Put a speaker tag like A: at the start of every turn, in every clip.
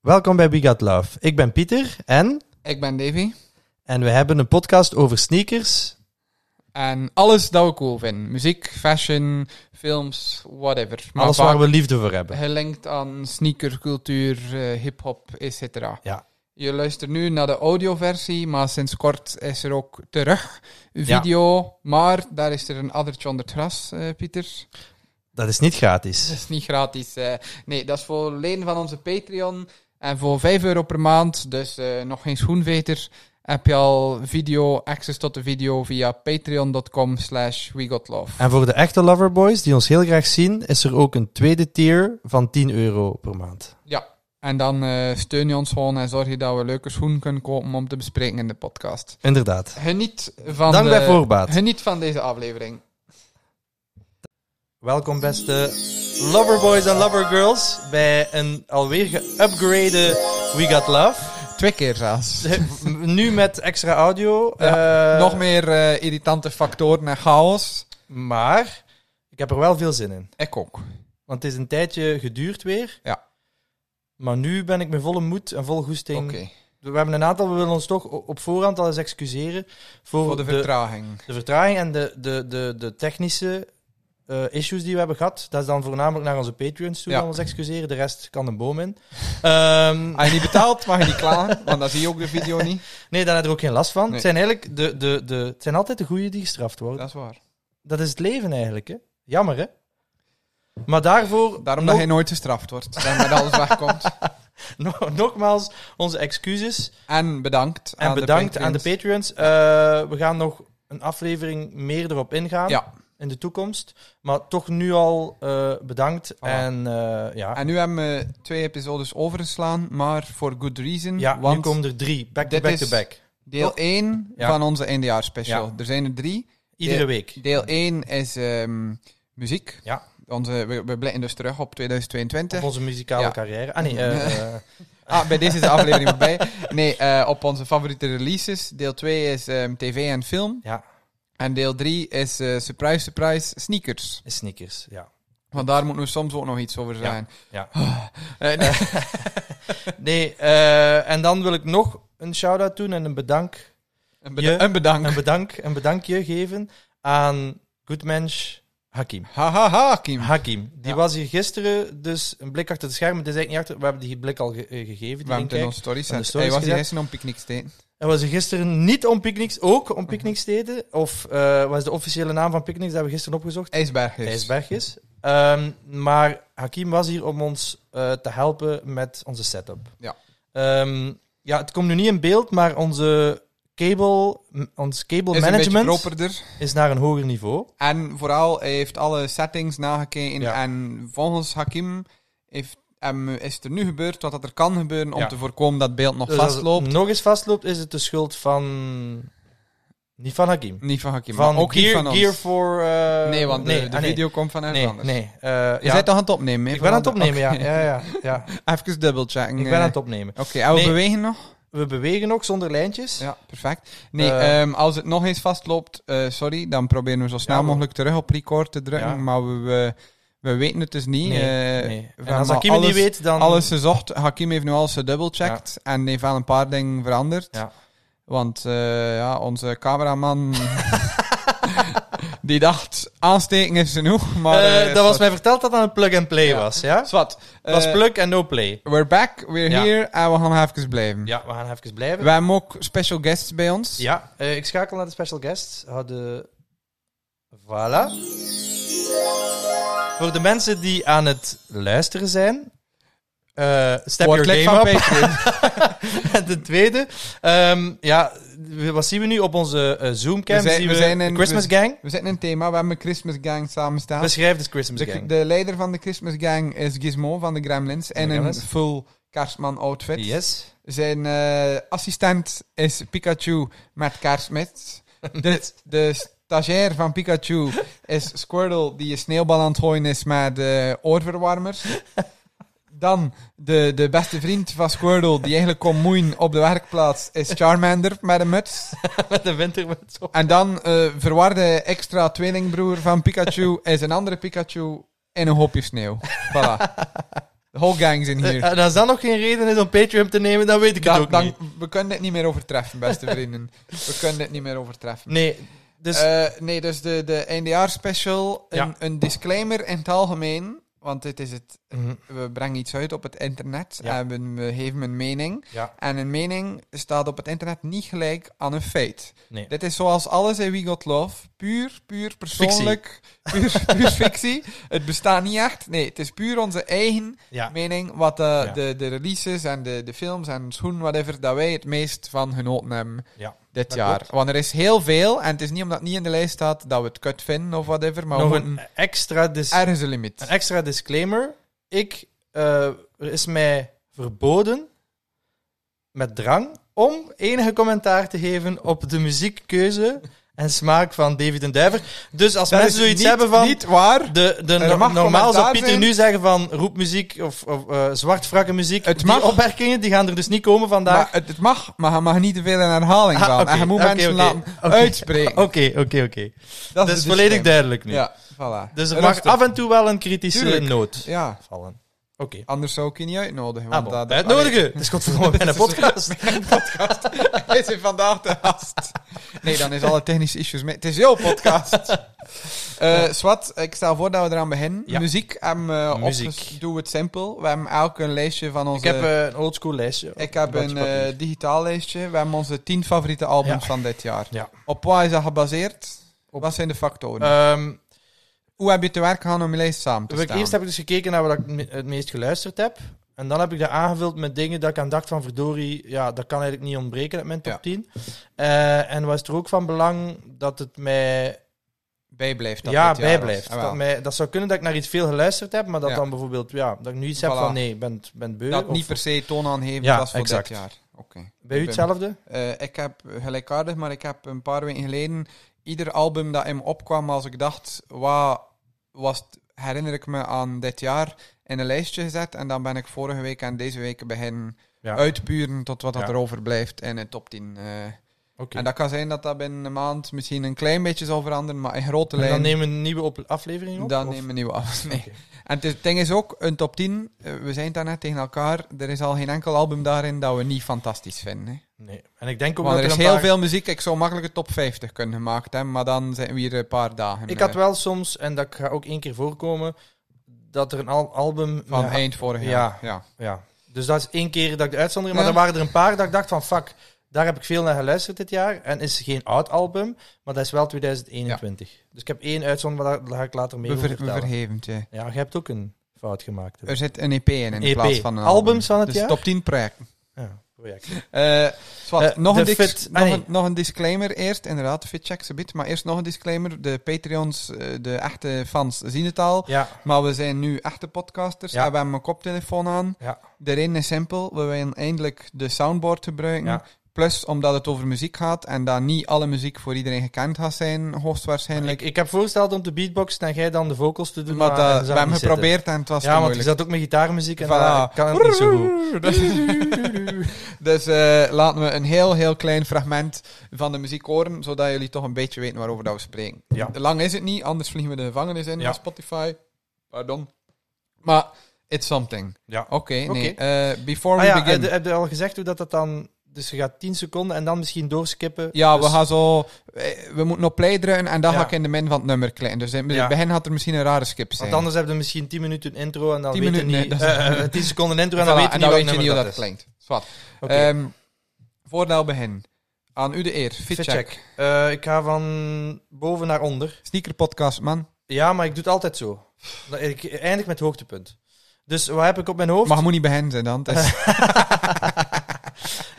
A: Welkom bij We Got Love. Ik ben Pieter en,
B: Ik ben Davy.
A: en we hebben een podcast over sneakers.
B: En alles dat we cool vinden. Muziek, fashion, films, whatever. Maar
A: alles
B: vaak
A: waar we liefde voor hebben.
B: gelinkt aan sneakercultuur, eh, hip-hop, etc.
A: Ja.
B: Je luistert nu naar de audioversie, maar sinds kort is er ook terug video. Maar daar is er een addertje onder het gras, eh, Pieter.
A: Dat is niet
B: Dat
A: gratis.
B: is niet gratis. eh. nee, dat is voor leden van onze Patreon. En voor 5 euro per maand, dus eh, nog geen schoenveter, heb je al video, access tot de video via patreon.com slash wegotlove.
A: En voor de echte loverboys die ons heel graag zien, is er ook een tweede tier van 10 euro per maand.
B: Ja, en dan eh, steun je ons gewoon en zorg je dat we leuke schoenen kunnen kopen om te bespreken in de podcast.
A: Inderdaad.
B: Geniet van,
A: Dank
B: de-
A: bij voorbaat.
B: geniet van deze aflevering.
A: Welkom beste loverboys en lovergirls bij een alweer geüpgrade We Got Love.
B: Twee keer zelfs.
A: Nu met extra audio. eh,
B: Nog meer eh, irritante factoren en chaos.
A: Maar ik heb er wel veel zin in.
B: Ik ook.
A: Want het is een tijdje geduurd weer.
B: Ja.
A: Maar nu ben ik met volle moed en volle goesting.
B: Oké,
A: We hebben een aantal, we willen ons toch o- op voorhand al eens excuseren voor,
B: voor de vertraging.
A: de vertraging en de, de, de, de technische eh, issues die we hebben gehad. Dat is dan voornamelijk naar onze Patreons toe
B: Ja.
A: dat we ons excuseren. De rest kan een boom in. Ehm,
B: Als je niet betaalt, mag je niet klagen, want dan zie je ook de video niet.
A: nee, daar heb je er ook geen last van.
B: Nee.
A: Het zijn eigenlijk de, de, de, het zijn altijd de goeie die gestraft worden.
B: Dat is waar.
A: Dat is het leven eigenlijk, hè? Jammer, hè? Maar daarvoor...
B: Daarom
A: nog-
B: dat hij nooit gestraft wordt, dat met alles wegkomt.
A: no- nogmaals, onze excuses.
B: En bedankt.
A: En
B: aan
A: bedankt
B: de
A: aan de
B: Patreons.
A: Patreons. Eh, we gaan nog een aflevering meer erop ingaan
B: Ja,
A: in de toekomst. Maar toch nu al eh, bedankt.
B: Voilà.
A: En eh, ja,
B: en nu hebben we twee episodes overgeslaan, maar voor good reason.
A: ja
B: want
A: nu komen er drie. Back to
B: dit
A: back
B: is-
A: to back.
B: deel 1
A: Ja.
B: van onze eindejaarspecial.
A: Ja.
B: Er zijn er drie.
A: Iedere
B: de-
A: week.
B: Deel 1 is ehm, muziek.
A: Ja. Oh.
B: Onze, we, we blikken dus terug op 2022.
A: Op onze muzikale
B: Ja.
A: carrière. Ah nee, eh, eh,
B: Ah, bij deze is de aflevering voorbij. Nee, eh, op onze favoriete releases. Deel 2 is ehm, tv en film.
A: ja,
B: En deel 3 is eh, surprise, surprise, sneakers.
A: sneakers. Ja.
B: Want daar moeten we soms ook nog iets over zijn.
A: ja.
B: Eh, nee.
A: Nee, eh, en dan wil ik nog een shout-out doen en een bedank. Je-
B: een, beda- een bedankt.
A: Een, bedank, een bedankje geven aan goodmensch Hakim.
B: Ha, ha, ha, Kim.
A: Hakim, die
B: Ja.
A: was hier gisteren, dus een blik achter de schermen. Het is eigenlijk niet achter, we hebben die blik al ge- eh, gegeven.
B: We
A: Die
B: hebben het in
A: inkijk.
B: onze stories
A: Van de
B: gezet.
A: stories
B: Hij was hier
A: gezet.
B: gisteren om picknick te eten.
A: En was hier gisteren niet om picknicks, ook
B: Mhm.
A: om picknicks deden. Of eh was de officiële naam van picknicks, dat hebben we gisteren opgezocht.
B: IJsbergers.
A: IJsberg is. Ehm, maar Hakim was hier om ons eh, te helpen met onze setup.
B: Ja.
A: Ehm, ja, het komt nu niet in beeld, maar onze cable, m- ons cable
B: Is een beetje
A: management
B: properder.
A: is naar een hoger niveau.
B: En vooral, hij heeft alle settings nagekeken.
A: Ja.
B: En volgens Hakim heeft, hem- is er nu gebeurd wat dat er kan gebeuren om
A: Ja.
B: te voorkomen dat het beeld nog
A: Dus als het
B: vastloopt.
A: nog eens vastloopt, is het de schuld van... Niet van Hakim.
B: Niet van Hakim,
A: van
B: maar ook
A: Gear,
B: niet van ons.
A: Gear for... eh,
B: nee, want de,
A: nee,
B: de
A: ah, nee.
B: video komt van ergens
A: Nee,
B: anders.
A: nee. eh,
B: Je
A: ja.
B: bent toch aan het opnemen? hè,
A: Ik ben aan het
B: van-
A: opnemen, ja.
B: Oké.
A: ja, ja, ja.
B: Even dubbelchecken.
A: Ik ben aan
B: eh.
A: het opnemen.
B: Oké, en we
A: Nee.
B: bewegen nog?
A: We bewegen nog zonder lijntjes.
B: Ja, perfect. Nee,
A: Eh,
B: ehm, als het nog eens vastloopt, eh, sorry, dan proberen we zo snel
A: maar-
B: mogelijk terug op record te drukken.
A: Ja.
B: Maar we, we, we weten het dus niet.
A: Nee,
B: eh,
A: nee.
B: we
A: En als
B: hebben
A: Hakim
B: alles,
A: het niet weet, dan...
B: Alles gezocht. Hakim heeft nu alles gedubbelcheckt en heeft wel een paar dingen veranderd.
A: Ja.
B: Want eh, ja, onze cameraman... die dacht, aansteken is genoeg, maar...
A: Eh,
B: eh,
A: dat was
B: zwart.
A: mij verteld dat dat een plug-and-play
B: Ja.
A: was, ja?
B: Zwart.
A: Dat was
B: Eh,
A: plug en no play.
B: We're back, we're
A: Ja.
B: here en we gaan nog even blijven.
A: Ja, we gaan even blijven.
B: We hebben ook special guests bij ons.
A: Ja, eh, ik schakel naar de special guest. Hou de... Voilà. Voor de mensen die aan het luisteren zijn... eh step
B: Wordt
A: your
B: lid
A: game
B: van
A: up.
B: Patreon.
A: En ten tweede, ehm, ja, wat zien we nu op onze eh, Zoomcam?
B: We zijn-
A: zien
B: we zijn in-
A: de Christmas Gang.
B: We zitten in een thema, we hebben een Christmas Gang samenstaan.
A: Beschrijf de Christmas
B: De,
A: Gang.
B: de leider van de Christmas Gang is Gizmo van de Gremlins in
A: de
B: een
A: Gremlins.
B: full kerstman outfit.
A: yes.
B: Zijn eh, assistent is Pikachu met kerstmis. De, de stagiair van Pikachu is Squirtle die een sneeuwbal aan het gooien is met eh, oorverwarmers. Dan de, de beste vriend van Squirtle die eigenlijk kon moeien op de werkplaats is Charmander met een muts.
A: Met de winter met zo.
B: En dan eh, verwarde extra tweelingbroer van Pikachu is een andere Pikachu in een hoopje sneeuw. Voilà. The whole gang's in hier.
A: En als dat nog geen reden is om Patreon te nemen, dan weet ik
B: Da-
A: het ook
B: dan-
A: niet.
B: We kunnen dit niet meer overtreffen, beste vrienden. We kunnen dit niet meer overtreffen.
A: Nee, dus
B: Eh, nee, dus de, de eindejaarsspecial. Een,
A: Ja.
B: een disclaimer in het algemeen. Want dit is het,
A: mhm,
B: we brengen iets uit op het internet.
A: Ja.
B: En we, we geven een mening.
A: ja,
B: En een mening staat op het internet niet gelijk aan een feit.
A: nee.
B: Dit is zoals alles in We Got Love. Puur, puur persoonlijk. Puur, puur fictie. Het bestaat niet echt. Nee, het is puur onze eigen
A: Ja,
B: mening. Wat de,
A: Ja.
B: de, de releases en de, de films en schoen, whatever, dat wij het meest van genoten hebben
A: ja.
B: dit
A: Dat
B: jaar.
A: klopt.
B: Want er is heel veel. En het is niet omdat het niet in de lijst staat dat we het kut vinden of whatever. Maar
A: Nog
B: we moeten
A: een extra, dis-
B: ergens een
A: een
B: limiet.
A: extra disclaimer. Ik, eh, er is mij verboden met drang om enige commentaar te geven op de muziekkeuze en smaak van David en Duiver. Dus als mensen zoiets
B: niet,
A: hebben van...
B: Niet waar.
A: De, de,
B: Er mag
A: normaal zou
B: commentaar
A: Pieter
B: zijn.
A: nu zeggen van roepmuziek of, of eh zwartwrakke muziek.
B: Het
A: die
B: mag.
A: opmerkingen die gaan er dus niet komen
B: Maar
A: vandaag.
B: het, het mag, maar je mag niet te veel in herhaling
A: Ah,
B: gaan.
A: oké,
B: en je moet
A: oké,
B: mensen
A: oké,
B: laten
A: oké.
B: uitspreken.
A: Oké, oké, oké.
B: Dat
A: Dat is volledig
B: de disclaimer.
A: duidelijk nu.
B: Ja, voilà.
A: Dus er mag
B: Rustig.
A: af en toe wel een kritische
B: Tuurlijk.
A: noot
B: Ja,
A: vallen. Oké.
B: anders zou ik je niet uitnodigen.
A: Ah,
B: Want
A: bon.
B: dat, dat-
A: Uitnodigen! Het is godverdomme bijna een podcast.
B: Allee, dus Hij is hier vandaag de gast. Nee, dan is alle technische issues mee. Het is jouw podcast. Eh Swat, ik stel voor dat we eraan beginnen.
A: Ja.
B: Muziek, eh, en
A: Muziek.
B: doe het simpel. We hebben elk een lijstje van
A: Ik
B: onze...
A: heb eh, een oldschool lijstje.
B: ik heb
A: Blaadje
B: een
A: papier.
B: eh, digitaal lijstje. We hebben onze tien favoriete albums
A: Ja.
B: van dit jaar.
A: Ja.
B: Op wat is dat gebaseerd? Wat zijn de factoren?
A: Ehm,
B: Hoe heb je te werk gegaan om je lijst samen te
A: Heb ik-
B: stellen?
A: eerst heb ik dus gekeken naar wat ik me- het meest geluisterd heb. En dan heb ik dat aangevuld met dingen dat ik aan dacht van verdorie, ja, dat kan eigenlijk niet ontbreken uit mijn top
B: Ja.
A: 10. Eh, en was het er ook van belang dat het mij
B: Bijblijft dat
A: ja,
B: dit jaar
A: bijblijft.
B: was. Ah,
A: dat,
B: wel.
A: mij, dat zou kunnen dat ik naar iets veel geluisterd heb, maar dat
B: Ja.
A: dan bijvoorbeeld, ja, dat ik nu iets heb
B: Voilà.
A: van nee, ik ben, ben beu.
B: Dat
A: of-
B: niet per se toonaangevend
A: Ja,
B: was voor
A: exact.
B: dit jaar. Oké.
A: bij u
B: Ik ben-
A: hetzelfde?
B: Eh, ik heb gelijkaardig, maar ik heb een paar weken geleden ieder album dat in me opkwam als ik dacht, wat was het- herinner ik me aan dit jaar in een lijstje gezet. En dan ben ik vorige week en deze week beginnen
A: Ja.
B: uitpuren tot wat dat
A: Ja.
B: er overblijft in de top 10. eh.
A: Oké.
B: En dat kan zijn dat dat binnen een maand misschien een klein beetje zal veranderen, maar in grote
A: En Dan
B: lijnen...
A: nemen we een nieuwe op- aflevering op?
B: Dan
A: of-
B: nemen we nieuwe af. Nee.
A: Oké.
B: En het is- het ding is ook, een top 10, eh, we zijn het daarnet tegen elkaar, er is al geen enkel album daarin dat we niet fantastisch vinden. Hè.
A: Nee. En ik denk ook
B: Want
A: dat
B: er is
A: een
B: heel
A: paar-
B: veel muziek. Ik zou makkelijk een top 50 kunnen gemaakt hebben, maar dan zijn we hier een paar dagen.
A: Ik had
B: eh,
A: wel soms, en dat gaat ook één keer voorkomen, dat er een al- album...
B: van
A: ja,
B: eind vorig
A: Ja.
B: jaar. Ja.
A: Ja. Dus dat is één keer dat ik de uitzondering...
B: Ja.
A: Maar er waren er een paar dat ik dacht van, fuck, daar heb ik veel naar geluisterd dit jaar. En is geen oud album, maar dat is wel 2021. Dus ik heb één uitzondering, maar daar, daar ga ik later mee
B: We,
A: over
B: ver, we
A: vertellen.
B: verheven het, ja.
A: Ja, je hebt ook een fout gemaakt. hè.
B: Er zit een EP in in
A: EP.
B: plaats van een
A: E Albums
B: album.
A: van het
B: dus
A: jaar?
B: top 10 projecten.
A: Ja, project.
B: Eh, zwart,
A: Eh,
B: nog,
A: de
B: een dis-
A: fit- ah,
B: nog,
A: nee.
B: een, nog een disclaimer eerst. Inderdaad, fitcheck ze bit. Maar eerst nog een disclaimer. De Patreons, eh, de echte fans, zien het al.
A: Ja,
B: Maar we zijn nu echte podcasters
A: Ja.
B: en we hebben een koptelefoon aan.
A: Ja.
B: De reden is simpel. We willen eindelijk de soundboard gebruiken.
A: Ja.
B: Plus omdat het over muziek gaat en dat niet alle muziek voor iedereen gekend gaat zijn, hoogstwaarschijnlijk.
A: ik, ik heb voorgesteld om te beatboxen en jij dan de vocals te doen.
B: maar
A: eh,
B: dat, we
A: zou niet
B: hebben
A: zitten.
B: geprobeerd en het was te
A: Ja, want je
B: moeilijk.
A: zat ook met gitaarmuziek en
B: Voilà.
A: daar kan het niet zo goed.
B: dus eh, laten we een heel, heel klein fragment van de muziek horen, zodat jullie toch een beetje weten waarover dat we spreken.
A: Ja.
B: Lang is het niet, anders vliegen we de gevangenis in
A: Ja.
B: met Spotify. Pardon. Maar it's something.
A: Ja.
B: Oké, nee.
A: Oké.
B: eh, before
A: Ah
B: we
A: ja,
B: begin.
A: heb je- heb je al gezegd hoe dat, dat dan... Dus je gaat 10 seconden en dan misschien doorskippen.
B: ja,
A: Dus-
B: we gaan zo... eh, We moeten op play drukken en dan
A: Ja.
B: ga ik in de min van het nummer klein. Dus in het
A: Ja.
B: begin had er misschien een rare skip zijn.
A: Want anders hebben we misschien 10 minuten intro en dan
B: 10
A: weten
B: minuten,
A: niet...
B: nee, dat
A: eh, eh, 10 seconden intro en
B: Voilà,
A: dan weten
B: dan
A: niet
B: weet je niet hoe dat, klinkt. Zwat.
A: Oké,
B: Ehm, voordat we beginnen. Aan u de eer.
A: fit
B: Fitcheck.
A: check. Eh, ik ga van boven naar onder.
B: Sneaker podcast, man.
A: Ja, maar ik doe het altijd zo. Dat- Ik eindig met het hoogtepunt. Dus wat heb ik op mijn hoofd?
B: Maar je moet niet beginnen zijn dan. Het is-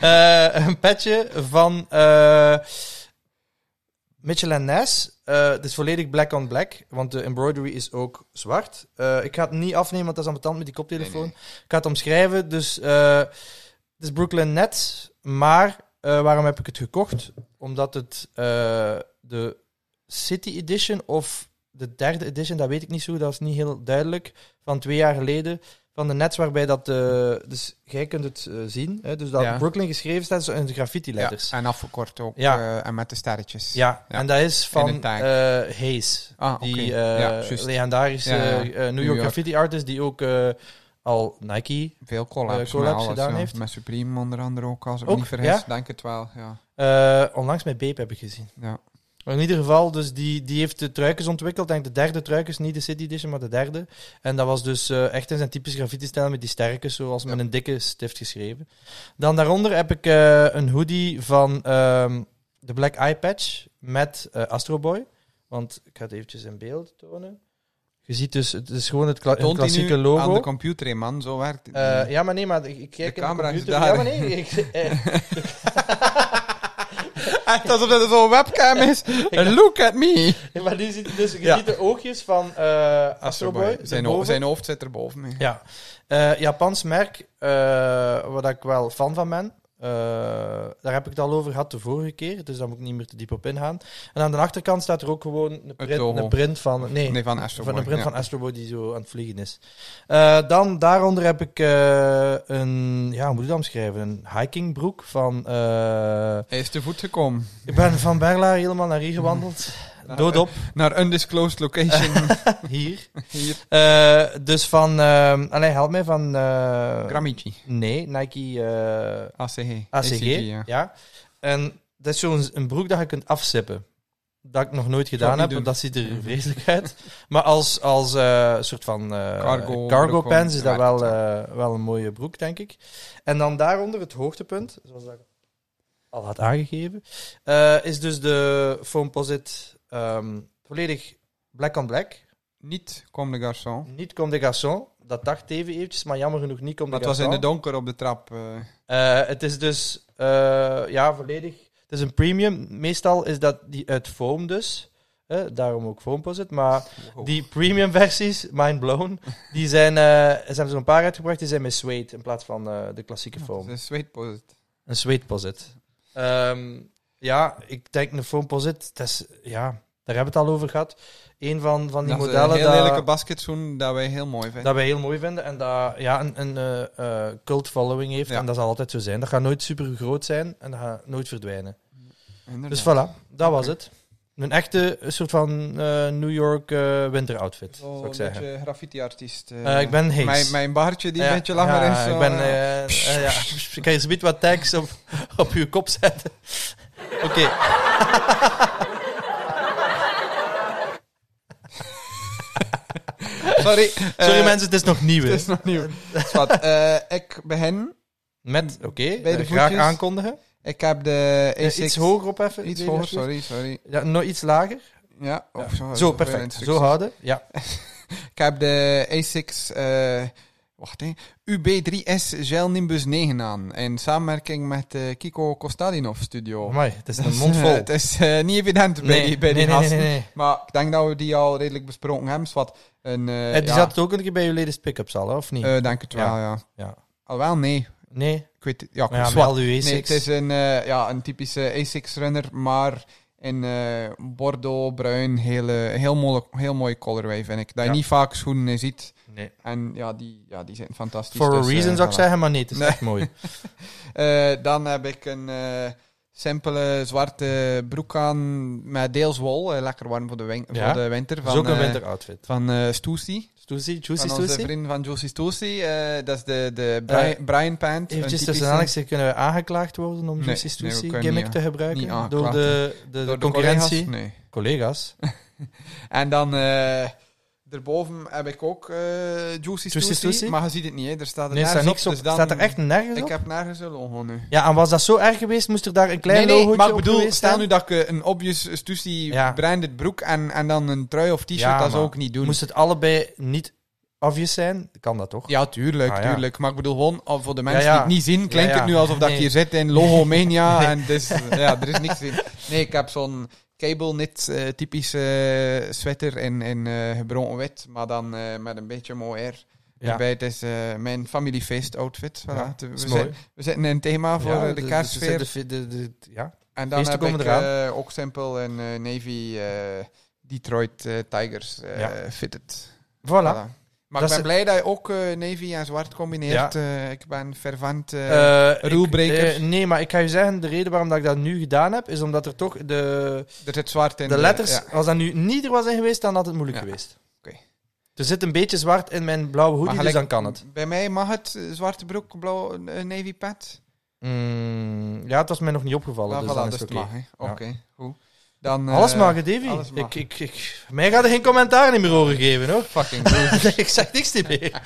A: Eh, een petje van eh Mitchell en Ness. Eh, het is volledig black on black, want de embroidery is ook zwart. Eh, ik ga het niet afnemen, want dat is ambetant met die koptelefoon.
B: Nee,
A: Ik ga het omschrijven. Dus eh, het is Brooklyn Nets, maar eh, waarom heb ik het gekocht? Omdat het eh, de City Edition of de derde edition, dat weet ik niet zo, dat is niet heel duidelijk, van twee jaar geleden van de Nets, waarbij dat... eh, dus jij kunt het eh, zien, hè, dus dat
B: Ja.
A: Brooklyn geschreven staat zo in de graffiti-letters.
B: Ja, en afgekort ook.
A: Ja.
B: eh, en met de sterretjes.
A: Ja,
B: Ja.
A: en dat is
B: In een
A: van
B: tag.
A: eh Hayes.
B: Ah, oké.
A: Die eh,
B: ja, juist.
A: legendarische
B: Ja, ja.
A: eh, New York
B: York.
A: graffiti artist die ook eh, al Nike.
B: Veel collabs,
A: Eh, collabs
B: met alles,
A: gedaan
B: ja.
A: heeft.
B: Met Supreme onder andere ook, als ik
A: Ook,
B: me niet vergis.
A: ja?
B: Denk het wel, ja.
A: eh, onlangs met Beep heb ik gezien.
B: ja.
A: Maar in ieder geval, dus die, die heeft de truikens ontwikkeld. Denk de derde truikens, niet de City Edition, maar de derde. En dat was dus eh, echt in zijn typisch graffiti-stijl met die sterkes, zoals met een dikke stift geschreven. Dan daaronder heb ik eh, een hoodie van ehm, de Black Eye Patch met eh, Astro Boy. Want ik ga het eventjes in beeld tonen. Je ziet dus, het is gewoon het kla-
B: Toont hij
A: klassieke
B: nu
A: logo.
B: aan de computer, hè, man. Zo werkt het.
A: Eh,
B: niet.
A: ja, maar nee, maar ik, ik kijk
B: De
A: in
B: camera is
A: computer.
B: daar.
A: Ja, maar nee, ik, eh,
B: Echt alsof dat zo'n webcam is. Look at me.
A: nee, maar nu ziet, dus, je
B: Ja.
A: ziet de oogjes van eh Astro Boy.
B: Zijn, ho-
A: erboven.
B: zijn hoofd zit erboven. hè.
A: Ja. Eh, Japans merk, eh waar ik wel fan van ben. Eh, daar heb ik het al over gehad de vorige keer, dus daar moet ik niet meer te diep op ingaan. En aan de achterkant staat er ook gewoon een print,
B: logo.
A: een print van... Nee,
B: Nee, van Astro
A: van een
B: Boy,
A: print
B: ja.
A: van Astro Boy die zo aan het vliegen is. Eh, dan daaronder heb ik eh, een... Ja, hoe moet ik dat omschrijven? Een hikingbroek van... eh,
B: Hij is te voet gekomen.
A: ik ben van Berla helemaal naar hier gewandeld. Doodop,
B: Naar undisclosed location.
A: hier.
B: Hier.
A: Eh, dus van... eh, allee, help mij, van... eh,
B: Gramici.
A: Nee, Nike eh,
B: ACG.
A: ACG.
B: ja.
A: ja. En dat is zo'n een broek dat je kunt afzippen. Dat ik nog nooit gedaan
B: niet
A: heb,
B: doen.
A: want dat ziet er vreselijk uit. Maar als, als eh, soort van eh,
B: Cargo-
A: cargo
B: broek
A: pants
B: om-
A: is dat
B: ja,
A: wel, eh, wel een mooie broek, denk ik. En dan daaronder het hoogtepunt, zoals dat ik al had aangegeven, eh, is dus de Foamposite ehm volledig black on black.
B: Niet Comme de Garçon.
A: Niet comme des garçons. Dat dacht even eventjes, maar jammer genoeg niet comme
B: Maar
A: des
B: het was in
A: garçons.
B: de donker op de trap. eh.
A: Eh, het is dus eh, ja, volledig. Het is een premium. Meestal is dat die uit foam dus. Eh, daarom ook foamposit. Maar
B: Wow.
A: die premium versies, mind blown, die zijn, eh, er zijn er een paar uitgebracht. Die zijn met suede in plaats van eh, de klassieke
B: Ja,
A: foam.
B: het is een zweetposit.
A: Een suede posit. Ehm, ja, ik denk een foamposit. Dat is, ja, daar hebben we het al over gehad. Een van, van die
B: Dat is een
A: modellen
B: heel lelijke
A: dat,
B: basketzoen dat wij heel mooi vinden.
A: dat wij heel mooi vinden. En dat ja, een, een eh, eh, cult following heeft.
B: Ja.
A: En dat zal altijd zo zijn. Dat gaat nooit super groot zijn en dat gaat nooit verdwijnen. Dus
B: Inderdaad.
A: voilà, dat was het. Een echte eh, soort van eh, New York eh, winteroutfit,
B: Zo
A: zou ik
B: een
A: zeggen.
B: beetje graffiti-artiest. eh.
A: Eh, ik ben Hayes.
B: mijn, mijn baardje die
A: Ja,
B: een beetje langer
A: ja,
B: is. zo,
A: Ik ben, eh,
B: eh.
A: eh, ja. Ik kan je zometeen wat tags op, op je kop zetten. Oké.
B: Sorry,
A: Sorry
B: eh,
A: mensen, het is nog nieuw. hè.
B: Het is nog nieuw. Zwart, eh, ik begin.
A: Met, oké,
B: Bij de
A: eh, graag
B: voetjes.
A: aankondigen.
B: Ik heb de
A: Eh,
B: E6...
A: iets hoger op even.
B: Iets
A: Delia,
B: hoger,
A: alsjeblieft.
B: sorry, sorry.
A: Ja, nog iets lager.
B: Ja, oh, zo,
A: Zo,
B: zoveel
A: perfect.
B: instructies.
A: Zo houden. Ja.
B: Ik heb de A6, eh, wacht hè, UB3S Gel Nimbus 9 aan. In samenwerking met de Kiko Kostadinov Studio.
A: Amai, het is
B: Dat
A: een
B: is,
A: Oh, mond
B: eh,
A: vol.
B: het is eh, niet evident bij die, bij die
A: nee, nee,
B: gasten.
A: nee, nee.
B: Maar ik denk dat we die al redelijk besproken hebben. Zwart, een, eh,
A: Eh, Die
B: ja,
A: zat ook een keer bij jullie latest pick-ups al, hè, of niet?
B: eh, denk het wel, ja.
A: Ja.
B: Alhoewel, nee.
A: nee.
B: Ik weet het- ja, ik
A: Maar ja, met
B: zwart.
A: al uw
B: Nee,
A: A6.
B: het is een, eh, ja, een typische A6-runner, maar in eh, bordeaux, bruin, hele, heel, mooi, heel mooie colorway, vind ik. Dat je
A: Ja.
B: niet vaak schoenen ziet.
A: nee.
B: En ja, die, ja, die zijn fantastisch.
A: For
B: dus,
A: a
B: eh,
A: reason zou ik
B: voilà.
A: zeggen, maar nee, het is
B: Nee.
A: echt mooi.
B: Eh, dan heb ik een eh, simpele zwarte broek aan met deels wol. eh, lekker warm voor de, win-
A: Ja.
B: voor de winter.
A: Dat
B: Van,
A: is ook een
B: eh,
A: winteroutfit.
B: van eh Stoesie.
A: Stoesie,
B: Van
A: juicy,
B: onze
A: stoesie.
B: vriend van Josie Stoesie. eh, dat is de, de Bri- Brian Pant. een
A: Eventjes Eh, tussen
B: typische-
A: aanhalingstekens, kunnen we aangeklaagd worden om
B: Nee,
A: juicy
B: nee, we
A: stoesie
B: kunnen
A: gimmick
B: niet,
A: te gebruiken
B: niet aangeklaagd
A: door de, de, de
B: Door de
A: concurrentie?
B: collega's? Nee.
A: Collega's.
B: En dan eh daarboven heb ik ook eh Juicy Stoesie.
A: Stoesie?
B: Maar je ziet het niet, hè. Er staat er
A: Nee, staat
B: nergens
A: niks op.
B: dus dan-
A: Staat er echt nergens
B: Ik
A: op?
B: heb nergens een logo nu.
A: Ja, en was dat zo erg geweest? Moest er daar een klein
B: nee, nee,
A: logootje
B: maar ik
A: op
B: bedoel,
A: geweest
B: stel
A: zijn?
B: nu dat ik eh, een obvious Stussy
A: Ja.
B: branded broek en, en dan een trui of t-shirt,
A: Ja,
B: dat zou
A: maar
B: ik niet doen.
A: Moest het allebei niet obvious zijn? Kan dat toch?
B: Ja, tuurlijk,
A: Ah, ja.
B: tuurlijk. Maar ik bedoel gewoon, oh, voor de mensen
A: Ja, ja.
B: die het niet zien, klinkt
A: Ja, ja.
B: het nu alsof dat ik
A: Nee.
B: hier zit in Logomania en dus, ja, er is niks in. Nee, ik heb zo'n cable knit eh, typische eh, sweater in, in eh, gebroken wit, maar dan eh, met een beetje mooi air.
A: Ja.
B: Erbij, het is eh, mijn familiefeest outfit. Voilà.
A: Ja,
B: we,
A: is
B: zitten-
A: mooi.
B: we zitten in een thema voor
A: Ja,
B: eh, de,
A: dus- dus
B: kerstsfeer.
A: de- de- de- de- Ja,
B: En dan
A: Feesten
B: heb ik
A: komen
B: eh, ook simpel een eh, Navy eh, Detroit eh, Tigers eh,
A: Ja.
B: fitted.
A: voilà.
B: Voilà. Maar
A: Dat
B: ik
A: is
B: ben
A: het.
B: blij dat je ook eh, Navy en zwart combineert. Eh, ik ben fervent. eh,
A: Eh, ik-
B: rulebreaker.
A: eh, nee, maar ik ga je zeggen, de reden waarom dat ik dat nu gedaan heb, is omdat er toch de,
B: er zit zwart in. eh,
A: de letters,
B: ja.
A: als dat nu niet er was in geweest, dan had het moeilijk
B: Ja.
A: geweest.
B: Oké.
A: Er zit een beetje zwart in mijn blauwe hoodie, dus
B: gelijk,
A: dan kan het.
B: Bij mij mag het eh, zwarte broek, blauw eh, navy pad.
A: Mm, ja, het was mij nog niet opgevallen,
B: Ah,
A: dus
B: voilà,
A: dan is
B: dus
A: het
B: het
A: oké.
B: mag, hè. Oké, goed. Dan, eh,
A: Alles mag, hè, Davy.
B: alles mag.
A: Ik, ik, ik, mij gaat er geen commentaar niet meer over geven, hoor.
B: Fucking goed.
A: ik zeg niks niet meer.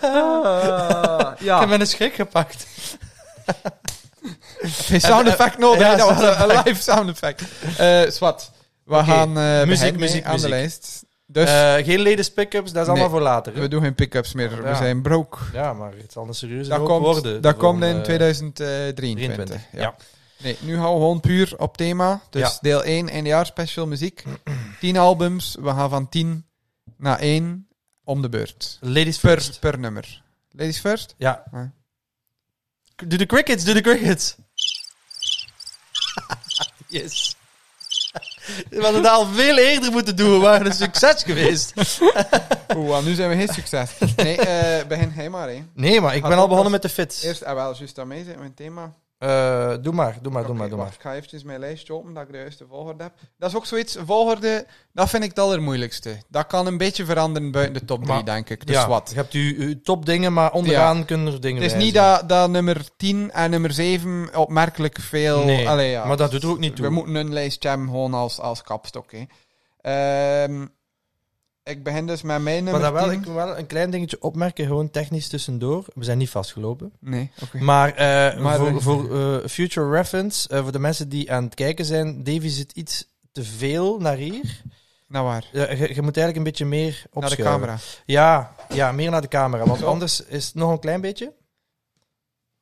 B: Ah,
A: Ik
B: ja.
A: heb een schrik gepakt.
B: Geen sound effect nodig.
A: eh, Ja,
B: hè, dat was
A: sound
B: een- een live sound effect. Eh Swat, we
A: Oké,
B: gaan eh, bij
A: muziek,
B: Hein mee
A: muziek,
B: aan
A: muziek.
B: de lijst. Dus
A: Eh, geen ladies pick-ups, dat is allemaal
B: Nee.
A: voor later. hè.
B: we doen geen pick-ups meer.
A: Ja.
B: We zijn broke.
A: Ja, maar het zal een serieuze
B: Dat
A: hoop
B: komt,
A: worden. eh,
B: dat
A: de
B: komt in
A: volgende-
B: 2023.
A: 23,
B: Ja. Nee, nu houden we gewoon puur op thema. Dus
A: Ja.
B: deel 1, eindejaars special muziek. 10 albums. We gaan van 10 naar 1 om de beurt.
A: Ladies first.
B: Per, per nummer. Ladies first?
A: Ja.
B: Ja.
A: Doe de crickets, doe de crickets. yes. We hadden dat al veel eerder moeten doen. We waren een succes geweest.
B: Oeh, nu zijn we geen succes. Nee, eh, begin jij maar. Hè.
A: Nee, maar ik
B: Gaat
A: ben al
B: ook
A: begonnen met
B: als
A: de fits.
B: Eerst, ah wel, juist daarmee zijn we in het thema.
A: Eh, doe maar, doe maar, doe
B: Oké,
A: maar, doe
B: wacht,
A: maar.
B: Ik ga eventjes mijn lijstje open, dat ik de juiste volgorde heb. Dat is ook zoiets, volgorde, dat vind ik het allermoeilijkste. Dat kan een beetje veranderen buiten de top 3,
A: Maar-
B: denk ik. Dus wat.
A: je hebt uw, uw topdingen, maar onderaan kunnen er dingen
B: Het is
A: wijzen.
B: niet dat, dat nummer 10 en nummer 7 opmerkelijk veel...
A: Nee,
B: Allee, ja.
A: maar dat doet er ook niet toe.
B: We moeten een lijstje hebben gewoon als, als kapstok. Hè. Ehm, ik begin dus met mijn
A: maar
B: nummer
A: dat wel,
B: 10.
A: ik wil wel een klein dingetje opmerken, gewoon technisch tussendoor. We zijn niet vastgelopen.
B: Nee, oké.
A: Maar, eh,
B: Maar
A: voor,
B: er-
A: voor eh, future reference, eh, voor de mensen die aan het kijken zijn, Davy zit iets te veel naar hier.
B: Nou waar,
A: Ja, je, je moet eigenlijk een beetje meer
B: naar de
A: opschuiven.
B: camera.
A: Ja, ja, meer naar de camera. Want
B: Zo.
A: anders is het nog een klein beetje.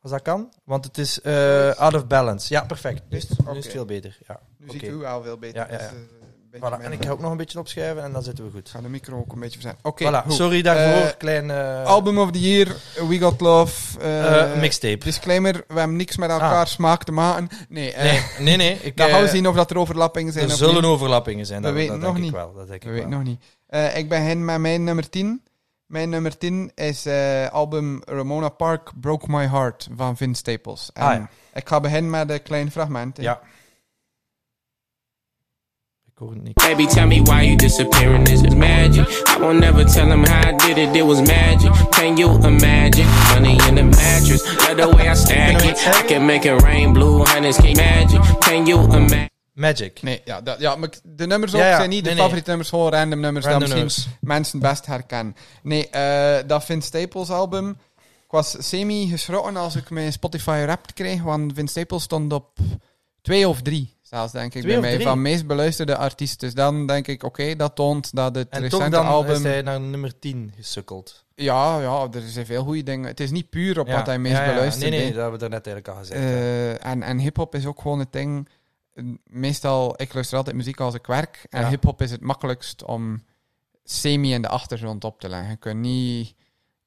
A: Als dat kan. Want het is eh, out of balance. Ja, perfect. Nu is, nu is
B: Oké.
A: het veel beter. Ja.
B: Nu
A: Oké.
B: zie ik u al veel beter.
A: Ja, ja, ja.
B: dus, eh, een beetje
A: Voilà. En ik
B: minder.
A: ga ook nog een beetje opschuiven en dan zitten we goed.
B: Ik ga de micro ook een beetje verzetten. Oké,
A: voilà.
B: goed.
A: Sorry daarvoor.
B: Eh,
A: klein eh,
B: Album of the Year, We Got Love. eh,
A: eh, mixtape.
B: Disclaimer, we hebben niks met elkaar
A: Ah.
B: smaak te maken. Nee, eh,
A: Nee, nee, nee. Ik,
B: dan gaan we
A: eh,
B: zien of dat er overlappingen zijn.
A: er
B: of
A: zullen
B: niet.
A: overlappingen zijn.
B: We
A: Dat, dat
B: weten
A: denk
B: nog
A: ik
B: niet.
A: wel. Dat denk
B: We
A: ik
B: weten
A: wel.
B: nog niet. Eh, ik begin met mijn nummer 10. Mijn nummer 10 is eh, album Ramona Park Broke My Heart van Vince Staples. En
A: Ah, ja.
B: Ik ga beginnen met een klein fragment. hè.
A: Ja. Ik hoor het niet.
C: Baby, tell me why you disappearing. This is magic. I won't never tell him how I did it. It was magic. Can you imagine? Money in the mattress. Love the way I stack it. I can make it rain blue. Honey's key magic. Can you imagine?
A: Magic.
B: Nee, ja, dat, ja, maar ik- de nummers ook
A: Ja, ja.
B: zijn niet
A: Nee,
B: de
A: nee.
B: favoriete nummers, gewoon random nummers
A: Random
B: dat misschien
A: nummers.
B: mensen best herkennen. Nee, eh, dat Vince Staples album. Ik was semi-geschrokken als ik mijn Spotify Wrapped kreeg, want Vince Staples stond op twee of drie, zelfs denk ik,
A: Twee
B: bij
A: of
B: mij,
A: drie?
B: van meest beluisterde artiesten. Dus dan denk ik, oké, dat toont dat het
A: En toch
B: recente
A: dan
B: album...
A: is hij naar nummer 10 gesukkeld.
B: Ja, ja, er zijn veel goede dingen. Het is niet puur op
A: Ja.
B: wat hij meest
A: Ja, ja.
B: beluisterde.
A: Nee, nee, dat hebben we daarnet eigenlijk al gezegd. ja.
B: Eh, en en hip-hop is ook gewoon het ding. eh, Meestal, ik luister altijd muziek als ik werk. En
A: Ja.
B: hip-hop is het makkelijkst om semi in de achtergrond op te leggen. Je kunt niet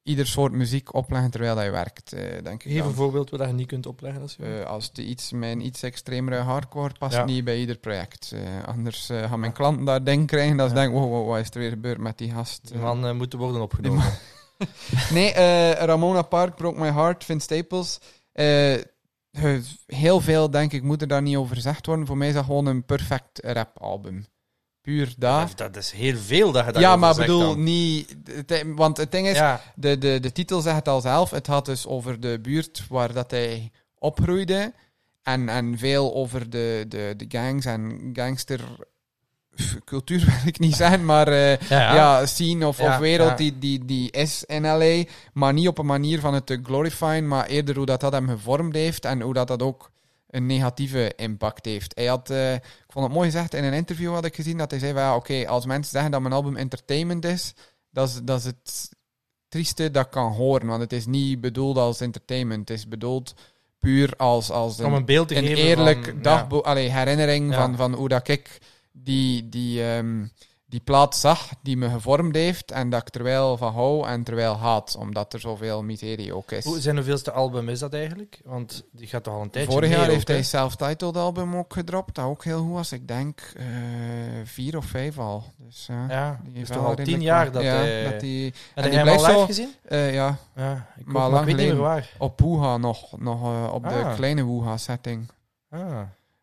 B: ieder soort muziek opleggen terwijl dat je werkt, eh, denk ik.
A: Geef
B: dan.
A: een voorbeeld waar je niet kunt opleggen. Als je wil.
B: Eh, als het iets, mijn iets extremere hardcore past
A: Ja.
B: niet bij ieder project. Eh, anders eh, gaan mijn klanten daar ding krijgen dat ze
A: Ja.
B: denken, wow, wow, wat is er weer gebeurd met die gast?
A: Die man eh, moet worden opgenomen.
B: Nee, eh, Ramona Park, Broke My Heart, Vince Staples. Eh, eh, heel veel, denk ik, moet er daar niet over gezegd worden. Voor mij is dat gewoon een perfect rapalbum. Puur daar.
A: Dat is heel veel dat je daarover
B: Ja, maar
A: zegt
B: bedoel,
A: dan.
B: niet... het- eh, want het ding is,
A: Ja,
B: de, de, de titel zegt het al zelf. Het had dus over de buurt waar dat hij opgroeide. En, en veel over de, de, de gangs en gangstercultuur, wil ik niet zijn, maar... eh,
A: ja, ja.
B: ja, scene of,
A: Ja,
B: of wereld
A: ja.
B: Die, die, die is in LA. Maar niet op een manier van het te glorifyen, maar eerder hoe dat, dat hem gevormd heeft en hoe dat, dat ook een negatieve impact heeft. Hij had, eh, ik vond het mooi gezegd, in een interview had ik gezien dat hij zei van ja, oké, als mensen zeggen dat mijn album entertainment is, dat is, dat is het trieste dat ik kan horen. Want het is niet bedoeld als entertainment, het is bedoeld puur als, als
A: om een beeld te
B: een
A: geven.
B: eerlijk
A: van-
B: dagboek, allee, herinnering
A: Ja.
B: van, van hoe dat ik die, die, ehm, die plaat zag, die me gevormd heeft en dat ik er wel van hou en er wel haat, omdat er zoveel mysterie ook is.
A: Ja. Hoe, zijn hoeveelste album is dat eigenlijk? Want die gaat toch al een tijdje
B: Vorig
A: mee
B: jaar
A: ook,
B: heeft
A: hè?
B: hij self-titled album ook gedropt, dat ook heel goed was. Ik denk eh, vier of vijf al. Dus, ja,
A: Ja,
B: die
A: het
B: heeft
A: is
B: wel
A: toch al tien
B: redelijk
A: jaar
B: wat-
A: dat
B: ja,
A: hij...
B: dat die,
A: en
B: die
A: heb je hem
B: blijft
A: al live
B: zo-
A: gezien?
B: eh, ja,
A: Ja, ik,
B: maar
A: maar ik
B: lang
A: weet niet meer
B: geleden.
A: waar.
B: op Poeha nog, nog eh, op de
A: Ah.
B: kleine Woeha-setting
A: Ah,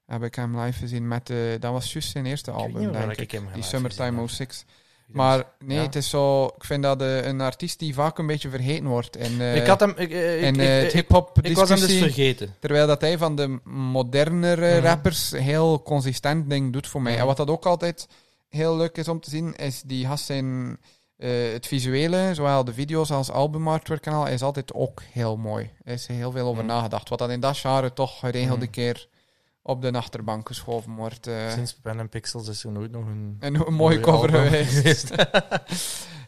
B: heb ik hem live gezien. Met, eh, dat was juist zijn eerste
A: ik weet
B: album,
A: niet meer
B: denk
A: waar ik
B: ik.
A: hem
B: Die
A: live gezien
B: Summertime
A: heb.
B: 06. Maar nee,
A: Ja.
B: het is zo... Ik vind dat eh, een artiest die vaak een beetje vergeten wordt. En, eh,
A: ik had hem. Ik, eh, ik,
B: en eh,
A: ik-
B: het
A: ik-
B: hip-hop
A: ik was hem dus
B: discussie...
A: vergeten.
B: Terwijl dat hij van de modernere
A: Mhm.
B: rappers heel consistent ding doet voor mij.
A: Mhm.
B: En wat dat ook altijd heel leuk is om te zien, is die gast zijn... eh, het visuele, zowel de video's als albumartwork en al, is altijd ook heel mooi. Er is heel veel over
A: Mhm.
B: nagedacht. Wat dat in dat genre toch geregeld
A: Mhm.
B: een keer op de achterbank geschoven wordt. eh.
A: Sinds Pen en Pixels is er nooit nog een.
B: En hoe- een mooie cover
A: album
B: geweest.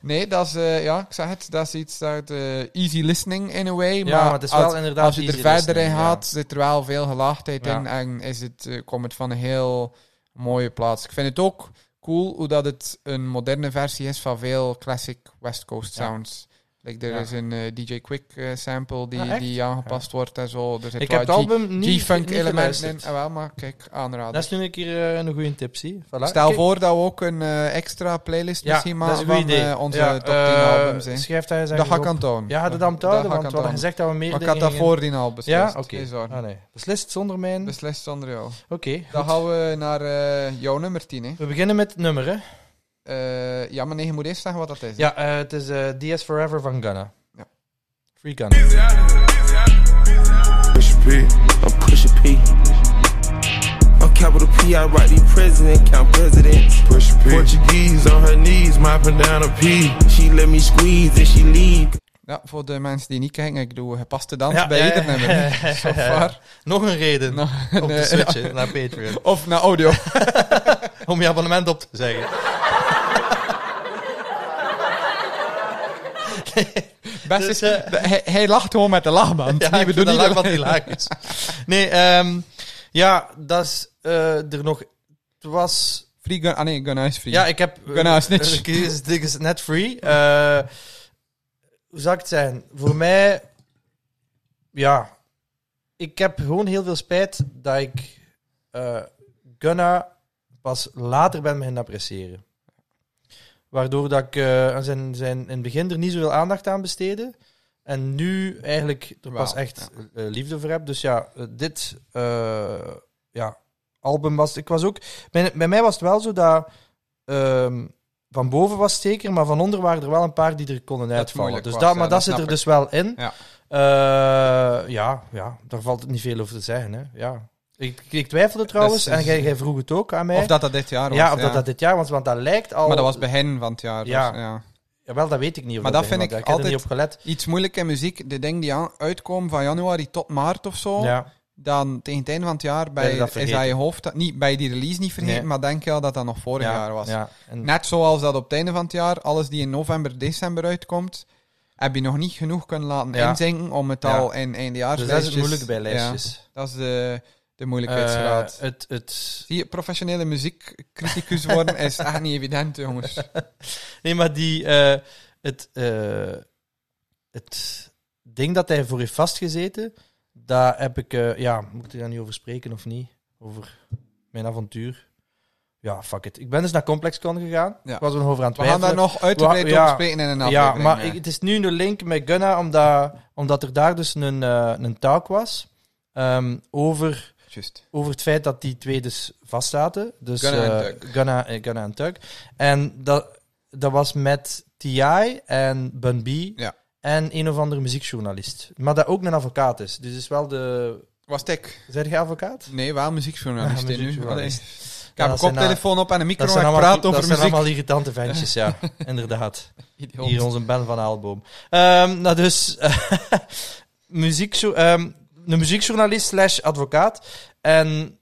B: nee, dat is, eh, ja, ik zeg het, dat is iets uit eh, easy listening in a way.
A: Ja,
B: maar,
A: maar het is wel
B: als,
A: inderdaad.
B: als je er
A: easy
B: verder in
A: listening, ja.
B: gaat, zit er wel veel gelaagdheid
A: Ja.
B: in en is het, eh, komt het van een heel mooie plaats. Ik vind het ook cool hoe dat het een moderne versie is van veel classic West Coast
A: Ja.
B: sounds. Like, er
A: Ja.
B: is een eh, DJ Quick eh, sample die,
A: Ah, echt?
B: die aangepast wordt en zo. Er zit
A: Ik heb het
B: wel G-
A: album niet.
B: G-funk
A: niet
B: elementen in.
A: geluisterd.
B: Ah, wel, maar kijk, aanraden.
A: Dat is nu een keer eh, een goede tip, zie. Voilà.
B: Stel
A: Kijk.
B: voor dat we ook een eh, extra playlist
A: Ja,
B: misschien
A: dat is
B: maken
A: een goed
B: van
A: idee.
B: eh, onze
A: Ja,
B: top 10
A: eh,
B: albums. hè.
A: Schrijf daar eens
B: Dat
A: ergens
B: ga
A: op.
B: ik aan tonen.
A: Ja, dat dan
B: Dat
A: houden,
B: ga ik
A: want we hadden
B: aan tonen.
A: gezegd dat we meer
B: Maar ik had
A: dingen
B: dat
A: gingen-
B: voordien al beslist.
A: Ja, oké.
B: geen zorgen.
A: Ah, nee. Beslist zonder mijn...
B: Beslist zonder jou.
A: Oké.
B: Dan gaan we naar eh, jouw nummer 10. Hè.
A: We beginnen met het nummer, hè.
B: Eh, ja, maar nee, je moet eerst zeggen wat dat is. hè.
A: Ja, eh, het is eh, DS Forever van Ghana.
B: Ja.
A: Free Ghana.
C: Push P, I'm Push P. I'm capital P, I write the president, count presidents.
D: Push P. Portuguese on her knees, mopping down a pee.
C: She let me squeeze and she leave.
B: Ja, voor de mensen die niet kijken, ik doe gepaste dans
A: Ja,
B: bij
A: ja,
B: ieder
A: ja.
B: nummer. Zo far.
A: Nog een reden
B: Nog
A: om
B: een,
A: te
B: eh,
A: switchen naar Patreon.
B: Of naar audio.
A: Om je abonnement op te zeggen.
B: Best
A: Dus,
B: is,
A: eh,
B: de- hij, hij lacht gewoon met de lachband.
A: Ja,
B: Nee, we
A: ik
B: doen
A: vind dat
B: niet
A: laag wat
B: de-
A: hilarisch. Nee, ehm, ja, dat is eh, er nog... Het was...
B: Free gun, ah nee, gun is free.
A: Ja, ik heb...
B: Gunna Snitch.
A: eh, ik- is- Dit is net free. Eh, hoe zou ik het zijn? Voor mij... Ja. Ik heb gewoon heel veel spijt dat ik eh, Gunna pas later ben beginnen appreciëren. Waardoor dat ik eh, aan zijn, zijn in het begin er niet zoveel aandacht aan besteedde. En nu eigenlijk er pas
B: Wel,
A: echt eh, liefde voor heb. Dus ja, eh, dit eh, ja, album was... Ik was ook... Bij, bij mij was het wel zo dat... ehm, van boven was het zeker, maar van onder waren er wel een paar die er konden uitvallen.
B: moeilijk
A: dus
B: was,
A: dat,
B: ja,
A: maar
B: dat
A: dat, zit
B: snap
A: er
B: ik.
A: dus wel in.
B: Ja.
A: Eh, ja, ja, daar valt niet veel over te zeggen. Hè. Ja. Ik, ik twijfelde trouwens,
B: Dat is-
A: en jij, jij vroeg het ook aan mij.
B: Of dat dat dit jaar was.
A: ja, of dat, dat dit jaar was, want dat lijkt al...
B: Maar dat was bij hen van het jaar. dus,
A: Ja.
B: ja.
A: Jawel, dat weet ik niet. of
B: Maar dat
A: bij
B: vind
A: hem was.
B: ik
A: heb er
B: altijd-
A: niet op gelet.
B: iets moeilijk in muziek. De dingen die aan- uitkomen van januari tot maart of zo.
A: Ja.
B: Dan tegen het einde van het jaar
A: Ben
B: bij,
A: je dat
B: is
A: vergeten?
B: dat je hoofd. dat- Niet, bij die release niet vergeten,
A: Nee.
B: maar denk je al dat dat nog vorig
A: ja,
B: jaar was.
A: Ja. En-
B: Net zoals dat op het einde van het jaar, alles die in november, december uitkomt, heb je nog niet genoeg kunnen laten
A: Ja.
B: inzinken om het
A: Ja.
B: al in eindejaars
A: dus dat is het moeilijk bij lijstjes.
B: dat is de, de
A: Eh,
B: moeilijkheidsgraad.
A: het, het,
B: Zie je, professionele muziekcriticus worden is echt niet evident, jongens.
A: Nee, maar die, eh, het, eh, het ding dat hij voor heeft vastgezeten, daar heb ik, eh, ja, moet ik er daar niet over spreken of niet? Over mijn avontuur. Ja, fuck it. Ik ben dus naar ComplexCon gegaan.
B: Ja.
A: Ik was er nog over aan het
B: We gaan daar
A: twijfelen.
B: nog uitgebreid
A: Wa- ja.
B: over spreken in een
A: Ja,
B: aflevering. eh.
A: maar
B: ja.
A: ik- het is nu een link met Gunna, omdat, omdat er daar dus een, eh, een talk was ehm, over
B: Juist.
A: over het feit dat die twee dus vastzaten. Dus
B: Gunna en
A: eh,
B: Tuck.
A: Gunna, eh, Gunna en Tuck. En dat, dat was met T.I. en Bun B.
B: Ja.
A: En een of andere muziekjournalist. Maar dat ook een advocaat is. Dus is wel de...
B: Was tek.
A: Zijn jij advocaat?
B: Nee, waar muziekjournalist
A: Ja,
B: in nu?
A: muziekjournalist.
B: Allee. Ik
A: Ja, dat
B: heb een
A: zijn
B: koptelefoon op en een
A: Dat
B: micro en
A: zijn
B: ik
A: allemaal,
B: praat
A: dat
B: over
A: zijn
B: muziek.
A: allemaal irritante ventjes, ja. Inderdaad.
B: Idioot.
A: Hier onze Ben van Aalboom. Ehm, nou dus, muziek, ehm een muziekjournalist slash advocaat. En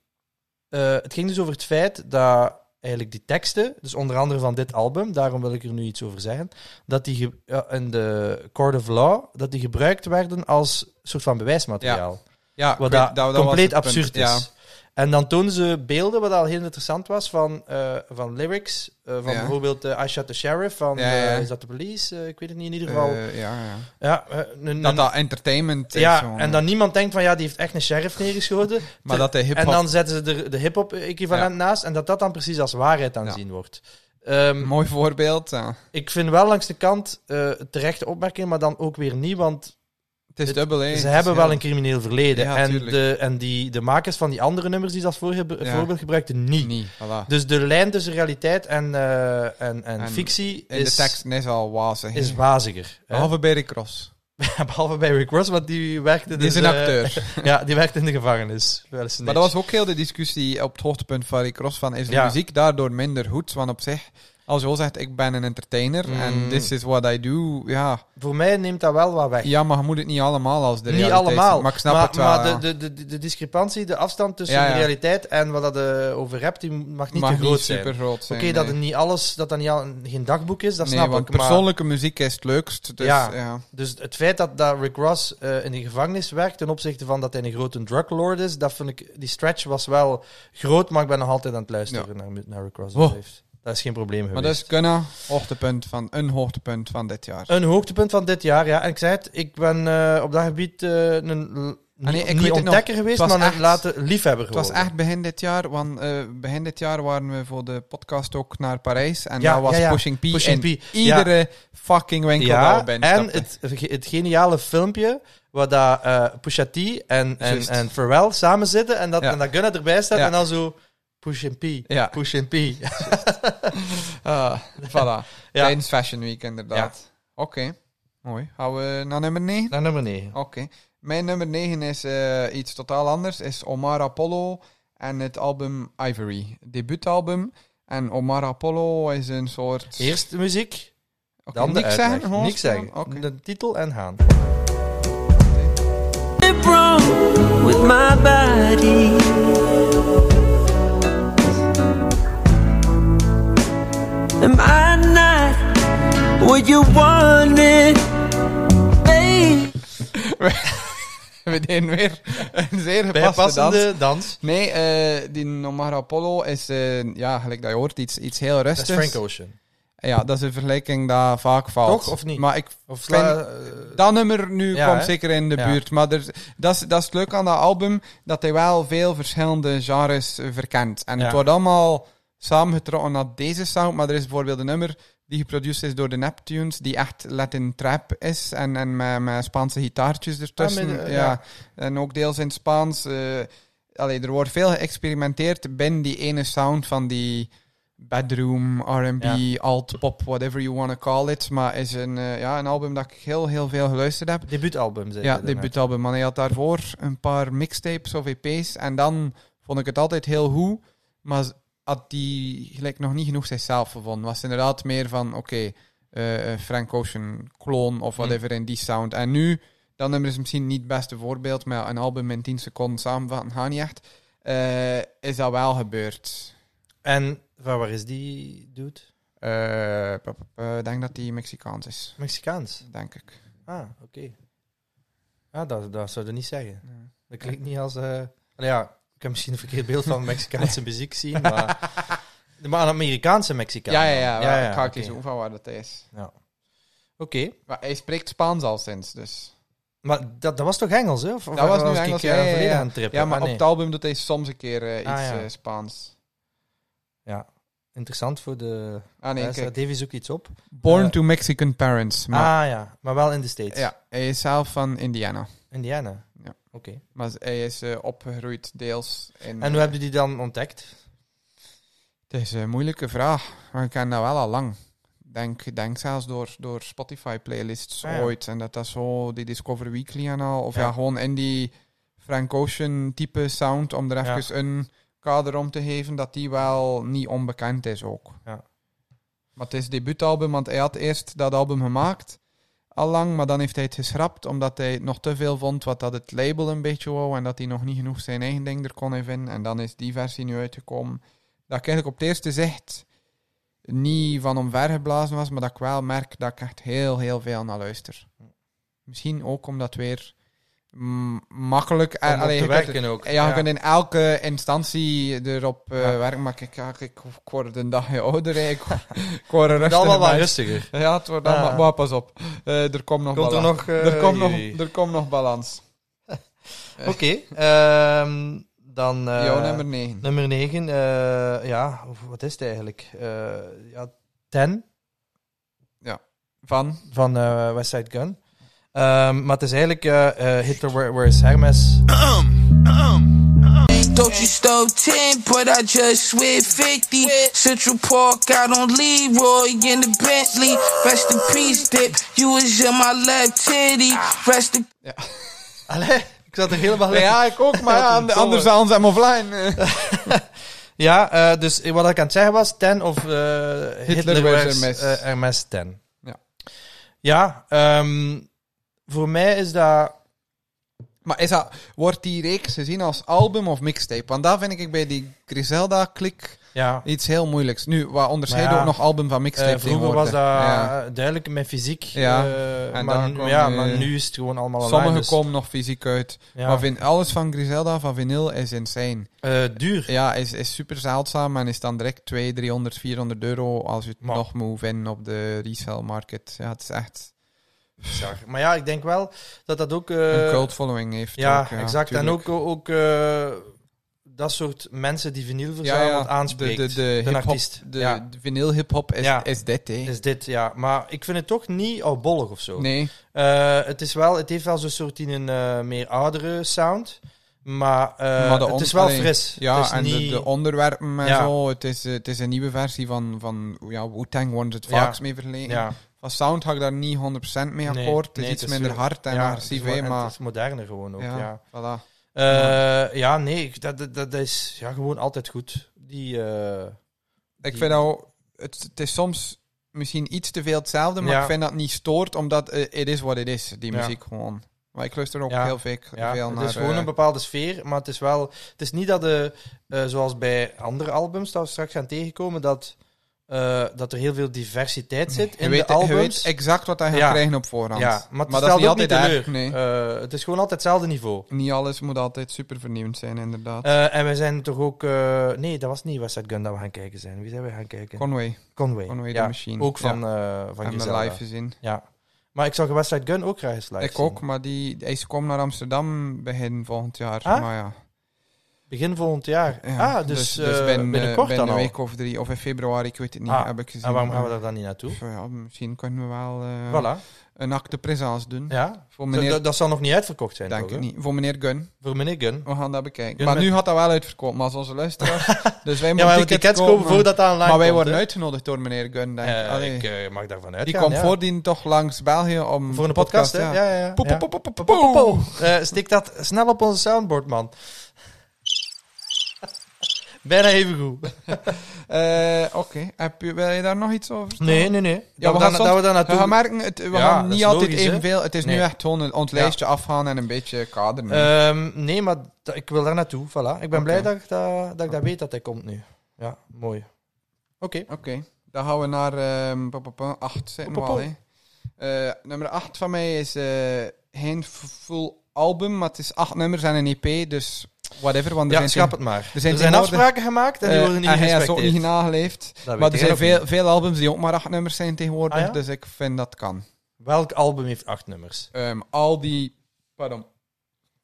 A: eh, het ging dus over het feit dat eigenlijk die teksten, dus onder andere van dit album, daarom wil ik er nu iets over zeggen, dat die ge- ja, in de court of law, dat die gebruikt werden als soort van bewijsmateriaal.
B: Ja,
A: Wat
B: ik weet-
A: dat, compleet
B: was het punt.
A: absurd is.
B: Ja.
A: En dan toonden ze beelden, wat al heel interessant was, van, eh, van lyrics. eh, van
B: Ja.
A: bijvoorbeeld eh I Shot the Sheriff, van
B: Ja, ja.
A: eh, is dat de police? Eh, ik weet het niet, in ieder geval.
B: Eh, ja, ja.
A: ja, eh, een- een-
B: Dat dat entertainment is.
A: ja,
B: gewoon.
A: en dan niemand denkt van, ja, die heeft echt een sheriff neergeschoten.
B: maar dat de hip
A: en dan zetten ze er de hip-hop equivalent naast en dat dat dan precies als waarheid aanzien wordt. Ehm,
B: Mooi voorbeeld. ja.
A: ik vind wel langs de kant eh terechte opmerking, maar dan ook weer niet, want
B: Het is
A: Het-
B: dubbel, hè.
A: Ze
B: Het
A: hebben
B: is
A: wel
B: heel-
A: een crimineel verleden.
B: Ja,
A: en
B: tuurlijk.
A: de, en die, de makers van die andere nummers die ze als voorbe-
B: Ja.
A: voorbeeld gebruikten, niet.
B: Niet, voilà.
A: Dus de lijn tussen realiteit en, eh, en, en,
B: En-
A: fictie
B: En de
A: is,
B: tekst is al wazig. hè.
A: is waziger. hè.
B: Behalve bij Rick Ross.
A: Behalve bij Rick Ross, want die werkte
B: Die
A: dus,
B: is een
A: eh,
B: acteur.
A: ja, die werkte in de gevangenis. Wel eens
B: Maar dat was ook heel de discussie op het hoogtepunt van Rick Ross van is de
A: Ja.
B: muziek daardoor minder goed? Want op zich, als je al zegt ik ben een entertainer
A: Mm.
B: en this is what I do, ja,
A: Voor mij neemt dat wel wat weg.
B: ja maar je moet het niet allemaal als de
A: Niet
B: realiteit zien.
A: allemaal,
B: Maar ik snap
A: maar,
B: het wel.
A: maar
B: ja.
A: de, de, de, de discrepantie, de afstand tussen
B: Ja, ja.
A: de realiteit en wat dat eh, over hebt, die mag niet
B: Mag
A: te groot zijn.
B: super
A: Oké,
B: groot zijn.
A: dat
B: nee.
A: er niet alles, dat dat niet al, geen dagboek is, dat
B: Nee,
A: snap
B: want
A: ik. Maar,
B: persoonlijke muziek is het leukst. Dus, ja.
A: Ja. Dus het feit dat, dat Rick Ross eh, in de gevangenis werkt ten opzichte van dat hij een grote druglord is, dat vind ik, die stretch was wel groot, maar ik ben nog altijd aan het luisteren naar, mu- naar Rick Ross. Dat,
B: Wow.
A: heeft, dat is geen probleem
B: Maar
A: geweest.
B: dat is kunnen hoogtepunt van, een hoogtepunt van dit jaar.
A: Een hoogtepunt van dit jaar, ja. En ik zei het, ik ben eh, op dat gebied eh, een l-
B: Ah, nee,
A: niet-
B: ik weet
A: niet
B: het nog.
A: ontdekker geweest,
B: Het was
A: maar een
B: echt-
A: late liefhebber
B: Het was
A: geworden.
B: echt begin dit jaar, want eh, begin dit jaar waren we voor de podcast ook naar Parijs. En
A: Ja,
B: daar was
A: ja, ja.
B: Pushing P
A: Pushing
B: in
A: P, ja.
B: iedere fucking winkel
A: Ja,
B: wel ben.
A: en het, het geniale filmpje waar dat, eh Pusha T en, en,
B: Juist.
A: en Pharrell samen zitten en dat,
B: Ja.
A: en dat Gunna erbij staat
B: Ja.
A: en dan zo Push and P,
B: Ja.
A: Push and P.
B: Ah, voilà.
A: Ja.
B: Tijdens Fashion Week, inderdaad. Oké, mooi. Gaan we naar nummer 9?
A: Naar nummer 9.
B: Oké. Mijn nummer 9 is eh, iets totaal anders. Is Omar Apollo en het album Ivory. Debuutalbum. En Omar Apollo is een soort...
A: Eerst de muziek,
B: Oké,
A: dan de
B: niks
A: uitleg.
B: zeggen? gewoon
A: Niks
B: staan?
A: zeggen.
B: Oké.
A: De titel en gaan.
E: something wrong with my body. Am I not what you wanted, babe?
B: We deden weer een zeer gepaste dans.
A: Bijpassende dans.
B: Nee, eh, die Omar Apollo is, eh, ja, gelijk dat je hoort, iets, iets heel
A: Dat
B: rustigs.
A: is Frank Ocean.
B: Ja, dat is een vergelijking die vaak valt.
A: Toch, of niet?
B: Maar ik
A: Of
B: vind-
A: sla- eh,
B: dat nummer nu
A: Ja,
B: komt
A: hè?
B: zeker in de
A: Ja.
B: buurt. Maar er, dat, is, dat is het leuke aan dat album, dat hij wel veel verschillende genres eh, verkent. En
A: Ja.
B: het wordt allemaal samengetrokken naar deze sound. Maar er is bijvoorbeeld een nummer die geproduceerd is door de Neptunes, die echt Latin trap is. En, en met, met Spaanse gitaartjes ertussen.
A: Ah, met, eh,
B: ja.
A: ja.
B: En ook deels in het Spaans. eh, allee, er wordt veel geëxperimenteerd binnen die ene sound van die bedroom, R&B,
A: Ja.
B: alt, pop, whatever you want to call it. Maar is een, eh, ja, een album dat ik heel, heel veel geluisterd heb.
A: debuutalbum, zei
B: Ja,
A: je daarnet.
B: debuutalbum. Maar hij had daarvoor een paar mixtapes of EP's. En dan vond ik het altijd heel goed. Maar z- had die gelijk nog niet genoeg zichzelf gevonden. Was inderdaad meer van, oké, eh, eh, Frank Ocean kloon of whatever in die sound. En nu, dat nummer is misschien niet het beste voorbeeld. Maar een album in 10 seconden samenvatten, gaat niet echt. Eh, is dat wel gebeurd.
A: En van waar is die dude?
B: Eh, p- p- p- Ik denk dat die Mexicaans is,
A: Mexicaans.
B: denk ik.
A: Ah, oké. Ah, dat, dat zou je niet zeggen. Dat klinkt niet als... eh, nou ja, ik heb misschien een verkeerd beeld van Mexicaanse muziek zien, maar... Maar een Amerikaanse
B: Ja,
A: Mexicaan.
B: ja,
A: dan.
B: ja. wel, ik ga
A: oké.
B: kiezen hoe van waar dat hij is.
A: Ja. Oké.
B: Maar hij spreekt Spaans al sinds, dus...
A: Maar dat, dat was toch Engels, hè? Of, of
B: was nu
A: ik,
B: Engels,
A: eh,
B: ja, ja,
A: verleden
B: ja.
A: aan het trippen?
B: Ja, maar
A: Ah, nee.
B: op het album doet hij soms een keer eh, iets
A: Ah, ja.
B: eh, Spaans.
A: Interessant voor de...
B: Ah nee,
A: Nee,
B: kijk.
A: Davy zoekt iets op.
B: Born
A: eh,
B: to Mexican parents. Maar,
A: Ah ja, maar wel in de States.
B: ja, hij is zelf van Indiana.
A: Indiana.
B: Ja.
A: Oké.
B: Maar hij is eh, opgegroeid deels in...
A: En hoe hebben jullie die dan ontdekt?
B: Het is een moeilijke vraag, maar ik ken dat wel al lang. Denk, denk zelfs door, door Spotify-playlists
A: Ah, ja.
B: ooit. En dat dat zo, die Discover Weekly en al. Of ja,
A: Ja.
B: gewoon in die Frank Ocean-type sound, om er
A: Ja.
B: even een kader om te geven, dat die wel niet onbekend is ook.
A: Ja.
B: Maar het is debuutalbum, want hij had eerst dat album gemaakt, al lang, maar dan heeft hij het geschrapt, omdat hij nog te veel vond wat dat het label een beetje wou, en dat hij nog niet genoeg zijn eigen ding er kon in vinden. En dan is die versie nu uitgekomen dat ik eigenlijk op het eerste zicht niet van omvergeblazen was, maar dat ik wel merk dat ik echt heel, heel veel naar luister. Misschien ook omdat het weer mm, makkelijk...
A: Om
B: eh,
A: op
B: allee,
A: te
B: je kunt-
A: werken ook.
B: Ja, je kunt in elke instantie erop eh, werken, maar ik, ja, ik, ik word een dagje ouder, hè. ik, ik word een
A: Het is allemaal
B: rustiger
A: wat
B: mens.
A: rustiger.
B: Ja, het wordt
A: Ah.
B: allemaal... Maar pas op, Eh, er komt nog
A: Komt er
B: balans.
A: nog... eh,
B: er, komt nog,
A: jullie?
B: er komt nog balans.
A: Oké. ehm, dan... eh,
B: Jouw nummer 9.
A: Nummer 9, eh, ja, of wat is het eigenlijk? Eh, ja, Ten
B: Van?
A: van eh West Side Gun. Ehm, maar het is eigenlijk eh, eh, Hitler, where, where is Hermes?
F: Don't you stole 10, but I just spent 50. Central Park out on Leroy in the Bentley. Rest in peace, dip. You was in my left titty. Rest in
A: Allee, ik zat er helemaal in.
B: Ja, ik ook, maar
A: Wat een
B: aan de- anders
A: domme.
B: aan hem offline. eh.
A: Ja, eh, dus wat ik aan het zeggen was, 10 of eh, Hitler,
B: was
A: was eh,
B: Hermes.
A: Hermes. Hermes 10.
B: Ja.
A: Ja, ehm, voor mij is dat...
B: Maar is dat, wordt die reeks gezien als album of mixtape? Want daar vind ik bij die Griselda-klik
A: Ja,
B: iets heel moeilijks. Nu, wat onderscheiden
A: Maar ja,
B: ook nog album van
A: eh,
B: mixtape
A: vroeger was
B: tegenwoordig.
A: dat
B: Ja.
A: eh, duidelijk met fysiek.
B: Ja,
A: eh,
B: en
A: maar,
B: dan
A: nu-
B: kwam,
A: ja,
B: eh,
A: maar nu is het gewoon allemaal online.
B: Sommige
A: dus,
B: komen nog fysiek uit.
A: ja.
B: Maar vind, alles van Griselda, van vinyl, is insane.
A: Eh, duur.
B: Ja, is, is super zeldzaam en is dan direct 200, 300, 400 euro als je het
A: Maar-
B: nog moet vinden op de resale market. Ja, het is echt
A: Bizar. Maar ja, ik denk wel dat dat ook... eh,
B: een cult following heeft.
A: Ja,
B: ook,
A: exact.
B: tuurlijk.
A: En ook, ook eh, dat soort mensen die vinyl verzamelt aanspreekt.
B: De, de, de,
A: de
B: hip-hop-
A: artiest.
B: De,
A: ja.
B: de vinyl hip-hop is,
A: Ja.
B: is dit, hè?
A: Is dit, ja. Maar ik vind het toch niet oudbollig of zo.
B: Nee.
A: Eh, het, is wel, het heeft wel zo'n soort in een eh, meer oudere sound. Maar, eh,
B: Maar de
A: het
B: on-
A: is wel
B: allee,
A: fris.
B: Ja,
A: het is
B: en de-
A: niet-
B: de, onderwerpen en
A: Ja.
B: zo. Het is, eh, het is een nieuwe versie van, van ja, Wu-Tang wordt het
A: Ja.
B: vaakst mee verleden.
A: ja,
B: Van sound ga ik daar niet 100% mee
A: Nee,
B: akkoord. het is
A: nee,
B: iets
A: het is
B: minder
A: zo-
B: hard en
A: ja,
B: agressief,
A: het is,
B: hè,
A: wel- en
B: maar...
A: het is moderner gewoon ook, ja.
B: ja,
A: Ja, Eh,
B: voilà.
A: ja nee, ik- dat, dat, dat is ja, gewoon altijd goed. Die, eh,
B: Ik
A: Die-
B: vind al, het, het is soms misschien iets te veel hetzelfde, maar
A: Ja.
B: ik vind dat niet stoort, omdat eh, it is what it is, die
A: Ja.
B: muziek gewoon. Maar ik luister ook
A: Ja.
B: heel vaak
A: Ja,
B: veel
A: het
B: naar...
A: is gewoon
B: eh,
A: een bepaalde sfeer, maar het is wel... Het is niet dat, de, eh, zoals bij andere albums dat we straks gaan tegenkomen, dat, eh, dat er heel veel diversiteit zit in
B: je, weet,
A: de
B: je
A: albums.
B: weet exact wat hij gaat
A: Ja.
B: krijgen op voorhand.
A: ja, maar het
B: dat
A: stelt
B: is niet
A: ook niet
B: altijd
A: teleur.
B: erg, nee.
A: Eh, het is gewoon altijd hetzelfde niveau.
B: Niet alles moet altijd super vernieuwend zijn, inderdaad.
A: Eh, en we zijn toch ook... eh, nee, dat was niet Westside Gun dat we gaan kijken zijn. Wie zijn we gaan kijken?
B: Conway,
A: Conway.
B: Conway
A: ja,
B: the Machine.
A: Ook van,
B: Ja.
A: eh van
B: en mijn
A: Griselda.
B: live gezien.
A: Ja. Maar ik zag Westside Gun ook graag eens live
B: Ik
A: zien.
B: ook, maar die, hij is komen naar Amsterdam begin volgend jaar.
A: Ah?
B: Maar ja,
A: Begin volgend jaar.
B: ja.
A: ah, dus, eh
B: ben, eh,
A: binnenkort
B: ben
A: dan
B: een
A: al.
B: week of drie, of in februari, ik weet het niet,
A: Ah,
B: heb ik gezien.
A: En waarom gaan we
B: Maar,
A: daar dan niet naartoe?
B: pff, ja, misschien kunnen we wel eh,
A: Voilà.
B: een acte présence doen.
A: Ja,
B: Voor meneer,
A: Dat, dat zal nog niet uitverkocht zijn,
B: denk
A: toch,
B: ik
A: hè?
B: niet. Voor meneer Gun,
A: Voor meneer Gun.
B: we gaan dat bekijken.
A: Gun
B: maar
A: met-
B: nu gaat dat wel uitverkopen, maar als onze luisteraars. dus wij
A: Ja, maar
B: moeten
A: we hebben tickets kopen voordat dat online
B: Maar wij
A: komt,
B: worden
A: hè?
B: uitgenodigd door meneer Gun, denk ik.
A: Eh,
B: Allee,
A: ik eh, mag daarvan
B: die
A: uitgaan,
B: komt
A: ja.
B: voordien toch langs België om
A: Voor een podcast, hè? Ja, ja, ja.
B: Poep,
A: Ja.
B: poep, poep, poep,
A: Poep,
B: poep,
A: poep,
B: poep.
A: poep. Eh, Stik dat snel op onze soundboard, man. Bijna even goed.
B: Eh, Oké, Heb je- wil je daar nog iets over?
A: Nee, nee, nee.
B: Ja,
A: Dat
B: we
A: we
B: gaan
A: gaan,
B: soms-
A: dat we daar
B: We gaan
A: naartoe...
B: merken, het, we
A: Ja,
B: gaan
A: dat
B: niet
A: is
B: altijd
A: logisch, hè?
B: evenveel. Het is nu
A: Nee.
B: echt gewoon een- ons
A: Ja.
B: lijstje afgaan en een beetje kaderen.
A: Ehm, nee, maar da- ik wil daar naartoe. Voilà. Ik ben
B: Oké.
A: blij dat ik dat, dat ik dat weet dat hij komt nu. Ja, mooi. Oké.
B: Oké, dan gaan we naar ehm, pa, pa, pa, acht. Zitten we
A: Pa, pa,
B: al,
A: pa.
B: hè. Eh, nummer 8 van mij is eh, geen v- full album, maar het is acht nummers en een EP, dus whatever. Want er
A: Ja,
B: zijn
A: schap het maar.
B: er
A: Er
B: zijn
A: zijn,
B: tegenwoordig-
A: afspraken gemaakt en die
B: Eh,
A: worden niet
B: en hij is ook
A: gerespecteerd.
B: niet nageleefd.
A: Dat
B: Maar
A: weet jij
B: er zijn
A: nog
B: veel,
A: niet.
B: veel albums die ook maar acht nummers zijn tegenwoordig,
A: Ah, ja?
B: dus ik vind dat kan.
A: Welk album heeft acht nummers?
B: Ehm, al die... Pardon.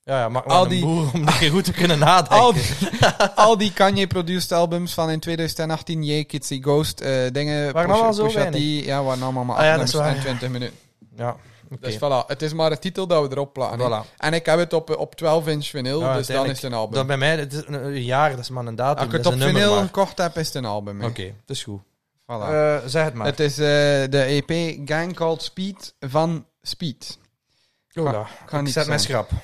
A: Ja, ja maar
B: Al
A: al
B: die-
A: een boer om die goed te kunnen nadenken.
B: Al die, al die Kanye-produced albums van in 2018, Ye, Kitsy, Ghost, eh, dingen.
A: Waren allemaal zo
B: Pusha T,
A: weinig?
B: Ja, waren allemaal maar
A: Ah ja, dat
B: nummers
A: is waar,
B: en
A: ja.
B: 20 minuten.
A: Ja, oké.
B: Dus voilà, het is maar de titel dat we erop plaatsen.
A: Voilà.
B: En ik heb het op, op 12 inch vinyl,
A: Ja,
B: dus dan
A: uiteindelijk.
B: is het een album.
A: Dat bij mij, het is een, een jaar, dat is maar een datum.
B: Als ik het
A: dat
B: op
A: is een nummer
B: vinyl
A: maar.
B: gekocht heb, is het een album. hè.
A: Oké, dat is goed.
B: Voilà.
A: Eh, zeg het maar.
B: het is eh, de EP Gang Called Speed van Speed.
A: Cola.
B: Ah, Ik ga
A: Ik
B: niet
A: zet mijn
B: zeggen.
A: schrap.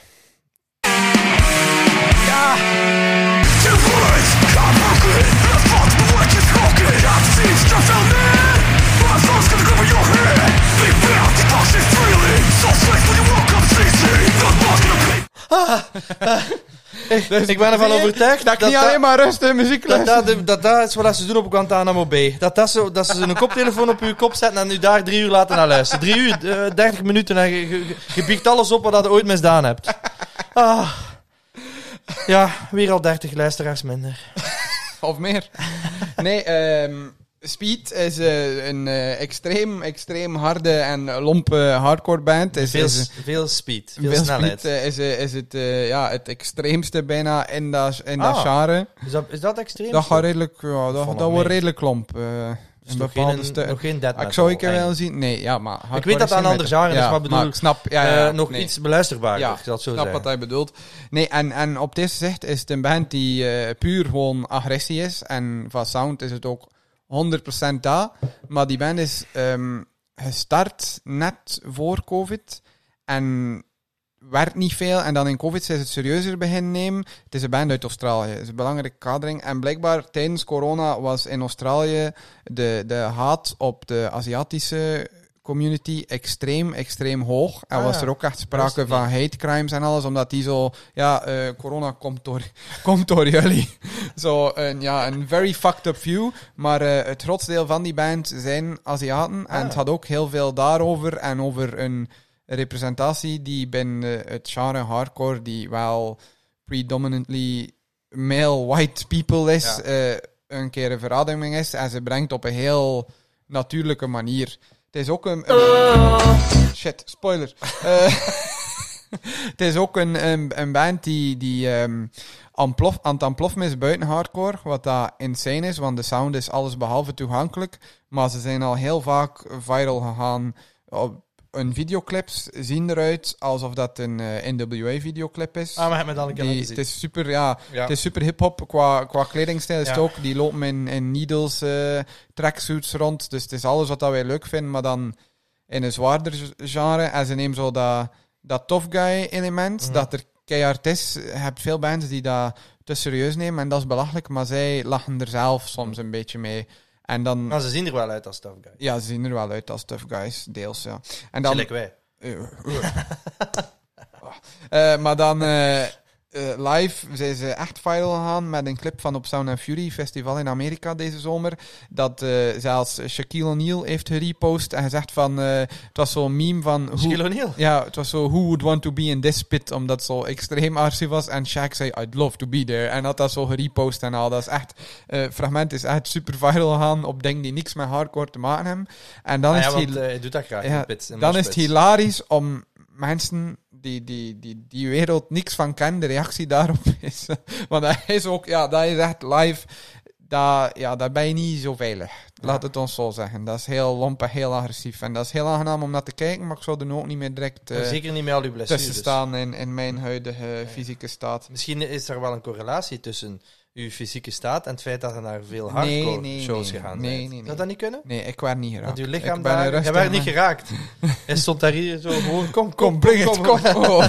A: ik ben ervan
B: zie je?
A: overtuigd
B: dus Dat ik niet alleen maar rust en muziek
A: dat,
B: luister.
A: dat, dat, dat is wat ze doen op Guantanamo Bay. Dat, dat, ze, dat ze een koptelefoon op je kop zetten en u daar drie uur laten naar luisteren. Drie uur, eh, dertig minuten en je, je, je biegt alles op wat je ooit misdaan hebt. Ah. Ja, weer al dertig luisteraars minder.
B: Of meer. nee, ehm, Speed is eh, een eh, extreem, extreem harde en lompe hardcore band. Is,
A: Veel,
B: is,
A: s- veel speed, veel,
B: Speed,
A: snelheid.
B: eh, is, eh, is het, eh, ja, het extreemste bijna in dat, in dat
A: Ah.
B: genre.
A: is, dat, is dat extreem?
B: Dat, gaat redelijk, ja, dat,
A: nog
B: dat wordt
A: mee.
B: redelijk lomp. eh.
A: Dus Dus nog geen,
B: bepaalde
A: een-
B: stu-
A: nog geen death
B: Ik zou ik er
A: metal
B: wel
A: eigenlijk.
B: zien. Nee, ja, maar hardcore
A: Ik weet dat
B: is
A: dat een
B: geen
A: ander
B: metal.
A: genre is,
B: Ja,
A: maar bedoel,
B: ik snap, ja, ja, ja,
A: Eh, nog
B: nee.
A: iets beluisterbaarder,
B: Ja,
A: ik zal het zo
B: snap
A: zeggen.
B: wat hij bedoelt. Nee, en, en op deze zicht is het een band die eh, puur gewoon agressie is. En van sound is het ook 100% dat. Maar die band is ehm, gestart net voor COVID. En werkt niet veel. En dan in COVID zijn ze het serieuzer beginnen nemen. Het is een band uit Australië. Het is een belangrijke kadering. En blijkbaar tijdens corona was in Australië de, de haat op de Aziatische community extreem, extreem hoog. En
A: Ah,
B: was er ook echt
A: wist
B: sprake
A: ik
B: van hate crimes en alles, omdat die zo... Ja, eh, corona komt door, komt door jullie. zo, een, ja, een very fucked up view. Maar eh, het grootste deel van die band zijn Aziaten. En het had ook heel veel daarover en over een representatie die binnen het genre hardcore, die wel predominantly male white people is,
A: Ja.
B: eh, een keer een verademing is. En ze brengt op een heel natuurlijke manier. Het is ook een... een- Shit, spoiler. Eh, het is ook een, een, een band die, die ehm, aan, plof, aan het aanploffen is buiten hardcore. Wat dat insane is, want de sound is alles behalve toegankelijk. Maar ze zijn al heel vaak viral gegaan. Op, hun videoclips zien eruit alsof dat een eh, NWA-videoclip is.
A: Ah, maar heb me dan een keer
B: Die-
A: laten zien.
B: het is super, ja,
A: Ja.
B: het is super hip-hop qua, qua kledingstijl. Is het
A: Ja.
B: ook, die lopen in, in needles, eh, tracksuits rond. Dus het is alles wat dat wij leuk vinden, maar dan in een zwaarder g- genre. En ze nemen zo dat, dat tough guy element,
A: Mhm.
B: dat er keihard is. Je hebt veel bands die dat te serieus nemen en dat is belachelijk, maar zij lachen er zelf soms een beetje mee. En dan,
A: Maar ze zien er wel uit als tough guy.
B: ja, ze zien er wel uit als tough guys, deels, ja. En dan,
A: Gelijk wij.
B: Eh, maar dan eh, eh, live zijn ze echt viral gegaan met een clip van op Sound and Fury Festival in Amerika deze zomer. Dat eh, zelfs Shaquille O'Neal heeft gerepost en gezegd van... eh, het was zo'n meme van... hoe-
A: Shaquille O'Neal.
B: ja, het was zo, who would want to be in this pit, omdat het zo extreem artsy was. En Shaq zei, I'd love to be there. En had dat zo gerepost en al. Dat is echt, eh fragment is echt super viral gegaan op dingen die niks met hardcore te maken hebben. En dan
A: Ah
B: is
A: ja,
B: hij
A: want eh, hij doet dat graag.
B: ja,
A: in pits, in
B: dan is het
A: moshpits.
B: hilarisch om mensen die die, die die wereld niks van kennen, de reactie daarop is. Want dat is ook, ja, dat is echt live. Dat, ja, daar ben je niet zo veilig. Laat het ons zo zeggen. Dat is heel lomp en heel agressief. En dat is heel aangenaam om naar te kijken, maar ik zou er ook niet meer direct eh,
A: Maar Zeker niet met al uw blessures. dus
B: tussen staan in, in mijn huidige fysieke staat.
A: Misschien is er wel een correlatie tussen uw fysieke staat en het feit dat je naar veel hardcore
B: Nee, nee,
A: shows
B: nee.
A: gegaan
B: Nee,
A: bent.
B: nee, nee.
A: Zou dat niet kunnen?
B: Nee, ik werd niet geraakt.
A: Dat uw lichaam
B: ik ben een
A: daar... Jij
B: rustig
A: werd niet
B: mens.
A: geraakt. Hij stond daar hier zo gewoon... Kom,
B: Kom, breng het, kom.
A: kom.
B: Oh.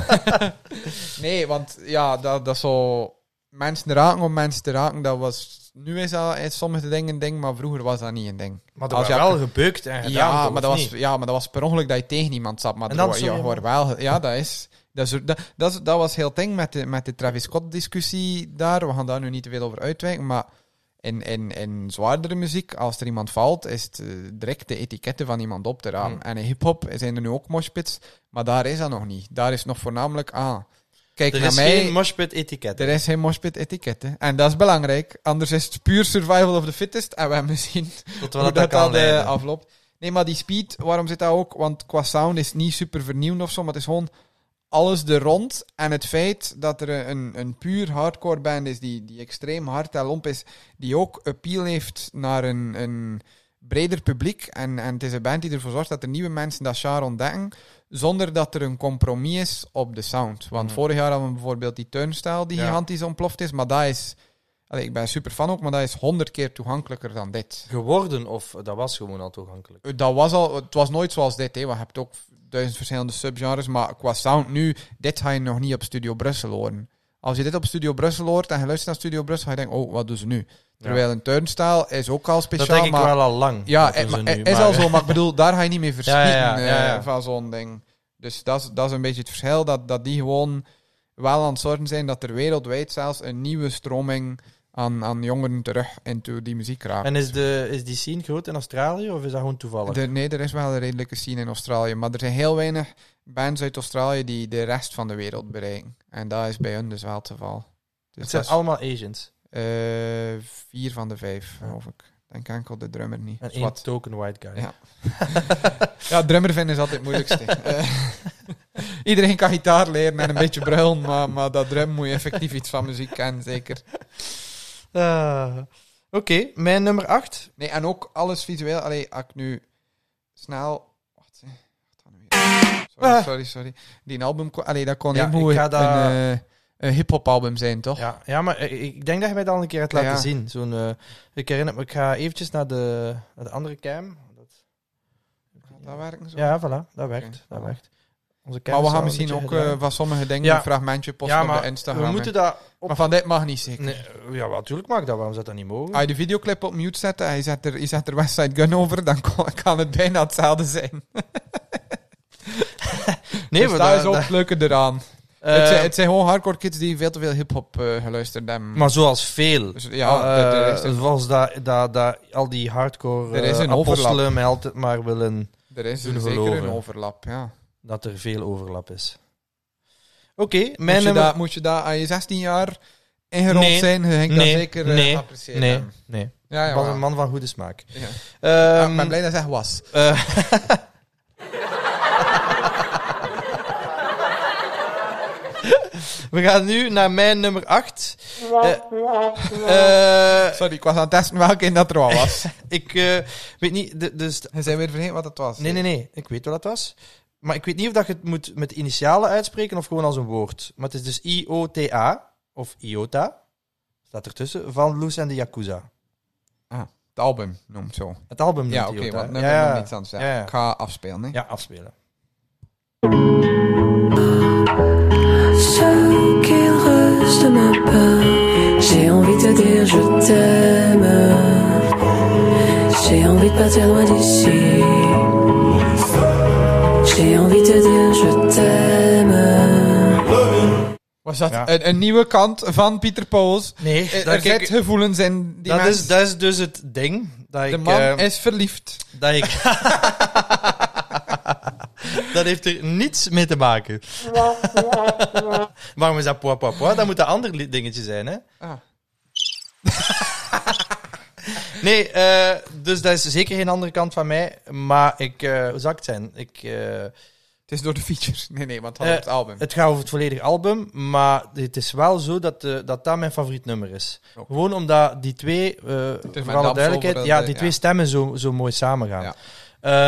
B: nee, want ja, dat, dat zo... Mensen raken om mensen te raken, dat was... Nu is dat in sommige dingen een ding, maar vroeger was dat niet een ding.
A: Maar dat
B: Als
A: was
B: je-
A: wel gebeukt en gedaan,
B: Ja,
A: toch,
B: maar dat
A: of
B: was,
A: niet?
B: ja, maar dat was per ongeluk dat je tegen iemand zat.
A: En
B: Maar er
A: dan
B: wo- je
A: sorry,
B: hoort wel... Ja, dat is... Dat, is, dat, dat, is- dat was heel ding met de, met de Travis Scott-discussie daar. We gaan daar nu niet te veel over uitwijken, maar... In, in, in zwaardere muziek, als er iemand valt, is het eh, direct de etiketten van iemand op te ramen.
A: Mm.
B: En in hip-hop zijn er nu ook moshpits, maar daar is dat nog niet. Daar is nog voornamelijk aan. kijk
A: Er
B: naar
A: is
B: mij.
A: geen moshpit etiket.
B: er is geen moshpit-etiketten. En dat is belangrijk. Anders is het puur survival of the fittest. En we hebben gezien
A: Tot wel
B: hoe
A: dat
B: dat,
A: dat kan
B: dat eh,
A: leiden.
B: afloopt. Nee, maar die speed, waarom zit dat ook? Want qua sound is het niet super vernieuwend of zo, maar het is gewoon alles er rond. En het feit dat er een, een puur hardcore band is die, die extreem hard en lomp is, die ook appeal heeft naar een, een breder publiek. En, en het is een band die ervoor zorgt dat er nieuwe mensen dat genre ontdekken, zonder dat er een compromis is op de sound. Want vorig jaar hadden we bijvoorbeeld die turnstijl die
A: Hmm. Ja.
B: gigantisch ontploft is, maar dat is... Allee, ik ben super fan ook, maar dat is honderd keer toegankelijker dan dit.
A: Geworden of dat was gewoon al toegankelijk.
B: Dat was al, het was nooit zoals dit, hè. want je hebt ook duizend verschillende subgenres, maar qua sound nu, dit ga je nog niet op Studio Brussel horen. Als je dit op Studio Brussel hoort en je luistert naar Studio Brussel, ga je denken, oh, wat doen ze nu? Terwijl een turnstijl is ook al speciaal,
A: dat denk ik
B: maar...
A: wel al lang.
B: ja,
A: dat
B: eh,
A: we
B: maar-
A: ze nu
B: eh, is al
A: maken.
B: zo, maar ik bedoel, daar ga je niet mee verschieten
A: ja, ja,
B: eh,
A: ja.
B: van zo'n ding. Dus dat is, dat is een beetje het verschil, dat, dat die gewoon wel aan het zorgen zijn dat er wereldwijd zelfs een nieuwe stroming aan, aan jongeren terug into die muziek raakt.
A: En is, de, is die scene groot in Australië of is dat gewoon toevallig?
B: Er- nee, er is wel een redelijke scene in Australië, maar er zijn heel weinig bands uit Australië die de rest van de wereld bereiken. En dat is bij hun dus wel het geval. Dus
A: het zijn
B: dat is,
A: allemaal Asians.
B: eh, vier van de vijf, geloof ik. Denk enkel de drummer niet.
A: En één
B: Zwat.
A: token white guy.
B: Ja. Ja, drummer vinden is altijd het moeilijkste. Eh, Iedereen kan gitaar leren en een beetje bruilen, maar, maar dat drum moet je effectief iets van muziek kennen, zeker.
A: Ah. Oké, mijn nummer 8.
B: Nee, en ook alles visueel. Allee, als ik nu snel... Wat eh, wat dan weer? Sorry,
A: Ah.
B: sorry, sorry. Die album... kon- Allee, dat kon
A: Ja,
B: helemaal
A: ik ga dat-
B: een, eh, een hip-hop album zijn, toch?
A: Ja, ja, maar eh, ik denk dat je mij dat al een keer hebt laten
B: Oh. Ja.
A: zien. Zo'n, eh, ik herinner me, ik ga eventjes naar de, naar de andere cam. Dat-
B: Dat werkt zo.
A: Ja, voilà, dat werkt.
B: Oké.
A: Dat werkt. Onze cam
B: maar we
A: is
B: gaan
A: al
B: misschien
A: een
B: ook
A: beetje
B: eh,
A: gedraaid.
B: van sommige dingen
A: Ja.
B: een fragmentje posten
A: ja,
B: op
A: maar
B: de Instagram.
A: we
B: hè.
A: moeten dat op...
B: Maar van dit mag niet zeker.
A: Nee, eh, ja, natuurlijk mag dat. Waarom zou dat niet mogen?
B: Als je de videoclip op mute zet en je zet er, je zet er Westside Gun over, dan kon- kan het bijna hetzelfde zijn.
A: nee,
B: dus
A: maar
B: dat
A: dat-
B: is ook
A: dat-
B: het leuke eraan.
A: eh,
B: het, zijn, het zijn gewoon hardcore kids die veel te veel hip-hop eh, geluisterd hebben.
A: Maar zoals veel.
B: Dus ja, dat- er is
A: Eh,
B: een-
A: zoals dat, dat, dat, al die hardcore
B: Er is
A: eh,
B: een
A: apostelen
B: overlap.
A: mij altijd maar willen
B: er is
A: doen
B: een, zeker
A: geloven.
B: een overlap. Ja.
A: dat er veel overlap is. Oké, mijn
B: Moet, je
A: nummer...
B: dat, moet je dat aan je 16 jaar ingerold
A: Nee.
B: zijn, je ging dat
A: Nee.
B: zeker eh,
A: Nee.
B: appreciëren.
A: Nee, nee.
B: Ja, ja,
A: was
B: wel.
A: een man van goede smaak.
B: Ja.
A: Ehm,
B: Ah, ik ben blij dat hij was.
A: eh, we gaan nu naar mijn nummer Eh, 8.
B: Sorry, ik was aan het testen welke in dat er al was.
A: ik eh, weet niet, de- dus
B: Hij zijn weer vergeten wat het was.
A: Nee, nee, nee. Ik weet wat dat was. Maar ik weet niet of dat je het moet met initialen uitspreken of gewoon als een woord. Maar het is dus IOTA, of IOTA, staat ertussen, van Loes en de Yakuza.
B: Ah, het album noemt zo.
A: Het album noemt
B: Ja, oké,
A: IOTA.
B: want dan
A: ja,
B: heb
A: ja.
B: ik niks anders. Ja.
A: Ja, ja.
B: Ik ga afspelen, hè.
A: Ja, afspelen.
G: Ce qu'il reste de ma part, j'ai envie de te dire je t'aime. J'ai envie de partir loin d'ici. J'ai envie de te dire je t'aime.
B: Was dat
A: Ja.
B: een, een nieuwe kant van Pieter Pauls? Eh,
A: Nee,
B: Er,
A: dat,
B: er zit gevoelens in die mens.
A: is, dat is dus het ding. Dat
B: de
A: ik,
B: man
A: eh,
B: is verliefd.
A: dat ik. dat heeft er niets mee te maken. Waarom is dat poa poa poa? Dat moet een ander li- dingetje zijn, hè?
B: Ah.
A: nee, eh, dus dat is zeker geen andere kant van mij. Maar ik, eh hoe zou ik het zijn? Ik, eh,
B: Het is door de features. Nee, nee, want het had
A: Eh,
B: op het album.
A: het gaat over het volledige album, maar het is wel zo dat eh, dat, dat mijn favoriet nummer is.
B: Oké.
A: Gewoon omdat die twee, eh
B: mijn
A: voor alle
B: Damsel
A: duidelijkheid,
B: voor eh,
A: ja,
B: de-
A: die
B: ja.
A: twee stemmen zo, zo mooi samengaan.
B: Ja.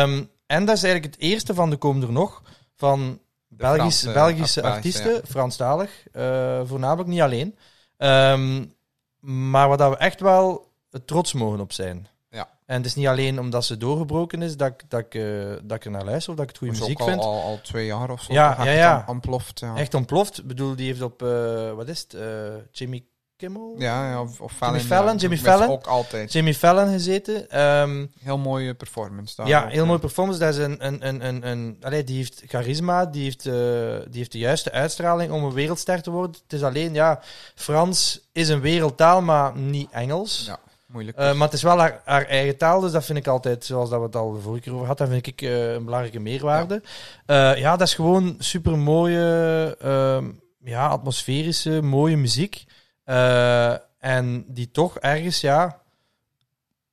A: Ehm, en dat is eigenlijk het eerste van de Komen er nog, van Belgisch,
B: Franse-
A: Belgische
B: Belgische,
A: artiesten,
B: ja.
A: Franstalig, eh, voornamelijk niet alleen. Ehm, maar waar dat we echt wel trots mogen op zijn.
B: Ja.
A: En het is niet alleen omdat ze doorgebroken is dat, ik- dat, ik, eh, dat ik er naar luister of dat ik het goede
B: Dat is
A: muziek
B: ook al,
A: vind.
B: Al, al twee jaar of zo.
A: Ja,
B: Dan
A: ja,
B: echt
A: ja.
B: am- Ontploft, ja.
A: Echt ontploft. Ik bedoel, die heeft op, eh, wat is het, eh, Jimmy Kimmel?
B: Ja, ja, of, of Fallon.
A: Fallon,
B: ja.
A: Jimmy
B: Dat is
A: Fallon.
B: ook altijd.
A: Jimmy Fallon gezeten. Ehm,
B: Heel mooie performance daar.
A: ja,
B: ook,
A: heel mooie performance. Dat is een, een, een, een, een, allee, die heeft charisma, die heeft, eh, die heeft de juiste uitstraling om een wereldster te worden. Het is alleen, ja, Frans is een wereldtaal, maar niet Engels.
B: Ja, moeilijk.
A: Eh, maar het is wel haar, haar eigen taal, dus dat vind ik altijd, zoals dat we het al de vorige keer over hadden, dat vind ik eh, een belangrijke meerwaarde. Ja, ja dat is gewoon super mooie, ja, atmosferische, mooie muziek. Eh, en die toch ergens, ja,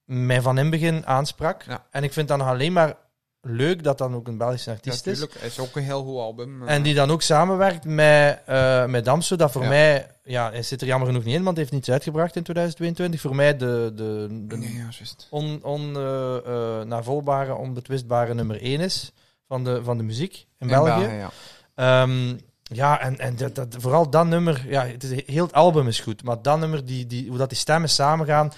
A: mij van in het begin aansprak.
B: Ja.
A: En ik vind dan alleen maar leuk dat dan ook een Belgische
B: Ja,
A: artiest is.
B: tuurlijk. Het is ook een heel goed album. eh.
A: En die dan ook samenwerkt met, eh met Damso. Dat voor
B: Ja.
A: mij, ja, hij zit er jammer genoeg niet in, want hij heeft niets uitgebracht in 2022. Voor mij de, de, de
B: Nee, ja, juist.
A: on, on, eh, eh, navolgbare, onbetwistbare nummer 1 is van de, van de muziek in
B: In
A: België.
B: ja.
A: Ehm, ja, en, en dat, dat, vooral dat nummer, ja, het is, heel het album is goed, maar dat nummer, die, die, hoe dat die stemmen samengaan,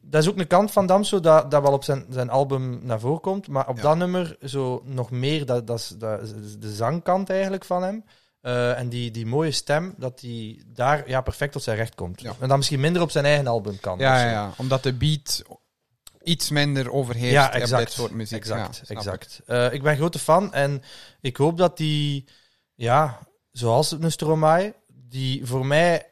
A: dat is ook een kant van Damso dat, dat wel op zijn, zijn album naar voren komt, maar op
B: Ja.
A: dat nummer zo nog meer, dat, dat, is, dat is de zangkant eigenlijk van hem. Eh, en die, die mooie stem, dat die daar ja, perfect tot zijn recht komt.
B: Ja.
A: En dan misschien minder op zijn eigen album kan. of
B: Ja,
A: zo.
B: ja, ja, omdat de beat iets minder overheerst
A: Ja,
B: op
A: exact.
B: dit soort muziek. Ja,
A: Exact,
B: snap ik.
A: exact. Eh, ik ben grote fan en ik hoop dat die, ja, zoals een Stromae, die voor mij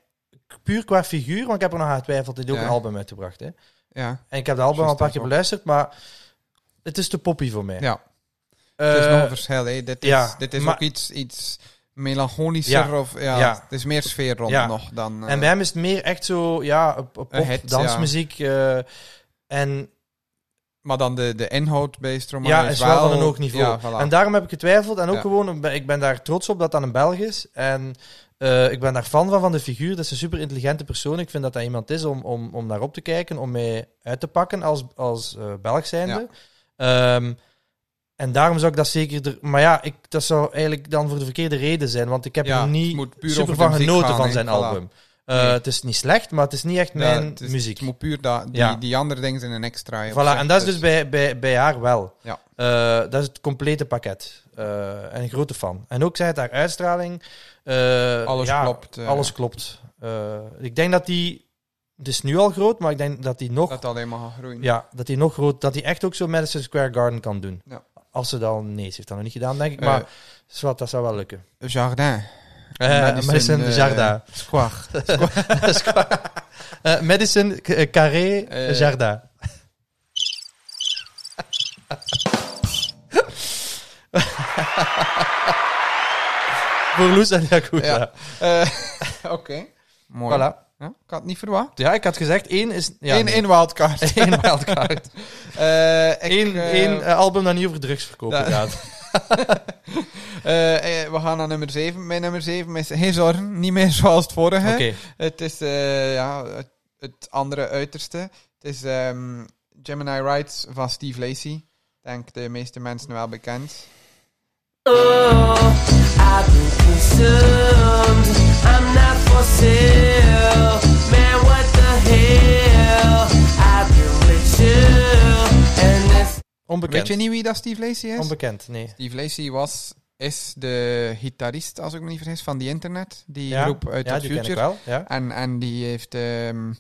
A: puur qua figuur, want ik heb er nog aan getwijfeld, die heeft ook
B: Ja.
A: een album uitgebracht. Hè.
B: Ja,
A: En ik heb de album al een paar
B: Juist, dat
A: keer
B: ook.
A: beluisterd, maar het is te poppy voor mij.
B: ja.
A: Eh,
B: het is nog een verschil. Hè. Dit is,
A: ja,
B: dit is
A: maar-
B: ook iets, iets melancholischer.
A: Ja,
B: Of, ja,
A: ja.
B: Het is meer sfeer rond
A: Ja.
B: nog dan... eh,
A: en bij hem is het meer echt zo, ja, op, op
B: Een hit,
A: dansmuziek. eh, en
B: Maar dan de, de inhoud bij Stromae
A: ja, is wel van een hoog niveau.
B: Ja, voilà.
A: En daarom heb ik getwijfeld. En ook
B: Ja.
A: gewoon, ik ben daar trots op dat dat een Belg is. En Eh, ik ben daar fan van, van de figuur. Dat is een super intelligente persoon. Ik vind dat dat iemand is om, om, om naar op te kijken, om mee uit te pakken als, als eh, Belg zijnde. Ehm, en daarom zou ik dat zeker... Er, maar ja, ik, dat zou eigenlijk dan voor de verkeerde reden zijn. Want ik heb
B: Ja,
A: er
B: het
A: niet
B: moet puur
A: super
B: over
A: van
B: de muziek
A: genoten
B: gaan,
A: van
B: hè.
A: zijn
B: Voilà.
A: album. Eh,
B: Nee.
A: Het is niet slecht, maar het is niet echt
B: Ja,
A: mijn
B: het is-
A: muziek.
B: Het moet puur dat, die,
A: Ja.
B: die andere dingen zijn een extra.
A: Voilà, en dat is dus bij, bij, bij haar wel.
B: Ja.
A: Eh, dat is het complete pakket. Eh, en een grote fan. En ook zij het haar uitstraling. eh,
B: Alles
A: ja,
B: klopt, eh.
A: Alles klopt. Eh, ik denk dat die... Het is nu al groot, maar ik denk dat die nog...
B: Dat het alleen maar gaat groeien.
A: ja, dat die nog groot... Dat die echt ook zo Madison Square Garden kan doen.
B: Ja.
A: Als ze dat al... Nee, ze heeft dat nog niet gedaan, denk ik.
B: Eh.
A: Maar zwart, dat zou wel lukken.
B: Jardin.
A: Eh,
B: Madison,
A: Madison
B: eh,
A: Jardin.
B: Square.
A: Eh, Madison K- eh, Carré
B: Eh.
A: Jardin. Voor Loes en Yakuza.
B: Ja. Eh, Oké. Mooi.
A: Voilà.
B: Ja, ik had het niet verwacht.
A: Ja, ik had gezegd, één is... Ja,
B: Eén
A: nee.
B: één wildcard.
A: Eén wildcard.
B: Eh, ik,
A: Eén,
B: eh,
A: één, eh, album dat niet over drugsverkopen
B: Ja.
A: gaat.
B: eh, eh, we gaan naar nummer 7. Mijn nummer 7 is Geen Zorgen, niet meer zoals het vorige.
A: Oké.
B: Het is eh, ja, het, het andere uiterste. Het is ehm, Gemini Rights van Steve Lacey. Ik denk de meeste mensen wel bekend.
E: I've been consumed. I'm not for sale. Man, what the hell? I've been with you, and it's
A: Onbekend.
B: Weet je niet wie dat Steve Lacey is?
A: Onbekend, nee.
B: Steve Lacey was, is de gitarist, als ik me niet vergis, van The Internet. Die groep uit
A: ja,
B: The
A: die ken ik
B: Future.
A: wel. Ja.
B: En, en die heeft ehm,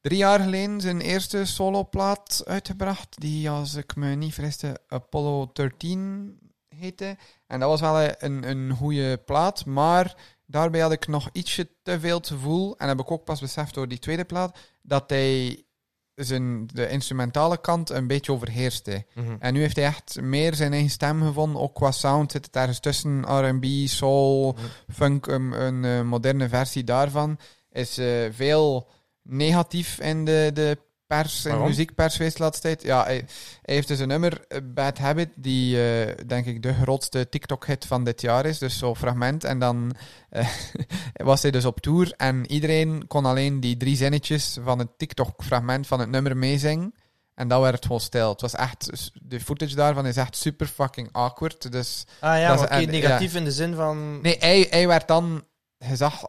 B: drie jaar geleden zijn eerste soloplaat uitgebracht. Die, als ik me niet vergiste, Apollo 13 heette. En dat was wel eh, een, een goede plaat. Maar daarbij had ik nog ietsje te veel het gevoel. En heb ik ook pas beseft door die tweede plaat. Dat hij zijn, de instrumentale kant een beetje overheerste.
A: Mhm.
B: En nu heeft hij echt meer zijn eigen stem gevonden. Ook qua sound zit het ergens tussen R&B,
A: Mhm.
B: soul, funk. Een, een eh, moderne versie daarvan is eh, veel negatief in de, de pers en
A: Waarom?
B: muziekpers geweest de laatste tijd. Ja, hij, hij heeft dus een nummer, eh, Bad Habit, die eh, denk ik de grootste TikTok-hit van dit jaar is. Dus zo'n fragment. En dan eh, was hij dus op tour en iedereen kon alleen die drie zinnetjes van het TikTok-fragment van het nummer meezingen. En dat werd gewoon stil. Het was echt, de footage daarvan is echt super fucking awkward. Dus
A: Ah ja,
B: Dat is-
A: maar oké,
B: en-
A: negatief in de zin van...
B: Nee, hij, hij werd dan gezag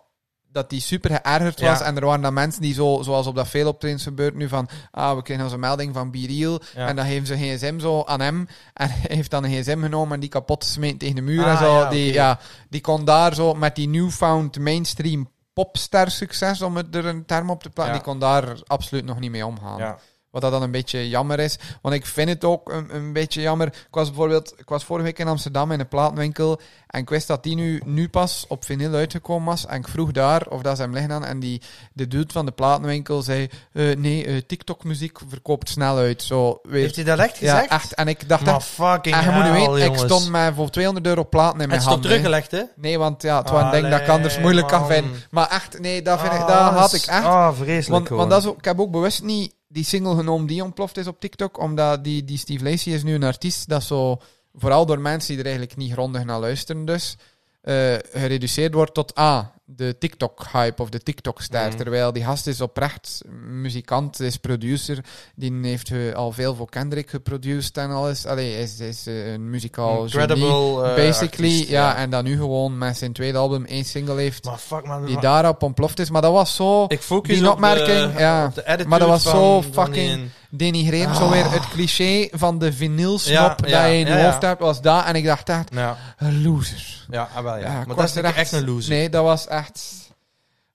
B: dat hij super geërgerd
A: Ja.
B: was. En er waren dan mensen die, zo, zoals op dat veel optredens gebeurt nu, van ah, we kregen onze melding van Biriel.
A: Ja.
B: En dan geven ze een gsm zo aan hem. En hij heeft dan een gsm genomen en die kapot gesmeten tegen de muur en
A: Ah,
B: zo.
A: ja,
B: die,
A: oké.
B: ja, die kon daar zo met die newfound mainstream popster succes, om het er een term op te plaatsen,
A: Ja.
B: die kon daar absoluut nog niet mee omgaan.
A: Ja.
B: Wat dat dan een beetje jammer is. Want ik vind het ook een, een beetje jammer. Ik was bijvoorbeeld, ik was vorige week in Amsterdam in een plaatwinkel. En ik wist dat die nu, nu pas op vinyl uitgekomen was. En ik vroeg daar of dat ze hem liggen aan. En die, de dude van de plaatwinkel zei: eh, Nee, eh, TikTok-muziek verkoopt snel uit. Zo,
A: Heeft
B: weet
A: hij dat echt gezegd?
B: Ja, echt. En ik dacht "Ah,
A: Maar
B: echt.
A: fucking
B: En je moet nu
A: hell,
B: weten, ik
A: jongens.
B: stond mij voor 200 euro platen in
A: Het
B: mijn
A: is toch
B: handen. hè.
A: teruggelegd, hè?
B: Nee, want ja, het was een ding dat ik
A: Allee,
B: anders moeilijk kan
A: man.
B: vinden. Maar echt, nee, dat, vind ik, dat had ik echt.
A: Ah, vreselijk
B: Want,
A: gewoon.
B: want dat is ook, ik heb ook bewust niet die single genomen die ontploft is op TikTok, omdat die, die Steve Lacey is nu een artiest dat zo, vooral door mensen die er eigenlijk niet grondig naar luisteren dus, eh, gereduceerd wordt tot ah, de TikTok-hype of de TikTok-ster.
A: Mhm.
B: Terwijl die gast is oprecht muzikant, is producer, die heeft eh, al veel voor Kendrick geproduced en alles. Allee, is, is eh, een muzikaal genie.
A: Incredible, eh,
B: Basically,
A: artiest,
B: ja, En dan nu gewoon met zijn tweede album één single heeft
A: Maar fuck, man.
B: die
A: maar-
B: daarop ontploft is. Maar dat was zo...
A: ik focus
B: die
A: op de-
B: opmerking, ja.
A: op de attitude
B: Maar dat was
A: van-
B: zo
A: van die-
B: fucking- denigrerend. Zo weer het cliché van de vinylsnop
A: Ja,
B: dat
A: ja,
B: je in je
A: ja, ja.
B: hoofd hebt, was dat. En ik dacht echt,
A: Ja,
B: een loser.
A: ja, ah, wel, ja.
B: Ja, ik
A: maar
B: was
A: dat is
B: er
A: echt een loser.
B: Nee, dat was echt...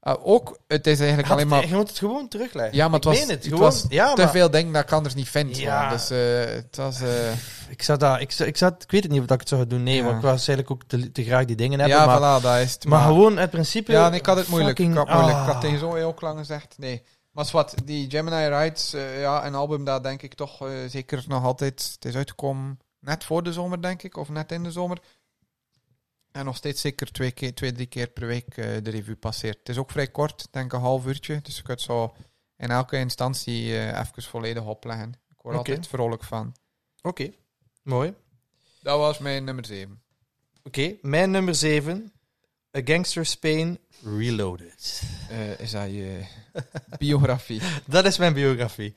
B: eh, ook, het is eigenlijk
A: Had
B: alleen
A: het-
B: maar...
A: Je moet het gewoon terugleggen.
B: Ja, maar het
A: Ik
B: was,
A: meen het,
B: het
A: gewoon,
B: was
A: ja,
B: te
A: maar-
B: veel dingen dat ik anders niet vind.
A: Ja.
B: gewoon. Dus eh, het was... eh,
A: Ik, zou dat, ik, zou- ik, zou, het- ik weet het niet of dat ik het zou doen. Nee,
B: Ja.
A: want ik was eigenlijk ook te, te graag die dingen hebben.
B: ja,
A: maar,
B: voilà, dat is het.
A: maar gewoon het principe...
B: Ja, en ik had het moeilijk.
A: fucking-
B: ik had het moeilijk.
A: ah.
B: Ik had tegen zo'n ook lang gezegd, nee. Maar wat, die Gemini Rides, eh, ja, een album dat denk ik toch eh, zeker nog altijd... Het is uitgekomen net voor de zomer, denk ik, of net in de zomer. En nog steeds zeker twee, keer, twee drie keer per week eh, de review passeert. Het is ook vrij kort, denk een half uurtje. Dus je kunt zo in elke instantie eh, even volledig opleggen. Ik word
A: Oké.
B: altijd vrolijk van.
A: Oké, mooi.
B: Dat was mijn nummer 7.
A: Oké, mijn nummer 7 A Gangster's Pain Reloaded.
B: Eh, is dat je biografie?
A: Dat is mijn biografie.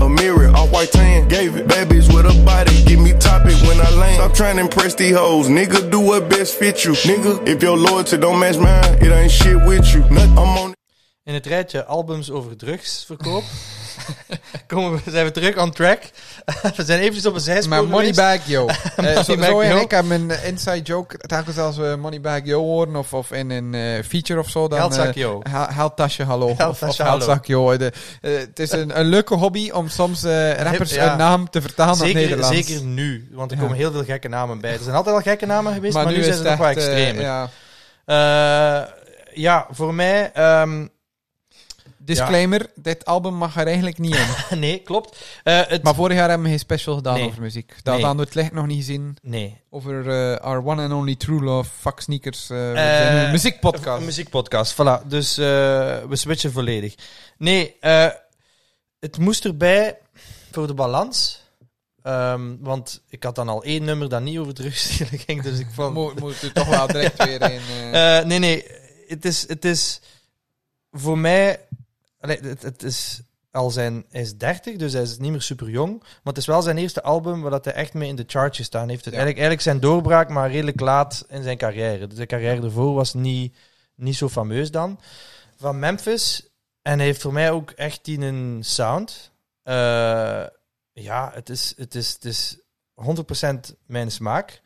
D: A mirror, all white tan, gave it. Babies with a body, give me topic when I land. Stop trying to impress these hoes, nigga. Do what best fit you, nigga. If your loyalty don't match mine, it ain't shit with you. Noth- I'm on
A: In het rijtje albums over drugsverkoop komen we, zijn we terug on track. we zijn eventjes op een zijspoor
B: Maar
A: geweest.
B: Moneybag Yo. Eh, zo,
A: Moneybag
B: zo en
A: Yo.
B: ik hebben een eh, inside joke. Telkens als we Moneybag eh, Yo horen of, of in een eh, feature of zo. Dan,
A: Geldzak
B: eh,
A: Yo.
B: haal- Geldtasje hallo.
A: Geldtasje
B: of, of
A: hallo.
B: Geldzak Yo. De- eh, het is een, een leuke hobby om soms eh, rappers
A: Ja.
B: een naam te vertalen
A: zeker,
B: naar Nederlands.
A: Zeker nu, want er
B: Ja.
A: komen heel veel gekke namen bij. Er zijn altijd al gekke namen geweest, maar, nu,
B: is
A: zijn ze nog
B: het
A: wel
B: echt, eh,
A: extremer. ja.
B: ja.
A: ja, voor mij... ehm,
B: Disclaimer, dit album mag er eigenlijk niet in.
A: nee, klopt. Eh, het,
B: Maar vorig jaar hebben we geen special gedaan
A: Nee.
B: over muziek. Dat
A: Nee.
B: hadden we het licht nog niet gezien.
A: nee,
B: Over eh, our one and only true love, fuck sneakers, eh, we
A: Eh,
B: zijn een
A: Een
B: muziekpodcast.
A: muziekpodcast, voilà. Dus eh, we switchen volledig. Nee, eh, het moest erbij voor de balans. Ehm, want ik had dan al één nummer dat niet over terugstelen ging, dus ik vond...
B: Moet, moet er toch wel direct weer in. eh.
A: Eh, nee, nee. Het is, het is voor mij... allee, het, het is al zijn... Hij is 30, dus hij is niet meer super jong. Maar het is wel zijn eerste album waar dat hij echt mee in de chartjes staan heeft. Het
B: Ja.
A: Eigenlijk, eigenlijk zijn doorbraak, maar redelijk laat in zijn carrière. Dus zijn carrière ervoor was niet, niet zo fameus dan. Van Memphis. En hij heeft voor mij ook echt die een sound. Eh, ja, het is, het is, het is 100% mijn smaak.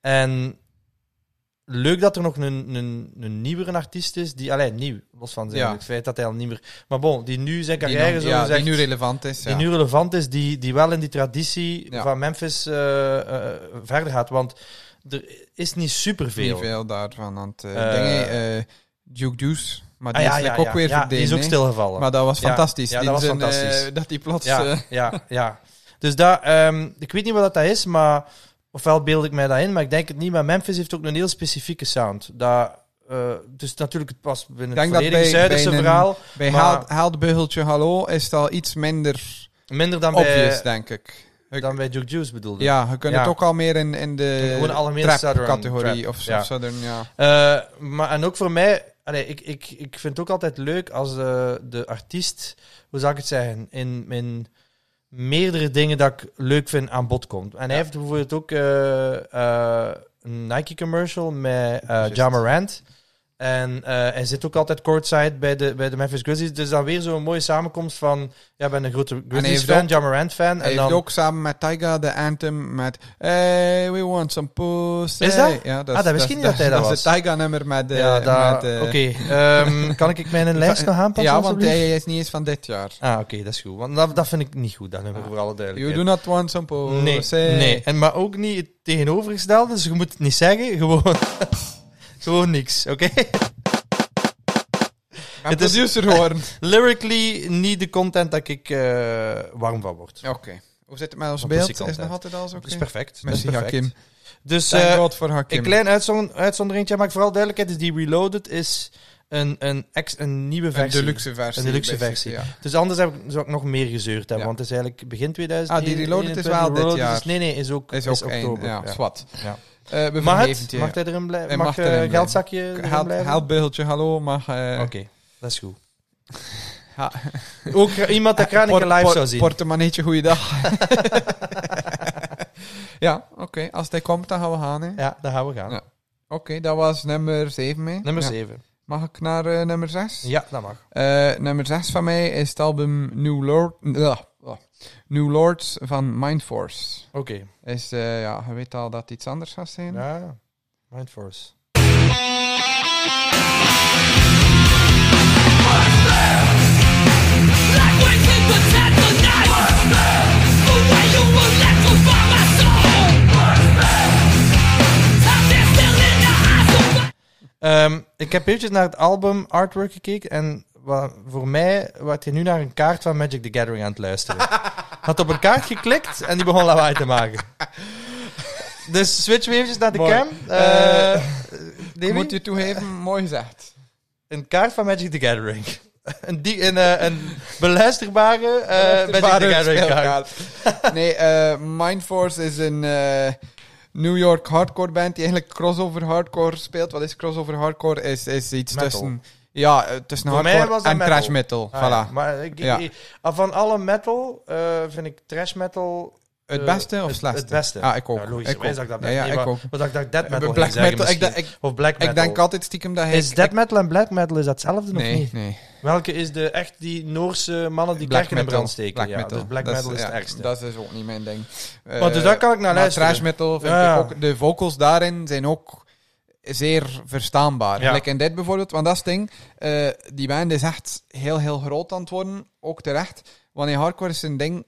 A: En leuk dat er nog een, een, een nieuwere artiest is. Die, alleen nieuw, los van zijn,
B: Ja.
A: het feit dat hij al niet meer... Maar bon, die nu zijn
B: die,
A: carrière,
B: nog-
A: zo
B: ja,
A: gezegd,
B: die nu relevant is.
A: die
B: ja.
A: nu relevant is, die, die wel in die traditie
B: Ja.
A: van Memphis eh, eh, verder gaat. Want er is niet superveel.
B: Niet veel daarvan. Want eh
A: Eh,
B: dingen, eh, Duke Deuce, maar die
A: Ah, ja,
B: is
A: ja,
B: ook
A: ja,
B: weer
A: ja, die is ook
B: verdwenen.
A: stilgevallen.
B: Maar dat was
A: Ja,
B: fantastisch.
A: ja,
B: Die
A: dat was
B: zin, eh,
A: fantastisch.
B: dat die plots...
A: ja,
B: eh,
A: ja, ja. Dus dat, ehm, ik weet niet wat dat is, maar ofwel beeld ik mij dat in, maar ik denk het niet. Maar Memphis heeft ook een heel specifieke sound. Dat, eh, dus natuurlijk, het past binnen
B: denk
A: het
B: dat
A: volledige
B: bij-
A: Zuiderse
B: bij een-
A: verhaal.
B: bij
A: maar-
B: Haal- Haaldbeugeltje Hallo is het al iets minder
A: Minder dan
B: obvious,
A: bij,
B: denk ik. Ik-
A: dan bij Duke Juice bedoelde. ik.
B: ja, je kunt
A: Ja.
B: het ook al meer in, in de
A: Gewoon algemene southern
B: trap-categorie
A: trap,
B: of zo.
A: ja.
B: Southern, ja.
A: Eh, maar en ook voor mij, allee, ik, ik, ik vind het ook altijd leuk als de, de artiest, hoe zou ik het zeggen, in, in meerdere dingen dat ik leuk vind aan bod komt. En hij heeft bijvoorbeeld ook eh, eh, een Nike commercial met eh
B: Juist.
A: Ja Morant. En eh, hij zit ook altijd courtside bij de, bij de Memphis Grizzlies. Dus dan weer zo'n mooie samenkomst van... Ja, ik ben een grote
B: heeft
A: Grizzlies-fan,
B: ook-
A: Ja Morant-fan.
B: Hij
A: En
B: heeft
A: dan...
B: ook samen met Tyga de anthem met Hey, we want some pussy.
A: Is dat?
B: Ja, dat
A: Ah, dat wist ik niet dat hij dat
B: Dat is het
A: was.
B: Tyga-nummer met... eh,
A: ja, daar-
B: met, eh,
A: Oké, ehm, kan ik mijn lijst nog aanpassen?
B: Ja, want
A: alstublieft?
B: hij is niet eens van dit jaar.
A: Ah, oké, dat is goed. Want dat, dat vind ik niet goed, dat hebben we voor alle
B: You
A: duidelijkheid.
B: do not want some pussy.
A: nee, nee. En, maar ook niet het tegenovergestelde, dus je moet het niet zeggen. Gewoon, gewoon niks, oké?
B: Het
A: Het
B: is
A: is-
B: producer geworden.
A: Lyrically niet de content dat ik eh, warm van word.
B: Oké. Hoe zit het met ons
A: Van
B: beeld? Is
A: pussycontent.
B: nog altijd alles oké?
A: Dat is perfect. Dat is
B: Merci,
A: perfect.
B: Hakim.
A: Dus
B: Thank
A: eh,
B: God voor Hakim.
A: een klein uitzon- uitzonderingetje, maar vooral duidelijkheid is die Reloaded is een, een, ex, een nieuwe
B: Een
A: versie.
B: deluxe versie.
A: Een deluxe
B: basically,
A: versie.
B: ja.
A: Dus anders heb ik, zou ik nog meer gezeurd hebben,
B: Ja.
A: want het is eigenlijk begin 2000.
B: Ah, die Reloaded is wel dit jaar.
A: nee, nee, is ook,
B: Is ook één.
A: oktober.
B: Ja,
A: ja.
B: zwart.
A: Ja.
B: Eh, we
A: Mag
B: vergeven
A: het?
B: je.
A: Mag hij erin
B: Hij
A: blijven?
B: mag
A: Mag
B: erin
A: eh
B: blijven.
A: geldzakje erin
B: Haal-
A: blijven?
B: Haalbeeldje, hallo, mag... eh,
A: Oké, dat is goed.
B: ha-
A: Ook ra- iemand dat Kraniker
B: Por-
A: live
B: por-
A: zou zien.
B: Portemonneetje, goeiedag. ja, oké. Als hij komt, dan gaan we gaan. hè. Oké,
A: ja, daar gaan we gaan.
B: Ja. dat was nummer 7 mee.
A: Nummer
B: Ja.
A: 7.
B: Mag ik naar eh, nummer 6?
A: Ja, dat mag.
B: Eh, nummer 6 van mij is het album New, Lord, eh, oh. New Lords van Mindforce.
A: Oké.
B: Is, eh, ja, je weet al dat het iets anders gaat zijn.
A: Ja. Mindforce. Ehm, ik heb eventjes naar het album artwork gekeken en wa- voor mij werd je nu naar een kaart van Magic the Gathering aan het luisteren. Had op een kaart geklikt en die begon lawaai te maken. Dus switchen we eventjes naar de
B: Mooi.
A: cam.
B: Eh,
A: Eh, Davy?
B: Moet je toegeven, mooi gezegd.
A: Een kaart van Magic the Gathering. een, die, een, eh, een beluisterbare eh Magic the Gathering kaart.
B: nee, eh, Mindforce is een eh, New York hardcore band die eigenlijk crossover hardcore speelt. Wat is crossover hardcore? Is, is iets
A: Metal.
B: tussen... Ja, eh, tussen
A: Voor mij
B: hardcore
A: was dat
B: en
A: metal.
B: thrash metal.
A: Ah, ja.
B: voilà.
A: Maar ik, ik-
B: Ja.
A: ik- van alle metal eh, vind ik trash metal...
B: het
A: eh,
B: beste of
A: het-
B: slechtste?
A: Het beste.
B: Ah, ik ook.
A: Ja, logisch.
B: ik
A: Wij
B: ook.
A: zag dat
B: ja,
A: net
B: ja,
A: niet,
B: ik
A: maar-
B: ook.
A: maar dat ik dacht death metal
B: black
A: ging zeggen
B: metal, ik,
A: misschien.
B: denk-
A: Of black
B: ik,
A: metal.
B: ik denk altijd stiekem dat hij...
A: Is death metal en black metal, is dat hetzelfde of
B: Nee,
A: niet?
B: nee.
A: Welke is de echt die Noorse mannen die
B: Black
A: kerken in
B: metal.
A: brand steken? ja, Dus black
B: Dat
A: metal is
B: ja,
A: het ergste.
B: Dat is ook niet mijn ding. Eh,
A: Maar dus daar kan ik naar
B: maar
A: luisteren.
B: Thrash metal vind
A: Ja.
B: ik ook... De vocals daarin zijn ook zeer verstaanbaar.
A: Ja.
B: Like in dit bijvoorbeeld, want dat is het ding. eh, die band is echt heel, heel groot aan het worden. Ook terecht. Want in hardcore is een ding...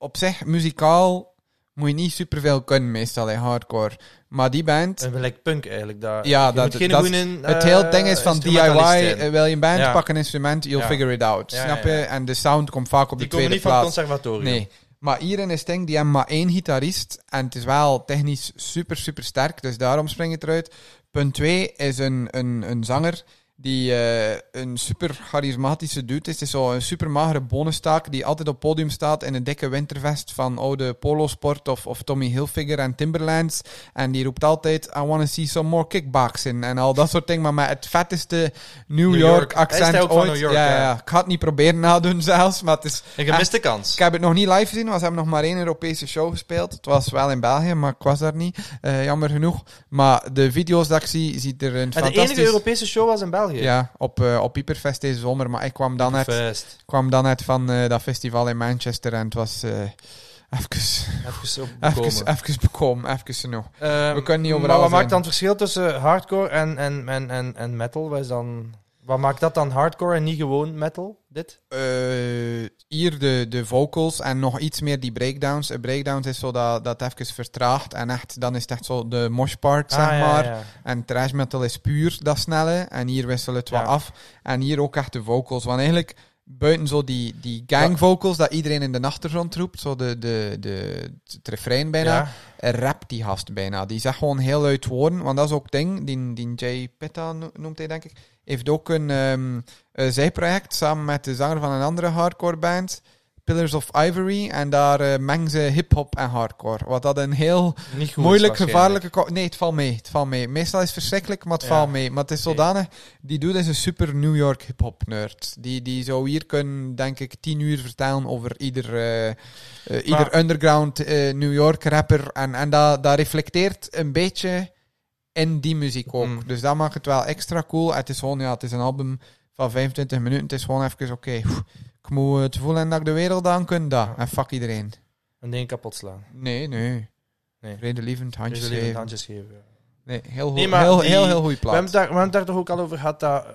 B: Op zich, muzikaal moet je niet superveel kunnen meestal in hardcore. Maar die band...
A: En gelijk punk eigenlijk. Daar.
B: Ja,
A: Eh, Je
B: dat-
A: moet geen
B: dat-
A: goeie,
B: Het
A: eh,
B: hele ding is van DIY,
A: instrumentalist zijn.
B: eh, wil je een band,
A: Ja.
B: pak een instrument, you'll
A: Ja.
B: figure it out.
A: Ja,
B: snap
A: ja,
B: je?
A: ja.
B: En de sound komt vaak op
A: die
B: de
A: komen
B: tweede
A: niet van het
B: plaats.
A: conservatorium.
B: Nee. Maar hierin is het ding, die hebben maar één gitarist. En het is wel technisch super, super sterk. Dus daarom spring het eruit. Punt 2 is een, een, een zanger die eh, een super charismatische dude is. Het is zo'n super magere bonenstaak die altijd op het podium staat in een dikke wintervest van oude polosport of, of Tommy Hilfiger en Timberlands. En die roept altijd, I wanna see some more kickboxing en al dat soort dingen. Maar met het vetteste New,
A: New
B: York,
A: York. Hij is
B: accent
A: ook van
B: ooit.
A: New York,
B: ja,
A: ja.
B: ja. ja. Ik ga het niet proberen nadoen zelfs, maar het is...
A: Ik heb mist de kans.
B: Ik heb het nog niet live gezien, want ze hebben nog maar één Europese show gespeeld. Het was wel in België, maar ik was daar niet. Eh, jammer genoeg. Maar de video's dat ik zie, ziet er een
A: En de
B: fantastisch...
A: enige Europese show was in België.
B: Ja, op, eh, op Hyperfest deze zomer. Maar ik kwam dan net,
A: Fest.
B: kwam dan net van eh, dat festival in Manchester en het was... eh, even,
A: Even
B: even,
A: opgekomen.
B: even bekomen, even nog.
A: Ehm,
B: we kunnen niet overal
A: Maar wat
B: zijn.
A: maakt dan het verschil tussen hardcore en, en, en, en, en metal? Wat, is dan, wat maakt dat dan hardcore en niet gewoon metal? Dit?
B: eh, hier de, de vocals en nog iets meer die breakdowns. Een breakdown is zo dat, dat het even vertraagt en echt, dan is het echt zo de mosh part, zeg
A: Ah, ja,
B: maar.
A: ja, ja.
B: En thrash metal is puur dat snelle. En hier wisselen het
A: Ja.
B: wat af. En hier ook echt de vocals. Want eigenlijk, buiten zo die, die gang vocals dat iedereen in de achtergrond roept, zo de, de, de, het refrein bijna,
A: Ja.
B: rapt die gast bijna. Die zegt gewoon heel uit woorden. Want dat is ook het ding, die, die Jay Pitta no- noemt hij denk ik, heeft ook een ehm, eh, zijproject samen met de zanger van een andere hardcore band. Pillars of Ivory, en daar eh, mengen ze hip-hop en hardcore. Wat dat een heel
A: Niet goed
B: Moeilijk,
A: is waarschijnlijk.
B: gevaarlijke... ko- Nee, het valt mee. Het valt mee. Meestal is het verschrikkelijk, maar het
A: Ja.
B: valt mee. Maar het is
A: Oké.
B: zodanig... Die dude is een super New York hip-hop nerd. Die, die zou hier kunnen, denk ik, tien uur vertellen over ieder, eh, eh, ieder underground eh, New York rapper. En, en dat, dat reflecteert een beetje in die muziek ook.
A: Mm.
B: Dus dat maakt het wel extra cool. Het is gewoon, ja, het is een album van 25 minuten. Het is gewoon even, oké, oef, ik moet het voelen en dat ik de wereld aan kan. Dat. En fuck iedereen.
A: En één kapot slaan.
B: Nee, nee.
A: Nee.
B: Vredelievend, handjes
A: Jullie
B: geven.
A: handjes geven. ja.
B: Nee, heel,
A: Nee,
B: nee,
A: maar
B: heel,
A: die-
B: heel, heel goede
A: We
B: plaat.
A: hebben, het daar, we hebben het daar toch ook al over gehad dat eh,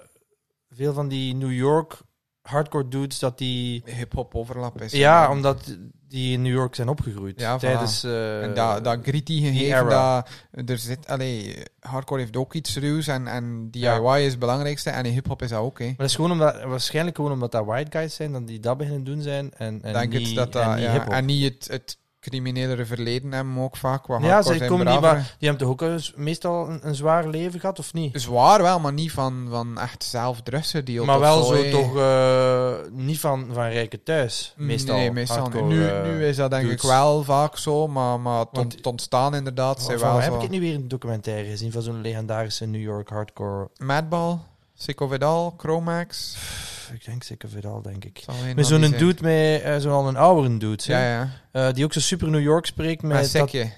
A: veel van die New York hardcore dudes, dat die...
B: Hip-hop overlap is.
A: Ja, omdat die in New York zijn opgegroeid.
B: Ja, voilà.
A: tijdens... eh,
B: En dat, dat gritty gegeven,
A: era.
B: dat, er zit, allee, hardcore heeft ook iets ruws en, en DIY
A: Ja.
B: is het belangrijkste en in hip-hop is dat ook, hè.
A: Maar dat is gewoon omdat, waarschijnlijk gewoon omdat dat white guys zijn, dat die dat beginnen doen zijn. En, en
B: Denk
A: niet,
B: het dat
A: en
B: dat,
A: niet
B: ja,
A: hiphop.
B: en niet het, het criminelere verleden hebben ook vaak, wat
A: Ja,
B: hardcore
A: ze
B: zijn
A: komen niet,
B: bravere.
A: maar die hebben toch ook een- meestal een, een zwaar leven gehad, of niet?
B: Zwaar wel, maar niet van, van echt zelf drugsgedeeld
A: maar
B: of
A: wel zo
B: hè.
A: toch eh, niet van, van rijke thuis. Meestal.
B: nee, meestal
A: hardcore,
B: niet. Nu,
A: eh,
B: nu is dat denk
A: dudes.
B: ik wel vaak zo, maar, maar
A: Want-
B: het ont- ontstaan
A: Oh,
B: inderdaad.
A: Van
B: zijn
A: waar
B: wel
A: heb
B: zo.
A: ik het nu weer een documentaire gezien van zo'n legendarische New York hardcore?
B: Madball, Sick of It All, Chromax.
A: Pff, Ik denk zeker Vidal, denk ik.
B: Zal geen
A: Met
B: van
A: zo'n
B: die zijn.
A: dude, met eh, zo'n al een oudere dude, hè,
B: Ja, ja.
A: eh, die ook zo super New York spreekt. Met
B: Maar
A: dat-
B: sekje.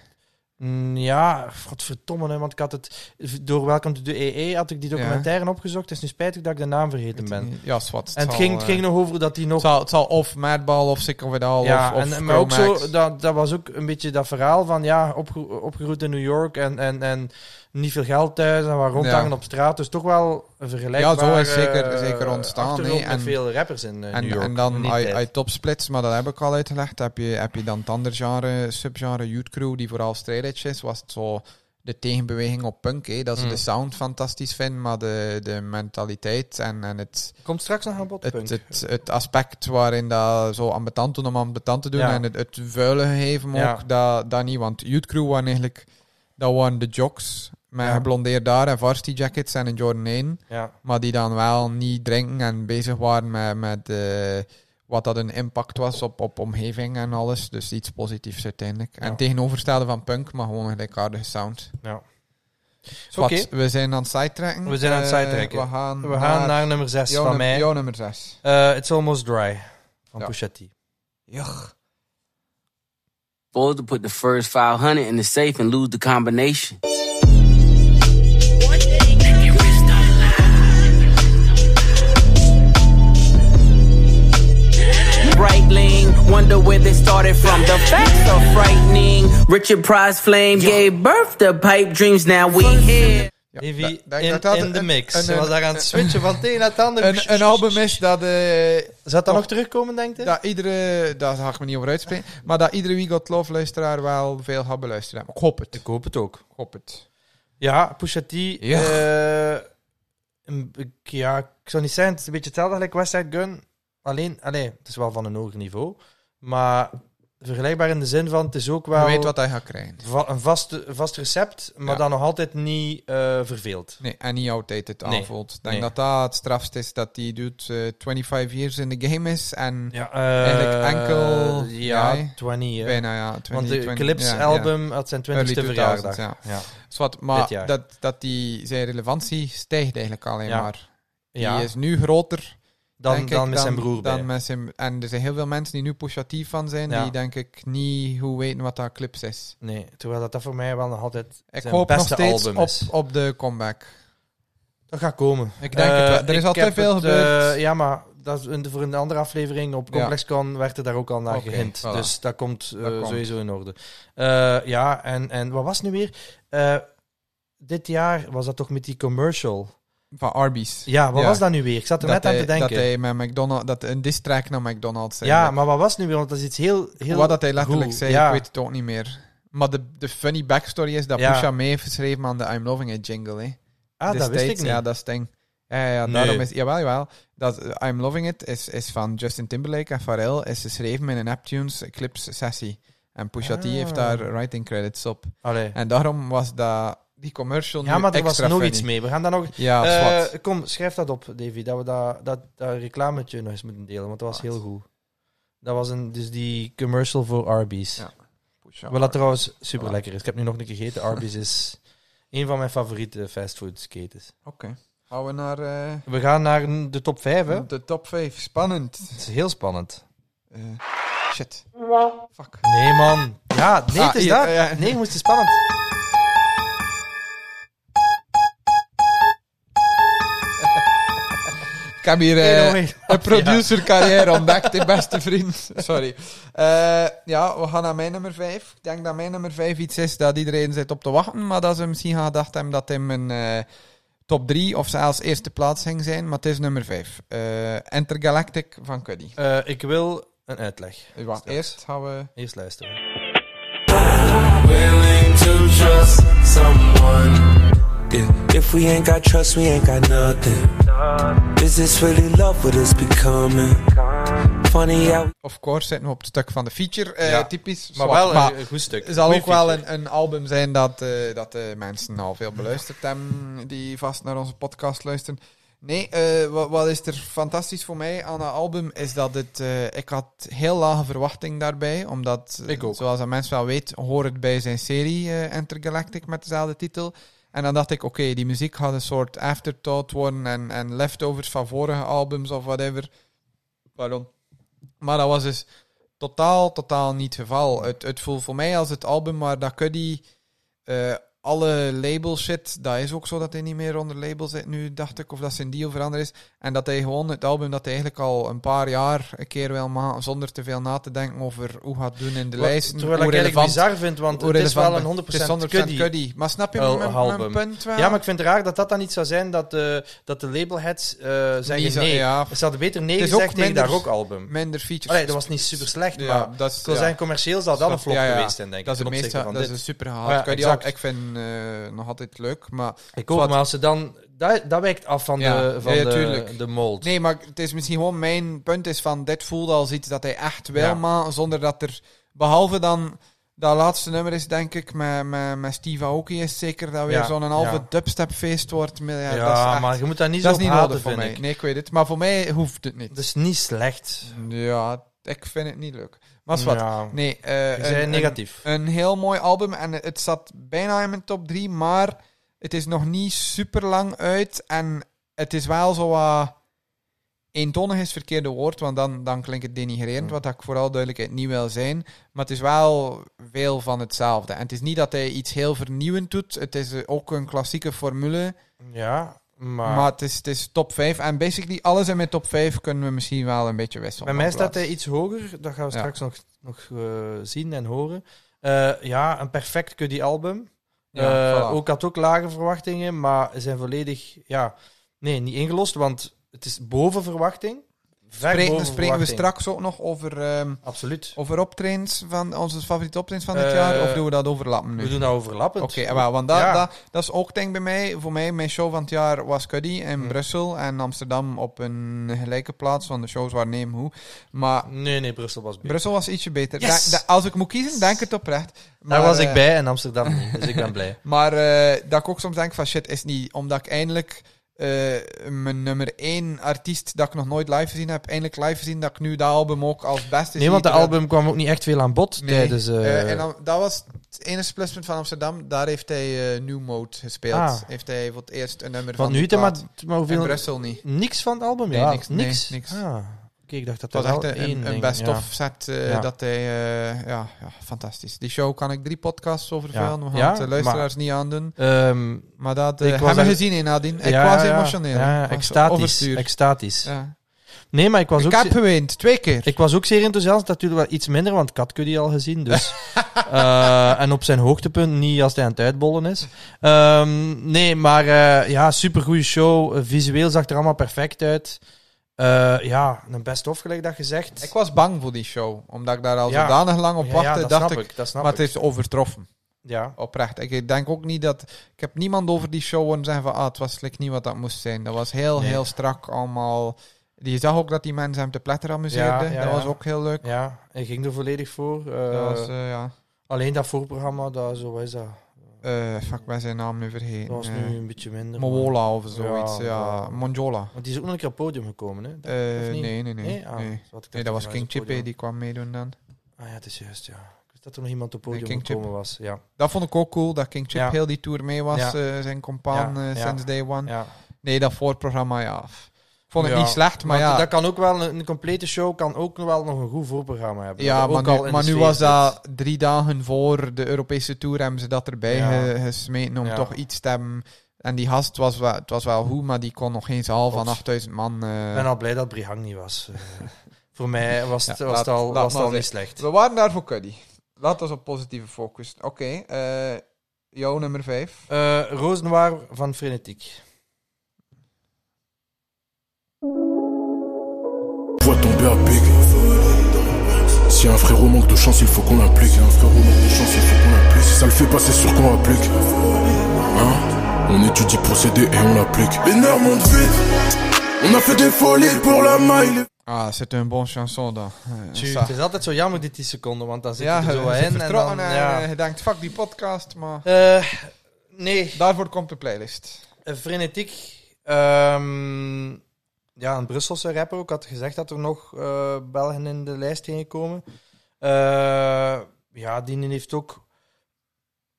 A: Mm, ja, godverdomme, hè, want ik had het door Welcome to the EE E had ik die documentaire opgezocht. Het is nu spijtig dat ik de naam vergeten ben.
B: Ja, zwart.
A: En het ging, het ging nog over dat die nog
B: eh, Het zal, het zal of Madball of Sick of It All
A: Ja,
B: of, of
A: en, maar ook
B: Chromax.
A: zo, dat, dat was ook een beetje dat verhaal van ja, opge, opgegroeid in New York en, en, en niet veel geld thuis en waar rondhangen op straat. Dus toch wel een vergelijkbare
B: Ja, zo is zeker-
A: eh,
B: zeker ontstaan,
A: achtergrond
B: hè,
A: met
B: en-
A: veel rappers in eh, New
B: En,
A: York.
B: en
A: in
B: dan
A: die tijd.
B: uit topsplits, maar dat heb ik al uitgelegd. Heb je, heb je dan het andere genre, subgenre Youth Crew, die vooral strijdage is, was het zo de tegenbeweging op punk. Hè, dat ze
A: Mm.
B: de sound fantastisch vinden, maar de, de mentaliteit en, en het,
A: Komt straks nog aan bod,
B: het,
A: punk.
B: het, het aspect waarin dat zo ambetant doen om ambetant te doen
A: Ja.
B: en het, het vuile gegeven
A: Ja.
B: ook, dat, dat niet. Want Youth Crew waren eigenlijk dat waren de jocks Met
A: Ja.
B: geblondeerd daar en varsity jackets en een Jordan 1.
A: Ja.
B: Maar die dan wel niet drinken en bezig waren met, met eh, wat dat een impact was op, op omgeving en alles. Dus iets positiefs uiteindelijk. En
A: Ja.
B: tegenovergestelde van punk, maar gewoon een gelijkaardige sound.
A: ja.
B: Wat,
A: Oké.
B: we zijn aan het sidetracken.
A: We zijn aan het
B: Eh,
A: sidetracken.
B: we gaan,
A: We gaan naar nummer 6
B: jouw
A: van
B: num-
A: mij.
B: jouw nummer 6.
A: Eh, It's Almost Dry van
B: Ja.
A: Pusha T.
C: Bold to put the first 500 in the safe and lose the combination. Breitling, wonder where they started from. The facts are frightening. Richard Price Flame gave birth to pipe dreams. Now we here.
B: Ja,
A: Davy
B: dat- dat-
A: in,
B: dat had
A: in de
B: een-
A: mix.
B: een-
A: Ze was daar aan het switchen van het een naar het ander.
B: Een, een album is dat, eh,
A: Zou dat
B: Oh.
A: nog terugkomen, denk je?
B: dat iedere... Daar ga ik me niet over uitspreken. Maar dat iedere We Got Love luisteraar wel veel gaat beluisteren. hebben. Ik hoop het. Ik
A: hoop het ook.
B: hoop het.
A: Ja, Pusha T.
B: Ja.
A: eh, een- ik- ja, ik zou niet zeggen, het is een beetje hetzelfde als West Side Gun. Alleen, alleen, het is wel van een hoger niveau. Maar vergelijkbaar in de zin van, het is ook
B: Je
A: wel
B: weet wat hij gaat krijgen.
A: va- een vast, een vast recept, maar
B: Ja.
A: dan nog altijd niet eh, verveeld.
B: Nee, en niet altijd het
A: Nee,
B: aanvoelt. Ik denk
A: nee.
B: dat dat het strafst is dat die doet eh, 25 years in the game is en
A: Ja,
B: Eigenlijk enkel
A: Eh, Ja, eh.
B: jij.
A: 20. hè.
B: bijna ja, 20,
A: Want de
B: 20,
A: Eclipse
B: ja, ja.
A: album had zijn 20ste
B: Early 2000,
A: verjaardag.
B: ja.
A: Ja.
B: Zwart,
A: Dit
B: maar
A: jaar.
B: dat, dat die, zijn relevantie stijgt eigenlijk alleen
A: Ja.
B: maar. Die
A: Ja,
B: is nu groter
A: dan,
B: denk ik,
A: dan met zijn broer
B: dan
A: bij.
B: met zijn, en er zijn heel veel mensen die nu pushatief van zijn,
A: Ja.
B: die denk ik niet hoe weten wat dat clips is.
A: Nee, terwijl dat, dat voor mij wel nog altijd
B: Ik
A: zijn
B: hoop nog
A: beste
B: steeds
A: album is.
B: op, op de comeback.
A: Dat gaat komen.
B: Ik denk het wel. Eh, Er is
A: Eh, ik
B: al te
A: heb
B: veel
A: het,
B: gebeurd.
A: eh, ja, maar dat is een- voor een andere aflevering op
B: Ja.
A: ComplexCon werd er daar ook al naar
B: Oké,
A: gehind.
B: voilà.
A: Dus dat komt eh,
B: Dat komt.
A: sowieso in orde. Eh, ja, en, en wat was het nu weer? Eh, dit jaar was dat toch met die commercial?
B: Van Arby's.
A: Ja, wat
B: Ja.
A: was dat nu weer? Ik zat er net aan
B: hij,
A: te denken.
B: Dat hij met McDonald's, dat een diss track naar McDonald's. zei.
A: ja, maar wat was het nu weer? Want dat is iets heel... heel
B: Wat dat hij letterlijk
A: goed.
B: zei,
A: Ja.
B: ik weet het ook niet meer. Maar de, de funny backstory is dat
A: Ja.
B: Pusha mee heeft geschreven aan de I'm Loving It jingle. Hè.
A: Ah, dat wist ik
B: Destijds,
A: niet.
B: Ja, dat is het ding. Ja, ja,
A: Nee.
B: daarom is... Jawel, jawel. Dat eh, I'm Loving It is, is van Justin Timberlake en Pharrell. Is geschreven in een Neptunes Eclipse sessie. En Pusha T
A: Ah.
B: heeft daar writing credits op.
A: Allee.
B: En daarom was dat, die commercial
A: Ja,
B: nu
A: maar er was
B: extra
A: nog
B: funny.
A: iets mee. We gaan daar nog...
B: Ja,
A: Eh,
B: zwart.
A: kom, schrijf dat op, Davy. Dat we dat, dat, dat reclametje nog eens moeten delen, want dat was
B: Wat?
A: heel goed. Dat was een, dus die commercial voor Arby's.
B: Ja. Pusha
A: Wat dat trouwens super lekker is. Ik heb nu nog een keer gegeten. Arby's is een van mijn favoriete fastfoodsketens.
B: Oké. Gaan we naar eh,
A: We gaan naar de top 5, hè? Het
B: de top 5. Spannend.
A: is heel spannend.
B: Eh, shit. Fuck.
A: Nee, man. Ja, nee,
B: Ah,
A: het is
B: hier,
A: dat.
B: eh, ja.
A: Nee, moest het spannend.
B: Ik heb hier eh,
A: Nee, nog niet.
B: een producercarrière ontdekt, de beste vriend. Sorry. Eh, ja, we gaan naar mijn nummer 5. Ik denk dat mijn nummer 5 iets is dat iedereen zit op te wachten, maar dat ze misschien gaan gedacht hebben dat hij mijn eh, top 3 of zelfs eerste plaats ging zijn, maar het is nummer 5. Intergalactic van Cuddy.
A: Eh, ik wil een uitleg.
B: Eh, Wacht, eerst gaan we...
A: Eerst luisteren.
H: willing to trust someone. Yeah. If we ain't got trust, we ain't got nothing. Is this really love? What it's becoming? Funny how
B: Of course zitten we op het stuk van de feature, eh,
A: Ja.
B: typisch.
A: Maar
B: zwart,
A: wel
B: maar-
A: een, een goed stuk.
B: Het zal
A: Goeie
B: ook wel
A: feature.
B: een, een album zijn dat, eh, dat de mensen al veel beluisterd hebben, die vast naar onze podcast luisteren. Nee, eh, wat, wat is er fantastisch voor mij aan dat album, is dat het... eh, ik had heel lage verwachting daarbij, omdat, eh,
A: Ik ook.
B: zoals dat mensen wel weten, hoort het bij zijn serie eh, Intergalactic met dezelfde titel. En dan dacht ik, oké, die muziek had een soort afterthought worden en, en leftovers van vorige albums of whatever. Pardon. Maar dat was dus totaal, totaal niet het geval. Het, het voelt voor mij als het album waar dat Cuddy eh, alle label shit, dat is ook zo dat hij niet meer onder label zit nu, dacht ik, of dat zijn deal veranderd is. En dat hij gewoon het album dat hij eigenlijk al een paar jaar een keer wil maken, zonder te veel na te denken over hoe gaat doen in de
A: Wat-
B: lijst.
A: Terwijl ik eigenlijk bizar vind, want het is wel een 100%, kuddy.
B: Maar snap je
A: Wel,
B: mijn,
A: album.
B: mijn punt wel?
A: Ja, maar ik vind het raar dat dat dan niet zou zijn dat de, dat de labelheads eh
B: Die
A: zeggen
B: zo-
A: nee.
B: ja.
A: Ze hadden beter nee
B: Het is
A: gezegd
B: ook
A: tegen
B: minder-
A: daar ook album.
B: Minder features.
A: Allee, dat was niet super slecht,
B: Ja,
A: maar
B: dat is-
A: dat zou
B: ja.
A: zijn commercieel zou dat een flop
B: Ja, ja.
A: geweest zijn, denk ik.
B: Dat is het
A: ten
B: meeste,
A: opzichte
B: dat
A: van
B: is
A: dit.
B: een super
A: Ah, ja,
B: gehaald. Cuddy
A: exact.
B: al- ik vind eh, nog altijd leuk, maar...
A: Ik ook, maar als ze dan... Dat, dat wijkt af van,
B: Ja.
A: de, van
B: Ja, ja,
A: de,
B: tuurlijk.
A: de mold.
B: Nee, maar het is misschien gewoon mijn punt is van dit voelde als iets dat hij echt wil,
A: Ja.
B: maar zonder dat er behalve dan Dat laatste nummer is denk ik met, met, met Steve Aoki is zeker dat weer
A: Ja,
B: zo'n halve
A: ja.
B: dubstepfeest wordt. Maar Ja,
A: Ja,
B: dat is echt-
A: maar je moet daar niet
B: dat
A: zo
B: is
A: op
B: niet
A: haten,
B: nodig voor
A: vind
B: mij.
A: ik. Dus-
B: Nee, ik weet het. Maar voor mij hoeft het niet.
A: Dat is niet slecht.
B: Ja, ik vind het niet leuk. Maar is wat.
A: Ja.
B: Nee, eh,
A: Ik zei
B: een-
A: negatief.
B: Een, een heel mooi album en het zat bijna in mijn top 3, maar het is nog niet super lang uit en het is wel zo wat. Eentonig is het verkeerde woord, want dan, dan klinkt het denigrerend, wat ik vooral duidelijkheid niet wil zijn. Maar het is wel veel van hetzelfde. En het is niet dat hij iets heel vernieuwend doet, het is eh, ook een klassieke formule.
A: Ja, maar,
B: Maar het is, het is top 5. En basically alles in mijn top 5 kunnen we misschien wel een beetje wisselen.
A: bij mij
B: van
A: staat
B: plaats.
A: hij iets hoger. Dat gaan we
B: Ja.
A: straks nog, nog eh, zien en horen. Eh, ja, een perfect Cuddy album.
B: Ja,
A: Eh,
B: voilà.
A: Ook had ook lage verwachtingen, maar zijn volledig ja, nee, niet ingelost, want het is boven verwachting. Ver
B: Spreken,
A: boven
B: spreken we
A: verwachting.
B: straks ook nog over, ehm,
A: Absoluut.
B: over optredens van onze favoriete optredens van dit
A: Eh,
B: jaar? Of doen we dat overlappen nu?
A: We doen dat overlappend.
B: Oké, eh, wel, want dat,
A: Ja.
B: dat, dat is ook denk ik bij mij. Voor mij, mijn show van het jaar was Cuddy in
A: Hm.
B: Brussel en Amsterdam op een gelijke plaats. Want de shows waren neem hoe. Maar
A: Nee, nee, Brussel was beter.
B: Brussel was ietsje beter.
A: Yes!
B: Da- da- als ik moet kiezen, denk het oprecht.
A: Daar
B: Maar,
A: was ik
B: eh,
A: bij en Amsterdam niet, dus ik ben blij.
B: Maar eh, dat ik ook soms denk van shit, is niet omdat ik eindelijk eh, mijn nummer één artiest dat ik nog nooit live gezien heb, eindelijk live gezien dat ik nu dat album ook als beste
A: Nee,
B: zie,
A: want de
B: terwijl-
A: album kwam ook niet echt veel aan bod
B: Nee.
A: tijdens... eh,
B: Eh, en dan- dat was het enige pluspunt van Amsterdam. Daar heeft hij eh, New Mode gespeeld.
A: Ah.
B: Heeft hij voor het eerst een nummer
A: want
B: van
A: nu
B: die
A: heeft hij maar,
B: plaat.
A: maar
B: in
A: hoeveel...
B: Brussel niet.
A: Niks van het album?
B: Nee,
A: ja,
B: niks,
A: niks.
B: nee, niks.
A: Ah, oké, ik dacht dat
B: Het
A: dat
B: was echt
A: wel
B: een,
A: één
B: een,
A: ding,
B: best
A: ja.
B: of set eh,
A: Ja.
B: dat hij... eh, ja, ja, fantastisch. Die show kan ik drie podcasts over vullen. We gaan
A: Ja,
B: het de luisteraars niet aandoen.
A: Ehm,
B: Maar dat
A: Ik
B: eh,
A: was
B: hebben we
A: er-
B: gezien in Nadine. Ik
A: ja,
B: was
A: ja,
B: emotioneel.
A: Ja,
B: Ik was
A: extatisch.
B: overstuurd.
A: extatisch.
B: Ja.
A: Nee, maar ik was,
B: Ik
A: ook
B: heb
A: zeer,
B: gewend, twee keer.
A: ik was ook zeer enthousiast. Natuurlijk wel iets minder, want Kat kun je al gezien. Dus. Eh, en op zijn hoogtepunt, niet als hij aan het uitbollen is. Ehm, nee, maar eh, ja, supergoeie show. Eh, visueel zag er allemaal perfect uit. Eh, ja, een best-of, gelijk dat gezegd.
B: Ik was bang voor die show, omdat ik daar al
A: Ja.
B: zodanig lang op
A: Ja,
B: wachtte.
A: ja, dat
B: dacht
A: snap
B: ik,
A: dat snap
B: maar het
A: ik.
B: is overtroffen,
A: Ja.
B: oprecht. Ik denk ook niet dat... Ik heb niemand over die show horen zeggen van, ah, het was like, niet wat dat moest zijn. Dat was heel,
A: Nee.
B: heel strak allemaal. Je zag ook dat die mensen hem te pletter amuseerden.
A: Ja, ja,
B: dat was
A: ja.
B: ook heel leuk.
A: ja, hij ging er volledig voor. Eh,
B: dat was, eh, ja...
A: Alleen dat voorprogramma, dat, zo is dat.
B: Eh, fuck, ik ben zijn naam nu vergeten.
A: Dat was
B: Eh,
A: nu een beetje minder. maar-
B: Mowola of zoiets, ja.
A: Ja, ja.
B: Monjola.
A: Want die is ook nog een keer op het podium gekomen, hè?
B: Eh,
A: Of
B: nee,
A: niet?
B: nee, nee.
A: Nee? Ah,
B: nee.
A: dus wat ik
B: Nee,
A: dacht,
B: dat was
A: hij
B: King
A: op het
B: Chippy,
A: podium.
B: die kwam meedoen dan.
A: Ah ja, het is juist, ja. Ik wist dat er nog iemand op het
B: Nee,
A: podium
B: King Chip.
A: gekomen was. Ja.
B: Dat vond ik ook cool, dat King Chip
A: Ja.
B: heel die tour mee was,
A: Ja.
B: eh, zijn compaan
A: Ja,
B: eh,
A: ja.
B: sinds day one.
A: ja.
B: Nee, dat voorprogramma, ja. Vond ik
A: Ja,
B: niet slecht, maar
A: Want
B: ja.
A: dat kan ook wel, een, een complete show kan ook wel nog een goed voorprogramma hebben.
B: ja,
A: Dat
B: maar
A: ook
B: nu,
A: al in
B: maar
A: de
B: nu
A: sfeer
B: was
A: zit.
B: dat drie dagen voor de Europese Tour hebben ze dat erbij
A: Ja.
B: ge- gesmeten om
A: Ja.
B: toch iets te hebben. En die gast was, wel- het was wel goed, maar die kon nog geen zaal van
A: Klopt.
B: 8000 man. eh.
A: Ik ben al blij dat Brihang niet was. Eh, Voor mij was het,
B: Ja,
A: was
B: laat-
A: het al,
B: laat
A: was het
B: maar
A: al niet slecht.
B: We waren daar voor Cuddy. Laten we op positieve focus. Oké, eh, jouw nummer 5.
A: Eh Roos Noir van Frenetiek.
I: Vois ton père big. Si un frérot manque de chance, il faut qu'on l'implique. Si un frérot manque de chance, il faut qu'on l'implique. Si ça le fait pas, c'est sûr qu'on applique. Hein On étudie pour s'aider et on l'applique. Les nerfs montent vite. On a fait des folies pour la maille.
B: Ah, c'est un bon chanson dan. Eh,
A: Tju,
B: ça.
A: het is altijd zo jammer, die 10 seconden, want dan zit
B: Ja,
A: je er
B: je
A: zo
B: zit
A: in. En
B: vertrokken
A: dan,
B: en,
A: ja.
B: eh, je denkt, fuck die podcast, maar...
A: Eh, nee,
B: Daarvoor komt de playlist.
A: Eh, Frenetiek. ehm, ja, een Brusselse rapper. ook. Ik had gezegd dat er nog eh, Belgen in de lijst heen komen. Eh, ja, die heeft ook.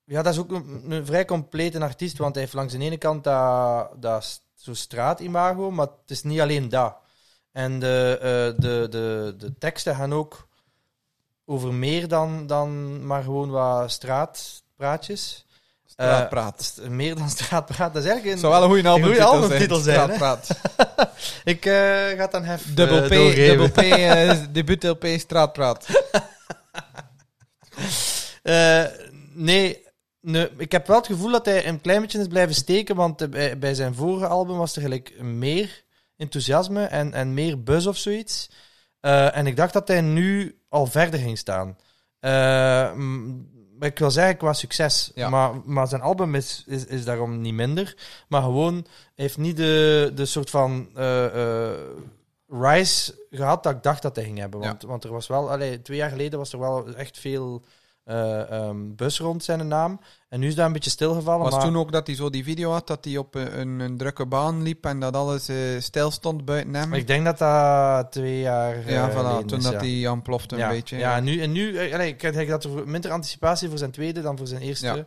A: Ja, dat is ook een, een vrij complete artiest. Want hij heeft langs de ene kant dat, dat s- zo'n straatimago. Maar het is niet alleen dat. En de, eh, de, de, de teksten gaan ook over meer dan, dan maar gewoon wat straatpraatjes. Eh,
B: Straatpraat.
A: St- meer dan straatpraat. Dat is eigenlijk een...
B: Het zou wel een goede albumtitel
A: goede
B: zijn.
A: albumtitel zijn, hè?
B: Straatpraat.
A: Ik eh, ga het dan hef
B: Dubbel
A: eh,
B: P,
A: doorgeven.
B: dubbel P, eh, debuut LP, Straatpraat.
A: Eh, nee, nee, ik heb wel het gevoel dat hij een klein beetje is blijven steken, want eh, bij, bij zijn vorige album was er gelijk meer enthousiasme en, en meer buzz of zoiets. Eh, en ik dacht dat hij nu al verder ging staan. Eh, mm, maar ik wil zeggen qua succes,
B: Ja.
A: maar, maar zijn album is, is, is daarom niet minder. Maar gewoon, hij heeft niet de, de soort van eh, eh, rise gehad dat ik dacht dat hij ging hebben. Want, want er was wel, allee, twee jaar geleden was er wel echt veel eh, ehm, bus rond zijn naam. En nu is dat een beetje stilgevallen.
B: Was
A: maar...
B: toen ook dat hij zo die video had, dat hij op een, een, een drukke baan liep en dat alles eh, stil stond buiten hem.
A: Maar ik denk dat dat twee jaar eh,
B: ja,
A: geleden
B: voilà, toen
A: is,
B: dat
A: ja.
B: hij aanplofte een
A: ja.
B: beetje.
A: Ja, en nu, en nu eh, allee, ik denk dat er voor- minder anticipatie voor zijn tweede dan voor zijn eerste
B: Ja.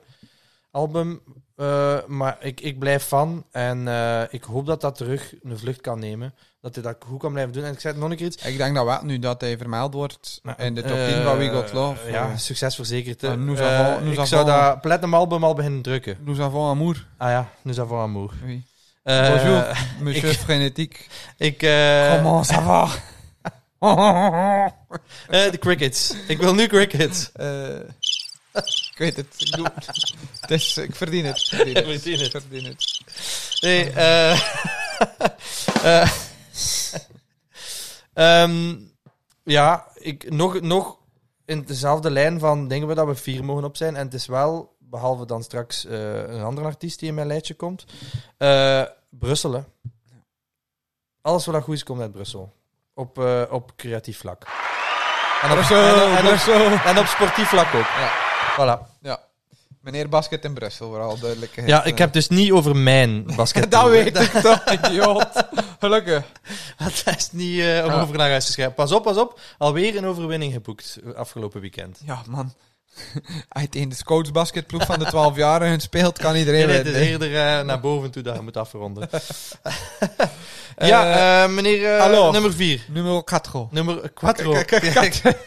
A: album. Eh, maar ik, ik blijf van en eh, ik hoop dat dat terug een vlucht kan nemen. Dat hij dat goed kan blijven doen. En ik zei het nog een keer iets.
B: Ik denk dat wel, nu dat hij vermeld wordt
A: Maar,
B: in de top
A: eh,
B: 10 van We Got Love.
A: ja,
B: eh,
A: succes verzekerd. hè.
B: Ah, nous
A: Eh,
B: avons- nous
A: ik zou
B: avons-
A: dat platinum album al beginnen drukken.
B: Nous avons amour.
A: Ah ja, nous avons amour.
B: Oui.
A: Eh,
B: Bonjour, monsieur Frenetic.
A: Ik, eh,
B: Comment ça va?
A: eh, de crickets. Ik wil nu crickets.
B: Eh, ik weet het. Ik, doe het. Het is, ik verdien het. Ik verdien het.
A: Verdien het.
B: Ik verdien het.
A: Nee, eh eh, ehm, ja, ik, nog, nog in dezelfde lijn van denken we dat we vier mogen op zijn. En het is wel, behalve dan straks eh, een andere artiest die in mijn lijstje komt, eh, Brussel. hè. Alles wat dat goed is, komt uit Brussel. Op, eh, op creatief vlak. En op, en, en op, en op sportief vlak ook.
B: Ja.
A: Voilà.
B: Ja. Meneer Basket in Brussel, vooral duidelijkheid.
A: Ja, ik heb dus niet over mijn basket.
B: Dat weet ik toch, idioot. Gelukkig.
A: Dat is niet eh, om
B: Ja.
A: over naar huis te schrijven. Pas op, pas op. Alweer een overwinning geboekt eh, afgelopen weekend.
B: Ja, man. Als je tegen de scouts basketploeg van de 12-jarigen speelt, kan iedereen
A: Nee, nee, het
B: winnen,
A: is
B: hè.
A: eerder eh, naar boven toe dat je moet afronden.
B: Eh,
A: ja, eh, meneer eh,
B: hallo.
A: nummer 4.
B: Nummer 4.
A: Nummer 4.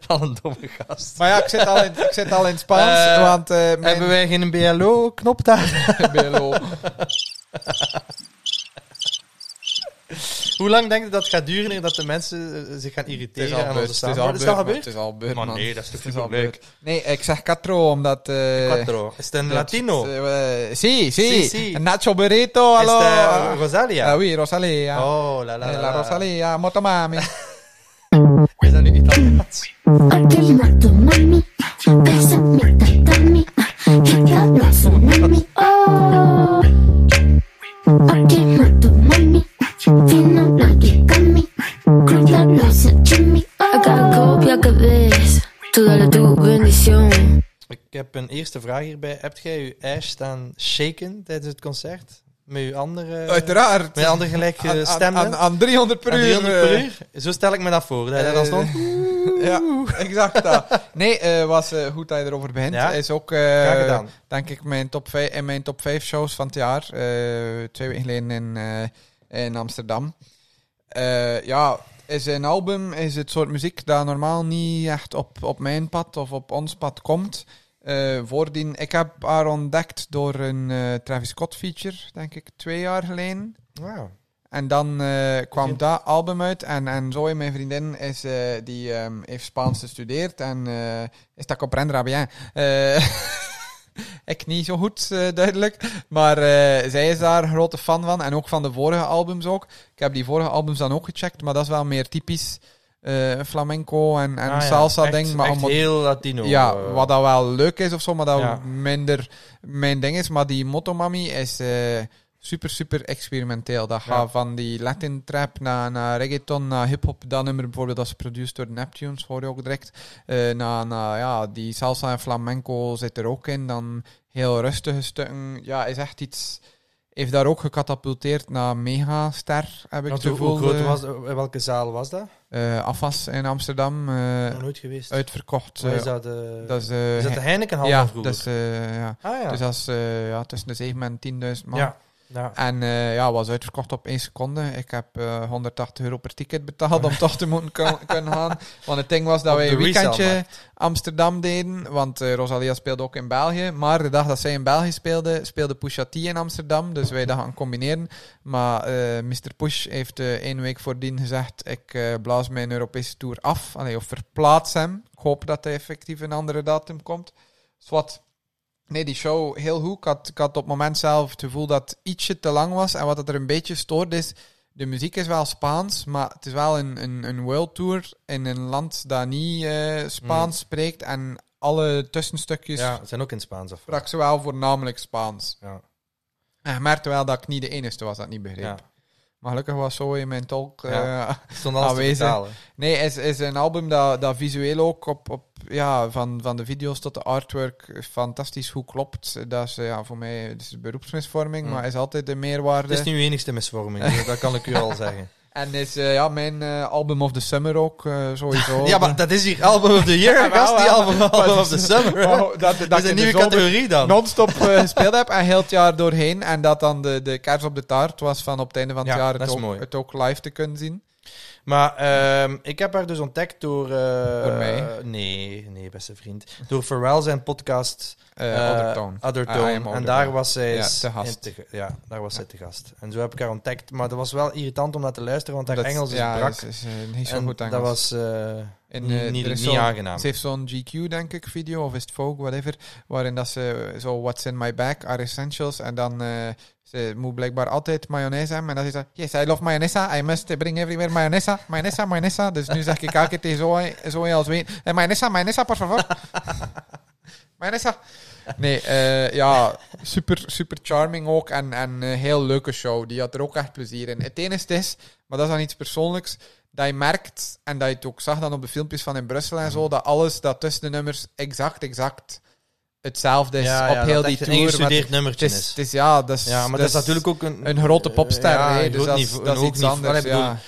A: Van een domme gast.
B: Maar ja, ik zit al in, ik zit al in het Spaans,
A: Eh,
B: want eh mijn
A: Hebben wij geen BLO-knop daar?
B: BLO.
A: Hoe lang denk je dat het gaat duren eer dat de mensen eh, zich gaan
B: Het is
A: irriteren
B: al
A: aan onze
B: gebeurd. Het is
A: samenleving? Maar
B: al gebeurd. maar
A: gebeurd?
B: Het is al gebeurd,
A: Maar
B: man.
A: nee, dat is
B: Het
A: toch
B: al
A: leuk.
B: gebeurd. Nee, ik zeg quattro, omdat... eh,
A: Quattro. Is het een
B: dat-
A: Latino? Is
B: eh, Si,
A: Si,
B: si.
A: si.
B: Een Nacho Burrito,
A: het
B: hallo.
A: eh, Rosalia?
B: Ah oui, Rosalia.
A: Oh, la la
B: Eh,
A: la.
B: La Rosalia, Motomami.
A: Is dat nu Italiaans?
G: I got a copia que ves, tú dale tu bendición.
A: Ik heb een eerste vraag hierbij. Hebt jij je ijs staan shaken tijdens het concert? Met je andere,
B: Uiteraard.
A: met je andere gelijk eh,
B: Aan- aan-
A: stemmen?
B: Aan, aan 300 per uur.
A: 300 per
B: eh.
A: uur? Zo stel ik me dat voor. Dat, je daar dan stond.
B: Ja, exact dat. Nee, eh, was eh, goed dat je erover begint.
A: Ja.
B: Is ook, eh,
A: Graag gedaan.
B: denk ik, mijn top vijf, in mijn top 5 shows van het jaar. eh, twee weken geleden in, eh, in Amsterdam. Eh, ja, is een album, is het soort muziek dat normaal niet echt op, op mijn pad of op ons pad komt. Eh, voordien, ik heb haar ontdekt door een eh, Travis Scott feature, denk ik, twee jaar geleden.
A: Wauw.
B: En dan eh, kwam
A: Begin.
B: dat album uit. En, en Zoe, mijn vriendin, is, eh, die ehm, heeft Spaans gestudeerd. En eh is dat comprendra bien. Eh, ik niet zo goed, eh, duidelijk. Maar eh, zij is daar grote fan van. En ook van de vorige albums ook. Ik heb die vorige albums dan ook gecheckt. Maar dat is wel meer typisch eh, flamenco en, en
A: Ah ja, echt-
B: salsa-ding. maar
A: echt
B: omdat-
A: heel Latino.
B: ja,
A: eh.
B: wat dat wel leuk is of zo, maar dat
A: Ja.
B: minder mijn ding is. Maar die Motomami is eh, super, super experimenteel. Dat gaat van die Latin trap naar, naar reggaeton, naar hip-hop. Dat nummer bijvoorbeeld dat is produced door Neptunes, hoor je ook direct. Eh naar, naar, ja, die salsa en flamenco zit er ook in. Dan heel rustige stukken. Ja, is echt iets. Heeft daar ook gecatapulteerd naar Megaster, heb ik
A: Want
B: het
A: hoe,
B: gevoel.
A: hoe groot
B: Eh,
A: was, eh, welke zaal was dat?
B: eh, Afas in Amsterdam, eh,
A: Nog nooit geweest.
B: uitverkocht.
A: Waar is
B: eh,
A: dat? eh,
B: dat is, eh,
A: is dat de Heinekenhal
B: ja,
A: van vroeger?
B: dus, eh, ja.
A: ah ja.
B: Dus dat is eh, ja, tussen de 7 en 10.000 man.
A: ja. ja.
B: En eh, ja, was uitverkocht op 1 seconde. Ik heb eh, 180 euro per ticket betaald om toch te moeten kun- kunnen gaan. Want het ding was dat
A: Op
B: wij
A: de
B: een weekendje
A: resalemarkt.
B: Amsterdam deden. Want eh, Rosalia speelde ook in België. Maar de dag dat zij in België speelde, speelde Pusha T in Amsterdam. Dus wij dat gaan combineren. Maar eh Mr. Push heeft eh één week voordien gezegd... ik eh, blaas mijn Europese tour af. Allee, of verplaats hem. Ik hoop dat hij effectief een andere datum komt. Dus wat... Nee, die show heel goed. Ik had, ik had op het moment zelf het gevoel dat het ietsje te lang was. En wat het er een beetje stoort is... De muziek is wel Spaans, maar het is wel een, een, een world tour in een land dat niet eh, Spaans spreekt. En alle tussenstukjes
A: Mm. ja, het zijn ook in het Spaans af.
B: sprak ze wel voornamelijk Spaans.
A: Ja.
B: En je merkte wel dat ik niet de enige was dat niet begreep.
A: Ja.
B: Maar gelukkig was Zoe mijn tolk.
A: Ja.
B: eh,
A: Stond alles te
B: Aanwezig.
A: betalen.
B: nee, het is, is een album dat, dat visueel ook op, op ja, van, van de video's tot de artwork fantastisch goed klopt. Dat is ja, voor mij het is beroepsmisvorming,
A: Mm.
B: maar is altijd de
A: Het
B: meerwaarde.
A: is nu uw enigste misvorming, dus dat kan ik u al zeggen.
B: En is eh, ja, mijn eh, album of the summer ook eh, sowieso.
A: Ja, maar dat is hier Album of the Year,
B: Ja, wel,
A: gast. Die
B: hè.
A: Album, album
B: Maar-
A: of the Summer.
B: Maar
A: hè.
B: dat, dat,
A: Dat is
B: ik
A: een
B: in de
A: nieuwe
B: zomer
A: categorie dan.
B: non-stop eh, gespeeld heb en heel het jaar doorheen. En dat dan de, de kaars op de taart was van op het einde van het
A: Ja,
B: jaar
A: dat
B: het
A: is
B: ook,
A: mooi.
B: het ook live te kunnen zien.
A: Maar ehm, ik heb haar dus ontdekt door... eh,
B: Door mij?
A: Nee, nee, beste vriend. Door Pharrell zijn podcast
B: Eh
A: eh,
B: Other Tone.
A: Other
B: I
A: Tone.
B: Am
A: en
B: Other
A: daar
B: Tone.
A: was zij...
B: Ja,
A: s-
B: te gast.
A: in ge- ja, daar was zij te gast. En zo heb ik haar ontdekt. Maar dat was wel irritant om naar te luisteren, want haar
B: Dat-
A: Engels is
B: ja,
A: brak.
B: Is, is, eh, niet zo
A: en
B: goed Engels.
A: dat was eh,
B: En,
A: niet,
B: eh,
A: niet,
B: er is
A: niet
B: zo'n-
A: aangenaam.
B: Ze heeft zo'n GQ, denk ik, video, of is het Vogue, whatever, waarin dat ze eh, zo What's in my bag are essentials, en dan eh, ze moet blijkbaar altijd mayonaise hebben, en dan is ze Yes, I love mayonaise, I must bring everywhere mayonaise, mayonaise, mayonaise. Dus nu zeg ik elke keer tegen Zoe, Zoe als weet, eh, mayonaise, mayonaise, por favor. mayonaise. Nee, eh, ja, super, super charming ook, en, en eh, heel leuke show, die had er ook echt plezier in. Het enige is, maar dat is dan iets persoonlijks, dat je merkt, en dat je het ook zag dan op de filmpjes van in Brussel en
A: Mhm.
B: zo, dat alles dat tussen de nummers exact, exact hetzelfde is
A: Ja,
B: op
A: ja,
B: heel
A: dat
B: die
A: echt een
B: tour. maar
A: ingestudeerd
B: het-
A: nummertje
B: het is,
A: is.
B: het is- ja, dat is, dus
A: Ja, maar dat is natuurlijk ook een...
B: een grote popster,
A: Ja,
B: hè,
A: een
B: dus
A: groot
B: dat is,
A: niveau-
B: dat is
A: een
B: iets
A: hoog niveau.
B: anders.
A: Allee, ik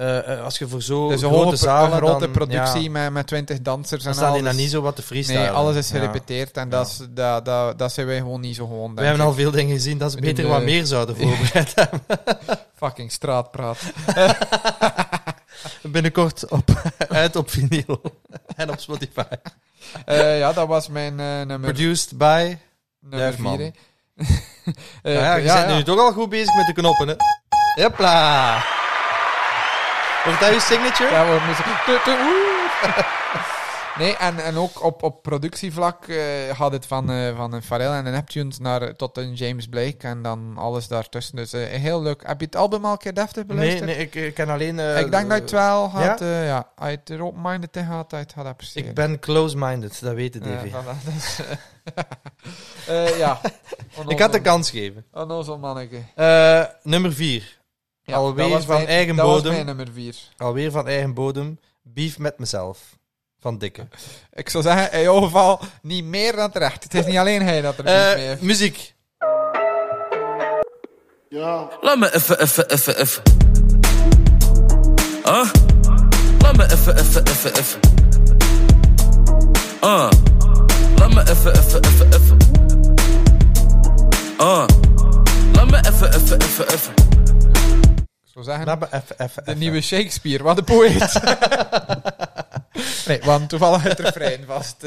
A: bedoel,
B: ja.
A: eh, eh, als je voor zo
B: Dus een
A: grote
B: hoge, pro-
A: zalen...
B: een grote
A: dan-
B: productie
A: ja,
B: met, met 20 dansers
A: Dan
B: en
A: staan
B: alles.
A: die dan niet zo wat te freestylen.
B: nee, alles is
A: Ja.
B: gerepeteerd en dat, is, dat, dat, dat zijn wij gewoon niet zo gewoon.
A: We
B: denk
A: hebben
B: ik.
A: al veel dingen gezien dat ze
B: We doen,
A: beter wat
B: eh,
A: meer zouden voorbereid hebben.
B: Fucking straatpraat.
A: Binnenkort op, uit op vinyl en op Spotify.
B: Eh, ja, dat was mijn eh, nummer,
A: Produced by...
B: nummer Eh,
A: Duifman.
B: 4.
A: Nou ja, je bent nu toch al goed bezig met de knoppen, hè? Hopla! Wordt dat je signature?
B: Ja, we moesten... Tu- tu- oeh. Nee, en, en ook op, op productievlak eh, gaat het van, eh, van een Pharrell en een Neptune naar, eh, tot een James Blake en dan alles daartussen. Dus eh, heel leuk. Heb je het album al een keer deftig
A: nee,
B: beluisterd?
A: nee, ik, ik ken alleen... eh,
B: ik denk dat je het wel
A: ja?
B: had, eh, ja, uit de open-minded tegen had, uit had
A: Ik ben close-minded, dat weet de
B: Ja,
A: Davy.
B: voilà, dat is, eh, eh, ja.
A: ik had de kans geven.
B: Onnozel manneke.
A: Eh, nummer 4. Alweer
B: dat was
A: van
B: mijn-
A: eigen
B: Dat was
A: bodem.
B: mijn nummer vier.
A: Alweer van eigen bodem. Beef met mezelf. Van Dikke.
B: Ik zou zeggen, in ieder geval niet meer dan terecht. Het is niet alleen hij dat er niet
A: Eh,
B: mee heeft.
A: muziek.
C: Laat me even, even, even, even. Huh? Laat me even, even, even, even. Uh. Laat me even, even, even, even. Uh. Laat me even, even, even, even.
B: Ik zou zeggen,
A: Laat me even, even,
B: De
A: even.
B: nieuwe Shakespeare, wat een poëet. nee, want toevallig het eh, refrein vast.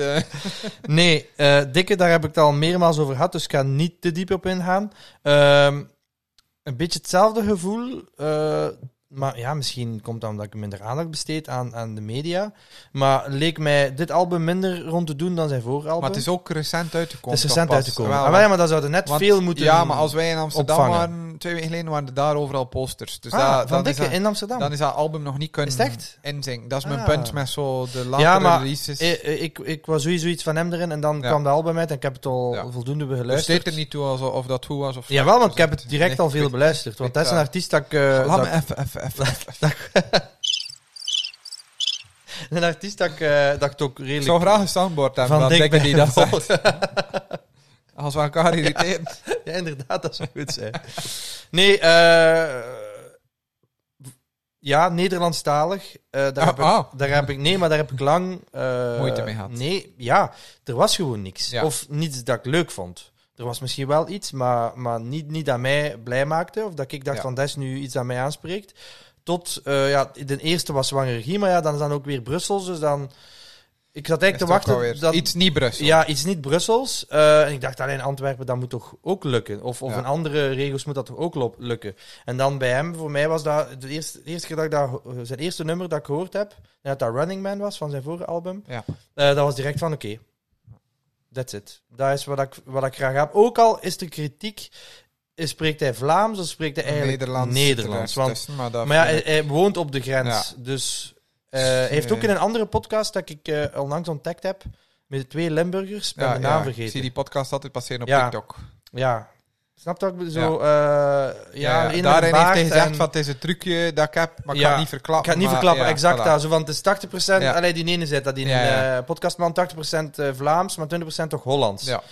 A: Nee, eh, Dikke, daar heb ik het al meermaals over gehad, dus ik ga niet te diep op ingaan. Ehm, een beetje hetzelfde gevoel, eh, maar ja, misschien komt dat omdat ik minder aandacht besteed aan, aan de media. Maar leek mij dit album minder rond te doen dan zijn vooralbum.
B: maar het is ook recent uitgekomen.
A: Het is recent
B: toch pas?
A: uitgekomen.
B: Wel,
A: Ah, wel, ja, maar dat zouden net
B: want-
A: veel moeten
B: Ja, maar als wij in Amsterdam
A: opvangen.
B: waren, twee weken geleden, waren er daar overal posters. Dus
A: Ah,
B: daar,
A: van
B: dan, is
A: Dikke
B: dat,
A: in Amsterdam.
B: dan is dat album nog niet kunnen
A: Is het echt?
B: inzinken. Dat is mijn
A: Ah.
B: punt met zo de latere
A: ja, maar
B: releases.
A: eh, eh, ik, ik was sowieso iets van hem erin en dan
B: Dus- Ja.
A: kwam de album uit en ik heb het al
B: Ja.
A: voldoende
B: dus
A: beluisterd.
B: deed er niet dus toe als, of dat goed was of slecht
A: Jawel, want
B: was.
A: ik heb het direct al veel beluisterd. Want dat is een artiest dat ik... eh,
B: Laat
A: dat
B: me even, even, even.
A: Een artiest dat ik, eh, dat ik het ook
B: Ik
A: redelijk...
B: zou graag een soundboard hebben van,
A: Dick
B: Dikke die dat
A: Bernal.
B: zegt. Als we elkaar irriteren.
A: Ja, inderdaad, dat zou goed zijn. Nee, eh ja, Nederlandstalig. eh, daar,
B: Ah,
A: heb ik,
B: ah.
A: daar heb ik... Nee, maar daar heb ik lang... eh,
B: Moeite mee gehad.
A: Nee, ja, er was gewoon niks.
B: Ja.
A: Of niets dat ik leuk vond. Er was misschien wel iets, maar, maar niet, niet dat mij blij maakte. Of dat ik dacht
B: Ja.
A: van, dat is nu iets dat mij aanspreekt. Tot, eh, ja, de eerste was Zwangere Regie, maar ja, dan is dan ook weer Brussels. Dus dan... Ik zat
B: Is het ook
A: eigenlijk te
B: alweer
A: wachten... dat-
B: Iets niet Brussel.
A: Ja, iets niet Brussels. Eh, en ik dacht alleen Antwerpen, dat moet toch ook lukken. Of, of
B: Ja.
A: in andere regio's moet dat toch ook lop- lukken. En dan bij hem, voor mij was dat de eerste, de eerste keer dat ik dat, ho- zijn eerste nummer dat ik gehoord heb, dat dat Running Man was van zijn vorige album,
B: Ja.
A: eh, dat was direct van oké. That's it. Dat is wat ik, wat ik graag heb. Ook al is de kritiek, eh, spreekt hij Vlaams of spreekt hij eigenlijk
B: Nederlands.
A: Nederlands?
B: ernaast
A: want
B: tussen, maar dat
A: maar ja,
B: vind
A: hij,
B: ik-
A: hij woont op de grens. Dus eh, hij heeft ook
B: Eh.
A: in een andere podcast dat ik eh, onlangs ontdekt heb, met de twee Limburgers, ik ben
B: ja,
A: de naam
B: ja, Ik
A: vergeten.
B: zie die podcast altijd passeren op
A: Ja.
B: TikTok.
A: Ja, Snap je wat ik bedoel? Zo, ja, ja, een met
B: daarin heeft
A: baard
B: hij gezegd
A: en-
B: van het is een trucje dat ik heb, maar ik
A: Ja,
B: ga het niet
A: Ik
B: verklappen.
A: ga het niet
B: maar-
A: verklappen,
B: ja,
A: exact.
B: voilà.
A: daar. Zo, want het is 80%,
B: Ja.
A: alleen die ene zet dat in
B: Ja, ja.
A: een podcastman, 80% eh, Vlaams, maar 20% toch Hollands.
B: Ja.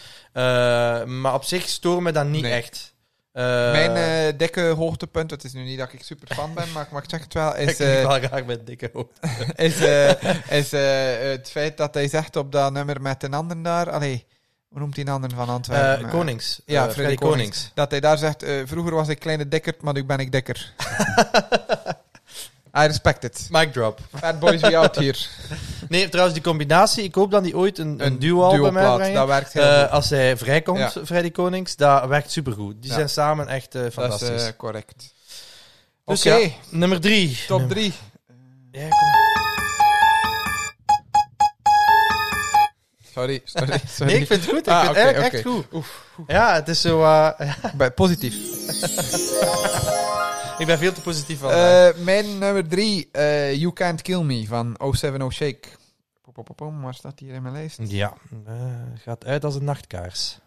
A: Eh, maar op zich storen me dat niet
B: Nee.
A: echt. Eh,
B: Mijn eh, dikke hoogtepunt, het is nu niet dat ik super fan ben, maar ik mag zeggen het wel,
A: ik
B: is,
A: kijk
B: eh,
A: wel graag met dikke hoofd.
B: is, eh, is eh, het feit dat hij zegt op dat nummer met een ander daar. Allee, hoe noemt die een ander van Antwerpen?
A: Eh,
B: Eh,
A: Konings.
B: Ja,
A: Eh,
B: Freddy Konings. Dat hij daar zegt: eh, Vroeger was ik kleine dikkerd, maar nu ben ik dikker. I respect it.
A: Mic drop.
B: Bad boys, we out hier.
A: Nee, trouwens, die combinatie, ik hoop dat die ooit een, een duo bij mij
B: duoplaat,
A: brengen.
B: Dat werkt heel
A: Eh,
B: goed.
A: als hij vrijkomt,
B: Ja.
A: Freddy Konings, dat werkt supergoed. Die
B: Ja.
A: zijn samen echt eh,
B: Dat
A: fantastisch.
B: is eh, correct.
A: Dus
B: Oké,
A: ja, nummer drie.
B: top
A: Nummer-
B: 3.
A: Ja, kom.
B: Sorry, sorry, sorry.
A: Nee, ik vind het goed. Ik
B: Ah,
A: vind
B: oké,
A: het echt, echt
B: oké.
A: goed. Ja, het is zo... eh,
B: Bij- Positief.
A: ik ben veel te positief van.
B: Eh, mijn nummer drie, eh, You Can't Kill Me van 070 Shake. Pom, pom, pom, pom, Waar staat die hier in mijn lijst?
A: ja, eh, gaat uit als een nachtkaars.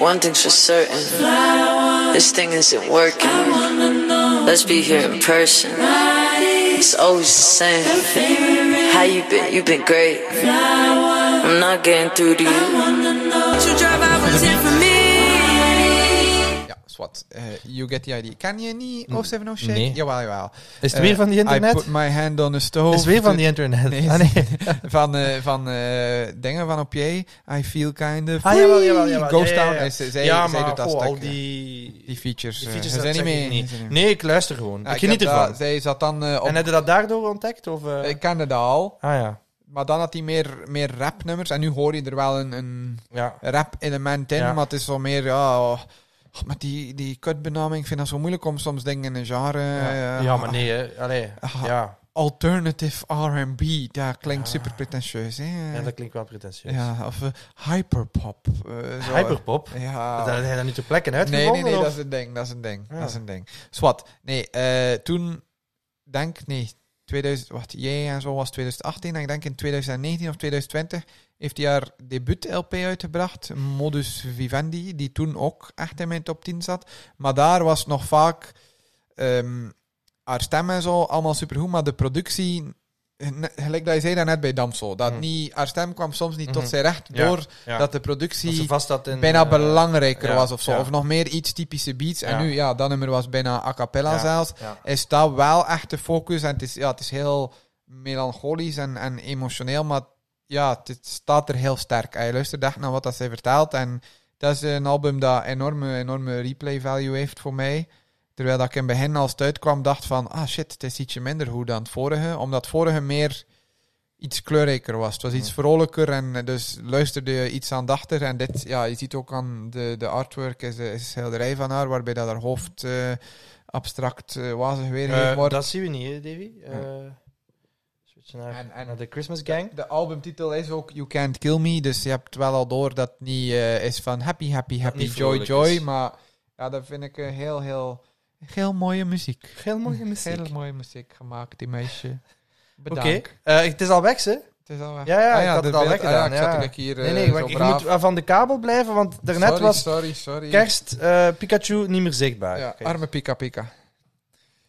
J: One thing's for certain this thing isn't working. Let's be here in person. It's always the same. How you been? You've been great. I'm not getting through to you.
E: You drive hours in for me.
B: Ja, zwart. Eh, you Get The Idea. Ken je niet 070 Shake?
A: nee.
B: Jawel, jawel. Eh,
A: Is het weer van die
B: I
A: internet?
B: put my hand on the stove.
A: is weer van die internet.
B: Oh, Nee,
A: Ah, nee.
B: Van, eh, van eh, dingen van op jij. I feel kind of...
A: Ah, jawel, jawel, jawel.
B: Ghost
A: Ja, ja,
B: Town.
A: ja.
B: Is, zij,
A: ja,
B: zij
A: maar
B: doet dat
A: goh,
B: stuk.
A: al
B: ja.
A: die, die
B: die features. eh,
A: features,
B: zijn
A: dat
B: niet
A: zeg ik
B: mee.
A: niet.
B: zijn niet mee.
A: Nee, ik luister gewoon.
B: Ja,
A: ik geniet
B: heb dat-
A: ervan.
B: Zij zat dan eh, op...
A: En heb je dat daardoor ontdekt? Of, eh?
B: Ik kende dat al.
A: ah ja.
B: Maar dan had hij meer, meer rapnummers. En nu hoor je er wel een, een
A: ja.
B: rap-element in.
A: Ja.
B: Maar het is wel meer... Ja, oh, oh, maar die, die kutbenaming, ik vind dat zo moeilijk om soms dingen in een genre...
A: Ja.
B: eh,
A: ja, maar nee, hè. Allee,
B: Ah.
A: ja.
B: Alternative R&B, dat klinkt super pretentieus, hè?
A: ja, dat klinkt wel pretentieus.
B: Ja, of eh, hyperpop. eh, zo.
A: Hyperpop?
B: Ja.
A: Dat heb je dat niet ter plekke
B: nee,
A: uitgevonden?
B: nee, nee,
A: of?
B: dat is een ding, dat is een ding,
A: Ja.
B: dat is een ding. Swat, nee, eh, toen, denk, nee, 2000, wat, jij en zo was 2018, en ik denk in 2019 of 2020 heeft hij haar debuut-LP uitgebracht, Modus Vivendi, die toen ook echt in mijn top 10 zat. Maar daar was nog vaak ehm, haar stem en zo allemaal supergoed, maar de productie, ne- gelijk dat je zei daarnet bij Damso, dat
A: Mhm.
B: niet, haar stem kwam soms niet tot
A: Mhm.
B: zijn recht
A: Ja,
B: door
A: ja.
B: dat de productie
A: Dat ze vast dat in...
B: bijna
A: eh,
B: belangrijker
A: ja,
B: was of zo.
A: ja.
B: Of nog meer iets typische beats. En
A: Ja.
B: nu, ja, dat nummer was bijna a cappella
A: Ja,
B: zelfs.
A: ja.
B: Is dat wel echt de focus? En het is, ja, het is heel melancholisch en, en emotioneel, maar ja, het staat er heel sterk. En Je luistert echt naar wat dat zij vertelt. En dat is een album dat enorme, enorme replay value heeft voor mij. Terwijl dat ik in het begin als het uitkwam dacht van, ah shit, het is ietsje minder goed dan het vorige. Omdat het vorige meer iets kleurrijker was. Het was iets vrolijker en eh, dus luisterde je iets aandachtiger. En dit, ja, je ziet ook aan de, de artwork, is, eh, is een schilderij van haar, waarbij dat haar hoofd eh, abstract eh, wazig weer
A: Eh,
B: wordt.
A: dat zien we niet, hè, Davy? Eh, switchen naar,
B: En- en-
A: naar de Christmas Gang.
B: De albumtitel is ook You Can't Kill Me, dus je hebt wel al door dat het niet eh, is van happy, happy, happy,
A: niet
B: joy,
A: vrolijk
B: joy.
A: is.
B: Maar ja, dat vind ik eh, heel, heel, heel mooie muziek.
A: Heel mooie muziek.
B: Heel mooie muziek gemaakt, die meisje.
A: Oké.
B: Bedankt.
A: Eh, het is al weg, hè?
B: Het is al weg.
A: Ja, ja,
B: Ah
A: ik had
B: de
A: het al
B: beeld-
A: weggedaan,
B: ah ja, ik zat
A: ja.
B: gelijk hier
A: Nee,
B: eh,
A: nee,
B: zo
A: maar ik
B: braaf.
A: moet eh, van de kabel blijven, want daarnet
B: sorry,
A: was
B: Sorry, sorry.
A: kerst eh, Pikachu niet meer zichtbaar.
B: Ja,
A: Oké.
B: arme Pika Pika.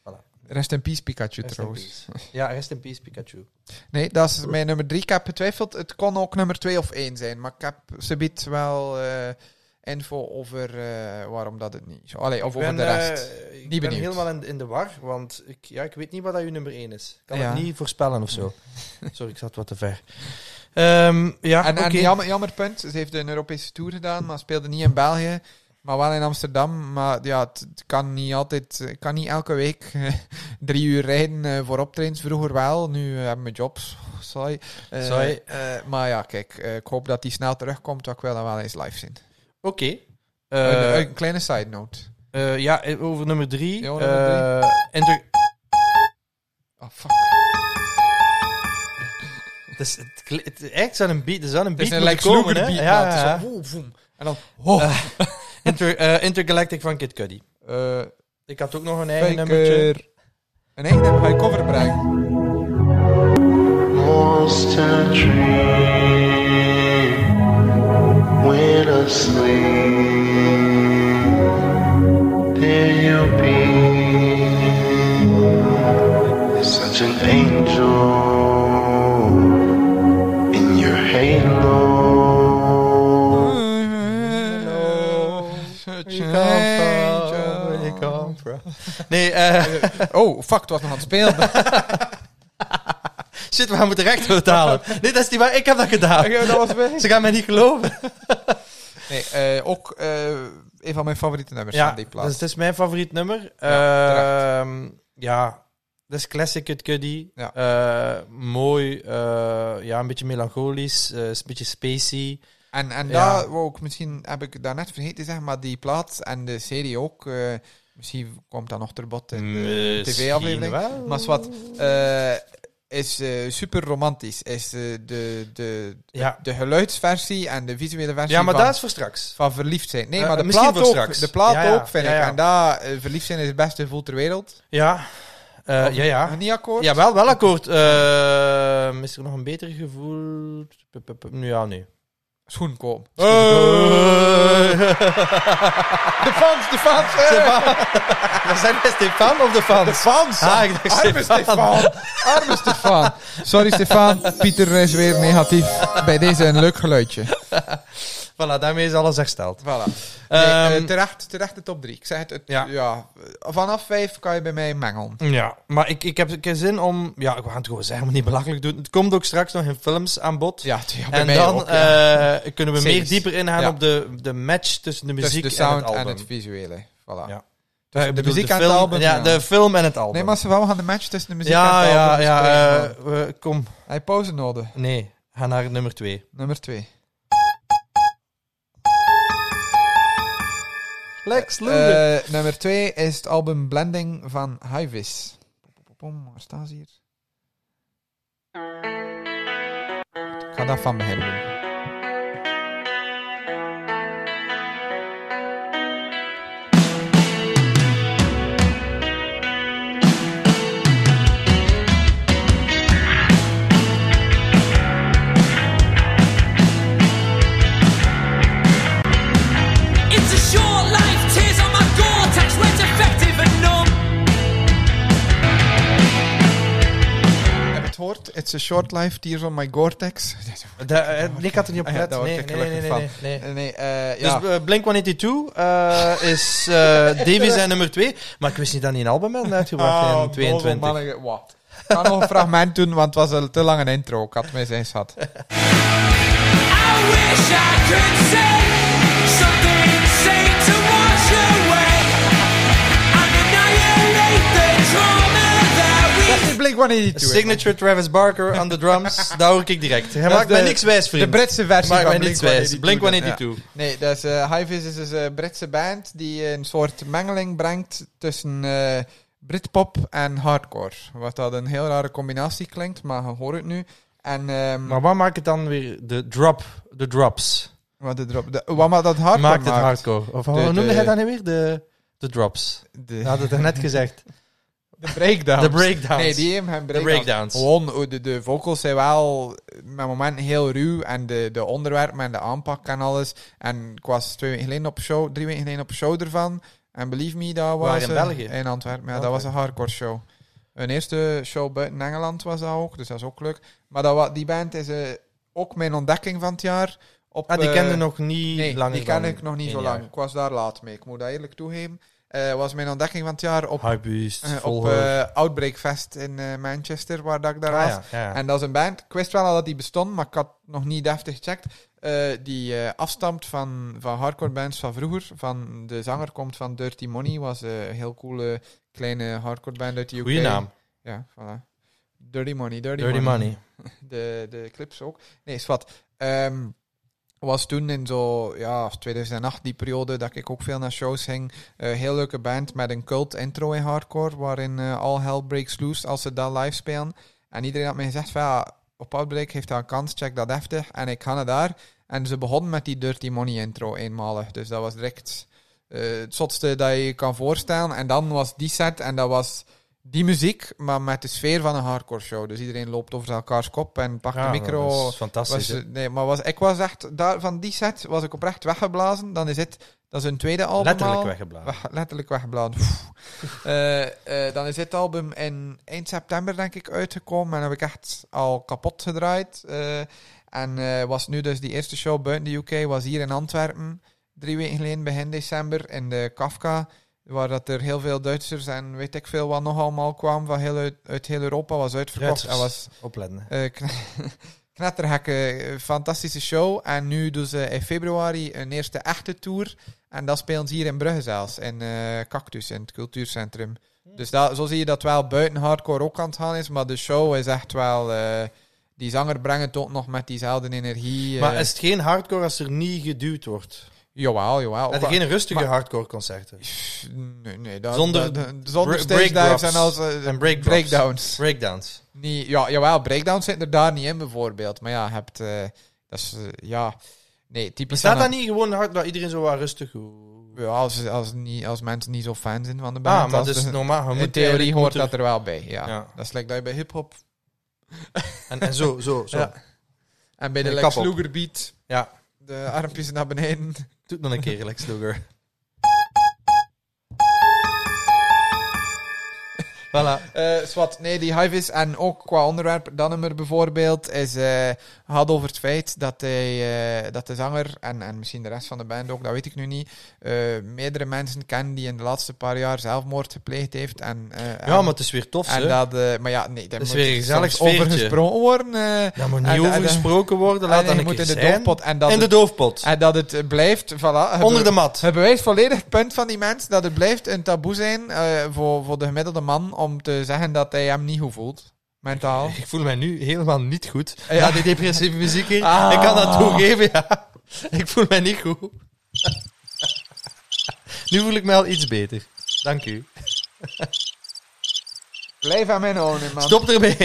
A: Voilà.
B: Rest in peace, Pikachu
A: Rest in
B: trouwens.
A: peace. Ja, rest in peace, Pikachu.
B: Nee, dat is mijn nummer drie. Ik heb getwijfeld, het kon ook nummer twee of één zijn. Maar ik heb ze biedt wel eh, info over eh, waarom dat het niet zo... Allee, of
A: Ik ben,
B: over de rest.
A: eh, ik
B: Niet
A: ben
B: benieuwd.
A: helemaal in, in de war, want ik, ja, ik weet niet wat dat uw nummer 1 is. Ik kan
B: Ja.
A: het niet voorspellen of zo. Sorry, ik zat wat te ver. Ehm, ja,
B: en
A: oké.
B: en jammer, jammer punt, ze heeft een Europese tour gedaan, maar speelde niet in België. Maar wel in Amsterdam. Maar ja, het het kan niet altijd... Ik kan niet elke week eh, drie uur rijden eh, voor optredens. Vroeger wel, nu eh, hebben we jobs. Sorry. Eh,
A: Saai.
B: eh, maar ja, kijk, eh, ik hoop dat die snel terugkomt, want ik wil dat wel eens live zien.
A: Oké.
B: Een-
A: Eh,
B: een kleine side note.
A: eh, ja, eh, over nummer Eh, 3.
B: Ja, over nummer Oh, fuck.
A: het is, het, kle- het is echt zo'n beat. Het is wel een
B: Het
A: beat
B: is een
A: moeten
B: Lex Luger
A: komen,
B: beat. dus
A: hè?
B: Ja,
A: Ja, ja, ja.
B: En dan... Oh,
A: Inter, eh, Intergalactic van Kid Cudi.
B: eh,
A: Ik had ook nog een eigen nummertje.
B: Faker. Een eigen nummer ga je cover brengen.
K: lost in a dream when
A: eh,
B: Oh, fuck, het was nog aan het spelen.
A: shit, we gaan moeten recht betalen. nee, dat is niet waar. Ik heb dat gedaan.
B: dat was
A: Ze gaan mij niet geloven.
B: Nee, eh, ook eh, een van mijn favoriete nummers
A: Ja,
B: van die plaats.
A: dus het is mijn favoriet nummer.
B: Ja,
A: Ja, ja dat is classic Kid Cudi.
B: Ja.
A: Eh, mooi, eh, ja, een beetje melancholisch, eh, een beetje spacey.
B: En, en
A: Ja.
B: daar wou ik misschien, heb ik daarnet vergeten te zeggen, maar die plaat en de serie ook, eh, misschien komt dat nog ter bod
A: Mm.
B: in de tv-aflevering. Maar wat is eh, super romantisch. Is eh, de, de,
A: Ja.
B: de geluidsversie en de visuele versie
A: ja, maar
B: van,
A: dat is voor straks.
B: van verliefd zijn. Nee,
A: Eh,
B: maar de
A: misschien
B: plaat,
A: voor
B: ook,
A: straks.
B: de plaat
A: Ja, ja.
B: ook, vind
A: Ja, ja.
B: ik. En daar, eh, verliefd zijn is het beste gevoel ter wereld.
A: Ja, Eh, ja, ja.
B: Niet Oh, akkoord?
A: Ja, wel, wel akkoord. Eh, is er nog een beter gevoel? P- p- p- Nu ja, nu.
B: Schoen komen.
A: De fans, de fans.
B: eh.
A: We zijn de Stefan of de fans? De fans. Ah, ik dacht
B: Arme
A: Stefan.
B: Stefan. Arme Stefan. Sorry Stefan, Pieter is weer negatief. Bij deze een leuk geluidje.
A: Voilà, daarmee is alles hersteld.
B: Voilà. Nee,
A: Ehm,
B: eh, terecht, terecht de top 3. Ik zeg het, het-
A: Ja.
B: ja. vanaf 5 kan je bij mij mengelen.
A: Ja, maar ik, ik, heb, ik heb zin om... Ja, we gaan het gewoon zeggen, we moeten niet belachelijk doen. Het komt ook straks nog in films aan bod.
B: Ja, t- ja, bij
A: en
B: mij
A: dan
B: ook, ja.
A: eh, kunnen we
B: Series.
A: meer dieper ingaan
B: Ja.
A: op de, de match tussen de
B: Tussen
A: muziek
B: de sound
A: en het album. Eh,
B: visuele. Voilà.
A: Ja.
B: Dus
A: Ik
B: de
A: bedoel,
B: muziek en
A: film-
B: het album.
A: Ja, de film en het album.
B: Nee, maar ze wel gaan de match tussen de muziek
A: ja,
B: en het
A: ja,
B: album.
A: ja,
B: bespreken,
A: eh, we- kom.
B: man. Hij pauze nodig.
A: Nee, ga naar nummer twee.
B: Nummer 2.
A: Lex
B: Eh nummer 2 is het album Blending van Hivis. Pom, waar staan ze hier? Ik ga dat van me hebben.
E: It's a short life, tears on my gore-tex, where it's effective and numb.
B: Heb je het gehoord? It's a short life, tears on my Gore-Tex.
A: ik eh, had er niet op
B: Ah ja,
A: gelet.
B: daar word
A: nee,
B: ik
A: nee, nee,
B: gelukkig
A: nee, nee, nee.
B: Eh, Nee, eh ja.
A: Dus eh, Blink-182 eh, is eh Davy zijn nummer 2. Maar ik wist niet dat hij een album had uitgebracht
B: Ah,
A: in
B: boven
A: 22.
B: mannen, wat? Ik ga nog een fragment doen, want het was een te lange intro. Ik had het mis eens gehad.
E: I wish I could say something insane to wash away and annihilate the trauma that we
B: Dat is Blink-182. hè.
A: Signature Travis Barker aan de drums. Daar hoor ik direct. Hij
B: Dat
A: maakt
B: is
A: mij
B: de-
A: niks wijs,
B: De
A: vriend.
B: Britse versie
A: Maakt
B: van
A: mij niks wijs.
B: Blink-182.
A: Blink-182.
B: Ja. Nee, dat is, eh Hive's is dus een Britse band die een soort mengeling brengt tussen eh, Britpop en hardcore. Wat dat een heel rare combinatie klinkt, maar je hoort het nu. En ehm,
A: Maar wat maakt het dan weer? De drop. De drops.
B: wat, de drop, de, wat maar dat hardcore
A: maakt het hardcore. Of hoe
B: De-
A: noemde
B: de-
A: hij dat nu weer? De, de drops.
B: De,
A: Je had het er net gezegd.
B: de breakdowns.
A: De breakdowns.
B: Nee, die hebben geen
A: De
B: breakdowns.
A: breakdowns.
B: Gewoon, hoe de, de vocals zijn wel met moment heel ruw. En de, de onderwerpen en de aanpak en alles. En ik was twee weken geleden op show, drie weken geleden op show ervan. En believe me, dat was...
A: Waar in
B: eh,
A: België?
B: In Antwerpen, ja.
A: Antwerpen.
B: Dat was een hardcore show. Een eerste show buiten Engeland was dat ook, dus dat is ook leuk. Maar dat, wa- die band is eh, ook mijn ontdekking van het jaar. Op,
A: Ah, die
B: eh,
A: kende nog niet
B: Nee,
A: langer
B: die ken
A: dan
B: ik nog niet
A: één
B: zo
A: jaar.
B: lang. Ik was daar laat mee, ik moet dat eerlijk toegeven. Eh was mijn ontdekking van het jaar op
A: Hypebeast,
B: eh, op
A: Volheur.
B: eh, Outbreak Fest in eh, Manchester, waar dat ik daar
A: Ah,
B: was.
A: ja, ja, ja.
B: En dat is een band. Ik wist wel al dat die bestond, maar ik had nog niet deftig gecheckt. eh, die eh, afstamt van, van hardcore bands van vroeger. Van de zanger komt van Dirty Money, was eh, een heel coole kleine hardcore band uit de UK.
A: Goeie naam.
B: Ja, voilà. Dirty Money, Dirty,
A: Dirty
B: money
A: Money.
B: de, de clips ook. Nee, is wat. Ehm, was toen in zo, ja, 2008, die periode dat ik ook veel naar shows ging. Eh, heel leuke band met een cult intro in hardcore, waarin eh, all hell breaks loose als ze dat live spelen. En iedereen had mij gezegd van, ja, op Outbreak heeft daar een kans, check dat heftig. En ik ga naar daar. En ze begonnen met die Dirty Money intro eenmalig. Dus dat was direct eh, het zotste dat je je kan voorstellen. En dan was die set en dat was die muziek, maar met de sfeer van een hardcore show. Dus iedereen loopt over elkaars kop en pakt
A: Ja,
B: de micro.
A: dat is fantastisch. hè.
B: Was, nee, maar was, ik was echt, daar, van die set was ik oprecht weggeblazen. Dan is het, dat is hun tweede album.
A: Letterlijk
B: al.
A: weggeblazen.
B: Weg- letterlijk weggeblazen. Oef. Eh, eh, dan is dit album in eind september, denk ik, uitgekomen. En heb ik echt al kapot gedraaid. Eh, en eh, was nu dus die eerste show buiten de UK, was hier in Antwerpen. Drie weken geleden, begin december, in de Kafka. Waar dat er heel veel Duitsers en weet ik veel wat nog allemaal kwamen van heel uit, uit heel Europa, was uitverkocht.
A: Duitsers.
B: Dat was
A: Opletten.
B: eh, kn- knettergekke, eh, fantastische show. En nu doen ze in februari een eerste echte tour. En dat spelen ze hier in Brugge zelfs, in eh, Cactus, in het cultuurcentrum.
A: Hmm.
B: Dus dat, zo zie je dat wel buiten hardcore ook aan het gaan is. Maar de show is echt wel... eh, die zanger brengt het ook nog met diezelfde energie. eh.
A: Maar is het geen hardcore als er niet geduwd wordt?
B: Jawel, jawel.
A: Heb je
B: Ook-
A: geen rustige
B: Oh, maar-
A: hardcore concerten?
B: Nee, nee. Dat,
A: Zonder-
B: dat- zonder
A: Bre-
B: stage dives
A: breakdrops
B: en als... eh,
A: en breakdrops.
B: breakdowns.
A: Breakdowns.
B: Nee, ja, jawel, breakdowns zitten er daar niet in bijvoorbeeld. Maar ja, je hebt... eh, dat is... eh, ja... Nee, typisch...
A: Staat
B: aan
A: dat
B: een-
A: niet gewoon hard, dat iedereen zo wat rustig... hoe-
B: Ja, als, als, niet, als mensen niet zo fan zijn van de band.
A: Ah, maar
B: als
A: dat is
B: de-
A: normaal. Je
B: in
A: moet
B: theorie
A: eigenlijk-
B: hoort
A: moet
B: dat er wel bij, ja.
A: Ja.
B: Dat is like dat je bij hip-hop
A: En, en zo, zo, zo.
B: Ja. en bij de
A: Met
B: Lex
A: kap op.
B: Luger beat
A: Ja.
B: de armpjes naar beneden.
A: Doe het nog een keer, Lex Luger. voilà.
B: Eh, zwart, nee, die Hive is. En ook qua onderwerp, dat nummer bijvoorbeeld, is, eh, gaat over het feit dat, hij, eh, dat de zanger en, en misschien de rest van de band ook, dat weet ik nu niet, eh, meerdere mensen kennen die in de laatste paar jaar zelfmoord gepleegd heeft. En, eh, en-
A: Ja, maar het is weer tof,
B: en
A: hè?
B: dat, eh, maar ja, nee, daar
A: is
B: moet
A: weer een gezellig
B: soms over
A: sfeertje.
B: gesproken worden. eh,
A: Daar moet
B: en-
A: niet
B: en-
A: over
B: en-
A: gesproken worden.
B: en
A: Laat dat
B: je
A: een
B: moet
A: keer
B: in de
A: zijn.
B: doofpot. En dat,
A: in de
B: het,
A: doofpot.
B: en dat het eh, blijft, voilà.
A: Onder de
B: hebben-
A: mat.
B: het bewijst volledig het punt van die mensen dat het blijft een taboe zijn eh, voor, voor de gemiddelde man om te zeggen dat hij hem niet goed voelt. Mentaal.
A: Ik voel mij nu helemaal niet goed.
B: Ah, Ja.
A: Ja, die depressieve muziek hier.
B: Ah.
A: Ik kan dat toegeven, ja. Ik voel mij niet goed. nu voel ik mij al iets beter. Dank u.
B: Blijf aan mijn honen, man.
A: Stop ermee.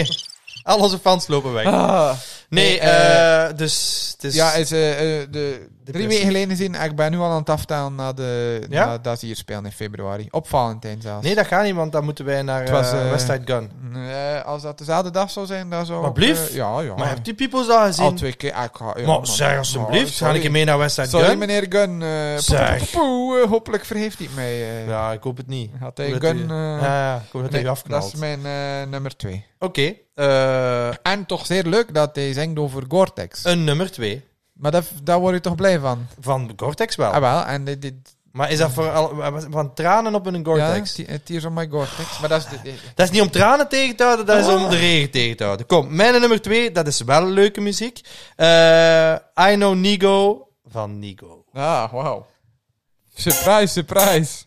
A: Al onze fans lopen weg.
B: Ah.
A: nee,
B: nee, eh,
A: eh, dus het is...
B: Ja, is, eh, eh, de, drie
A: Depressie.
B: weken geleden gezien. Ik ben nu al aan het aftellen naar de,
A: Ja?
B: naar dat ze hier spelen in februari. Op Valentijn zelfs.
A: nee, dat gaat niet, want dan moeten wij naar
B: Het was,
A: eh,
B: eh,
A: West Side Gun.
B: Eh, als dat dezelfde dag zou zijn, dan zou
A: Maar
B: ik,
A: blieft.
B: eh, ja, ja.
A: Maar heb je People's al gezien?
B: Al twee keer. ah, ik ga- ja,
A: maar
B: man.
A: zeg
B: Ah,
A: alsjeblieft, ga
B: sorry.
A: ik mee naar West Side
B: Sorry,
A: Gun?
B: meneer Gun. eh,
A: Zeg.
B: poepoepoepoe, eh, hopelijk verheeft hij het mij. eh.
A: Ja, ik hoop het niet.
B: Had hij
A: Ik hoop
B: Gun...
A: dat u-
B: eh,
A: ja, ja, ik hoop dat hij
B: nee,
A: u afknalt.
B: dat is mijn eh, nummer twee.
A: Oké, eh,
B: En toch zeer leuk dat hij zingt over Gore-Tex.
A: een nummer twee.
B: maar dat, daar word je toch blij van?
A: Van Gore-Tex wel.
B: Ah wel, en dit... dit
A: Maar is dat voor al- van tranen op een Gore-Tex?
B: Ja, Te- eh, Tears on my Gore-Tex. Maar dat is... de- de-
A: Dat is niet om tranen tegen te houden, dat is
B: Oh.
A: om de regen tegen te houden. Kom, mijn nummer twee, dat is wel leuke muziek. Eh, I Know Nigo van Nigo.
B: ah, wauw. Surprise, surprise.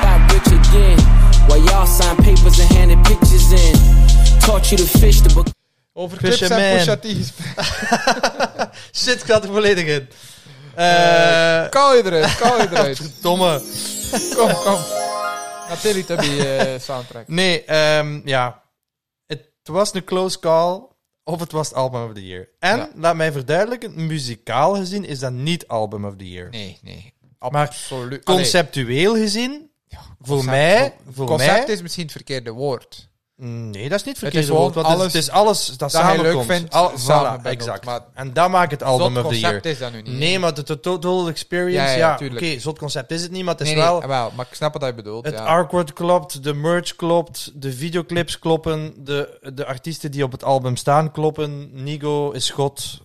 C: Got rich again. While y'all sign papers and handed pictures in. Taught you to fish the book.
B: Over
A: Pusha
B: clips en
A: Man.
B: Pusha T gesproken.
A: Shit, ik had er volledig in.
B: Eh, Kou je eruit, kou je
A: Eh,
B: eruit.
A: domme.
B: Kom, kom. Naar Teletubby eh soundtrack.
A: Nee, ehm, ja. Het was een close call. Of het was het album of the year. En,
B: Ja.
A: laat mij verduidelijken, muzikaal gezien is dat niet album of the year.
B: Nee, nee.
A: Maar
B: Absoluut.
A: Conceptueel gezien, voor mij... Voor
B: Concept
A: mij,
B: is misschien het verkeerde woord.
A: Nee, dat is niet
B: Het
A: verkeerd.
B: is gewoon
A: woord, want Het is,
B: alles
A: het is alles dat,
B: hij
A: samenkomt.
B: leuk vindt,
A: Al-
B: samen
A: voilà,
B: bundelt,
A: exact.
B: maar-
A: en dat maakt het
B: Zot
A: album of the year.
B: concept is dat nu niet.
A: Nee, maar de to- total experience,
B: Ja,
A: ja,
B: ja,
A: oké,
B: tuurlijk.
A: zot concept is het niet, maar het is
B: nee, nee,
A: wel...
B: ah, wel, maar ik snap wat hij bedoelt.
A: het
B: ja.
A: artwork klopt, de merch klopt, de videoclips kloppen, de, de artiesten die op het album staan kloppen. Nigo is god.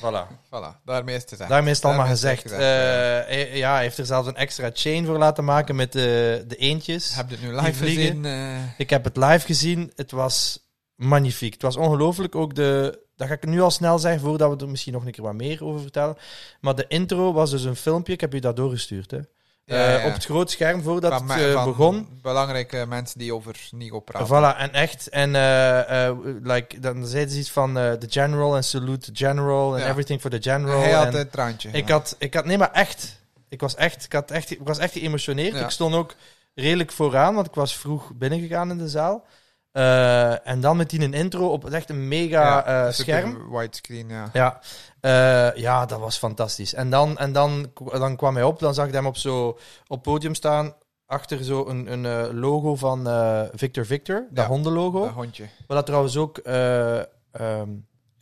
A: Voilà.
B: Voilà, daarmee is het gezegd.
A: Daarmee is het allemaal
B: Daarmee is
A: gezegd.
B: het gezegd,
A: Eh, hij- ja, hij heeft er zelfs een extra chain voor laten maken met eh, de, de eentjes.
B: Heb je het nu
A: die
B: live
A: vliegen.
B: gezien? eh,
A: Ik heb het live gezien. Het was magnifiek. Het was ongelooflijk. Ook de. Dat ga ik nu al snel zeggen, voordat we er misschien nog een keer wat meer over vertellen. Maar de intro was dus een filmpje. Ik heb u dat doorgestuurd. Hè.
B: ja,
A: Eh,
B: ja.
A: op het groot scherm voordat
B: van-
A: het eh,
B: van
A: begon.
B: Belangrijke mensen die over Nigo praten.
A: Voilà, en echt. En eh, eh, like, dan zeiden ze iets van eh, The General en Salute the General en
B: Ja.
A: Everything for the General.
B: Hij had
A: en
B: het traantje.
A: ik,
B: ja.
A: had, ik had, nee, maar echt. Ik was echt, ik had echt, ik was echt geëmotioneerd.
B: Ja.
A: Ik stond ook redelijk vooraan, want ik was vroeg binnengegaan in de zaal. Eh, en dan met die een intro op echt een mega
B: Ja,
A: eh,
B: super
A: scherm.
B: Widescreen, ja.
A: Ja. Eh, ja, dat was fantastisch. En dan, en dan, dan kwam hij op, dan zag ik hem op zo op podium staan. Achter zo een, een eh, logo van eh, Victor Victor, dat
B: Ja.
A: hondenlogo.
B: Dat hondje.
A: Wat dat trouwens ook eh, ehm,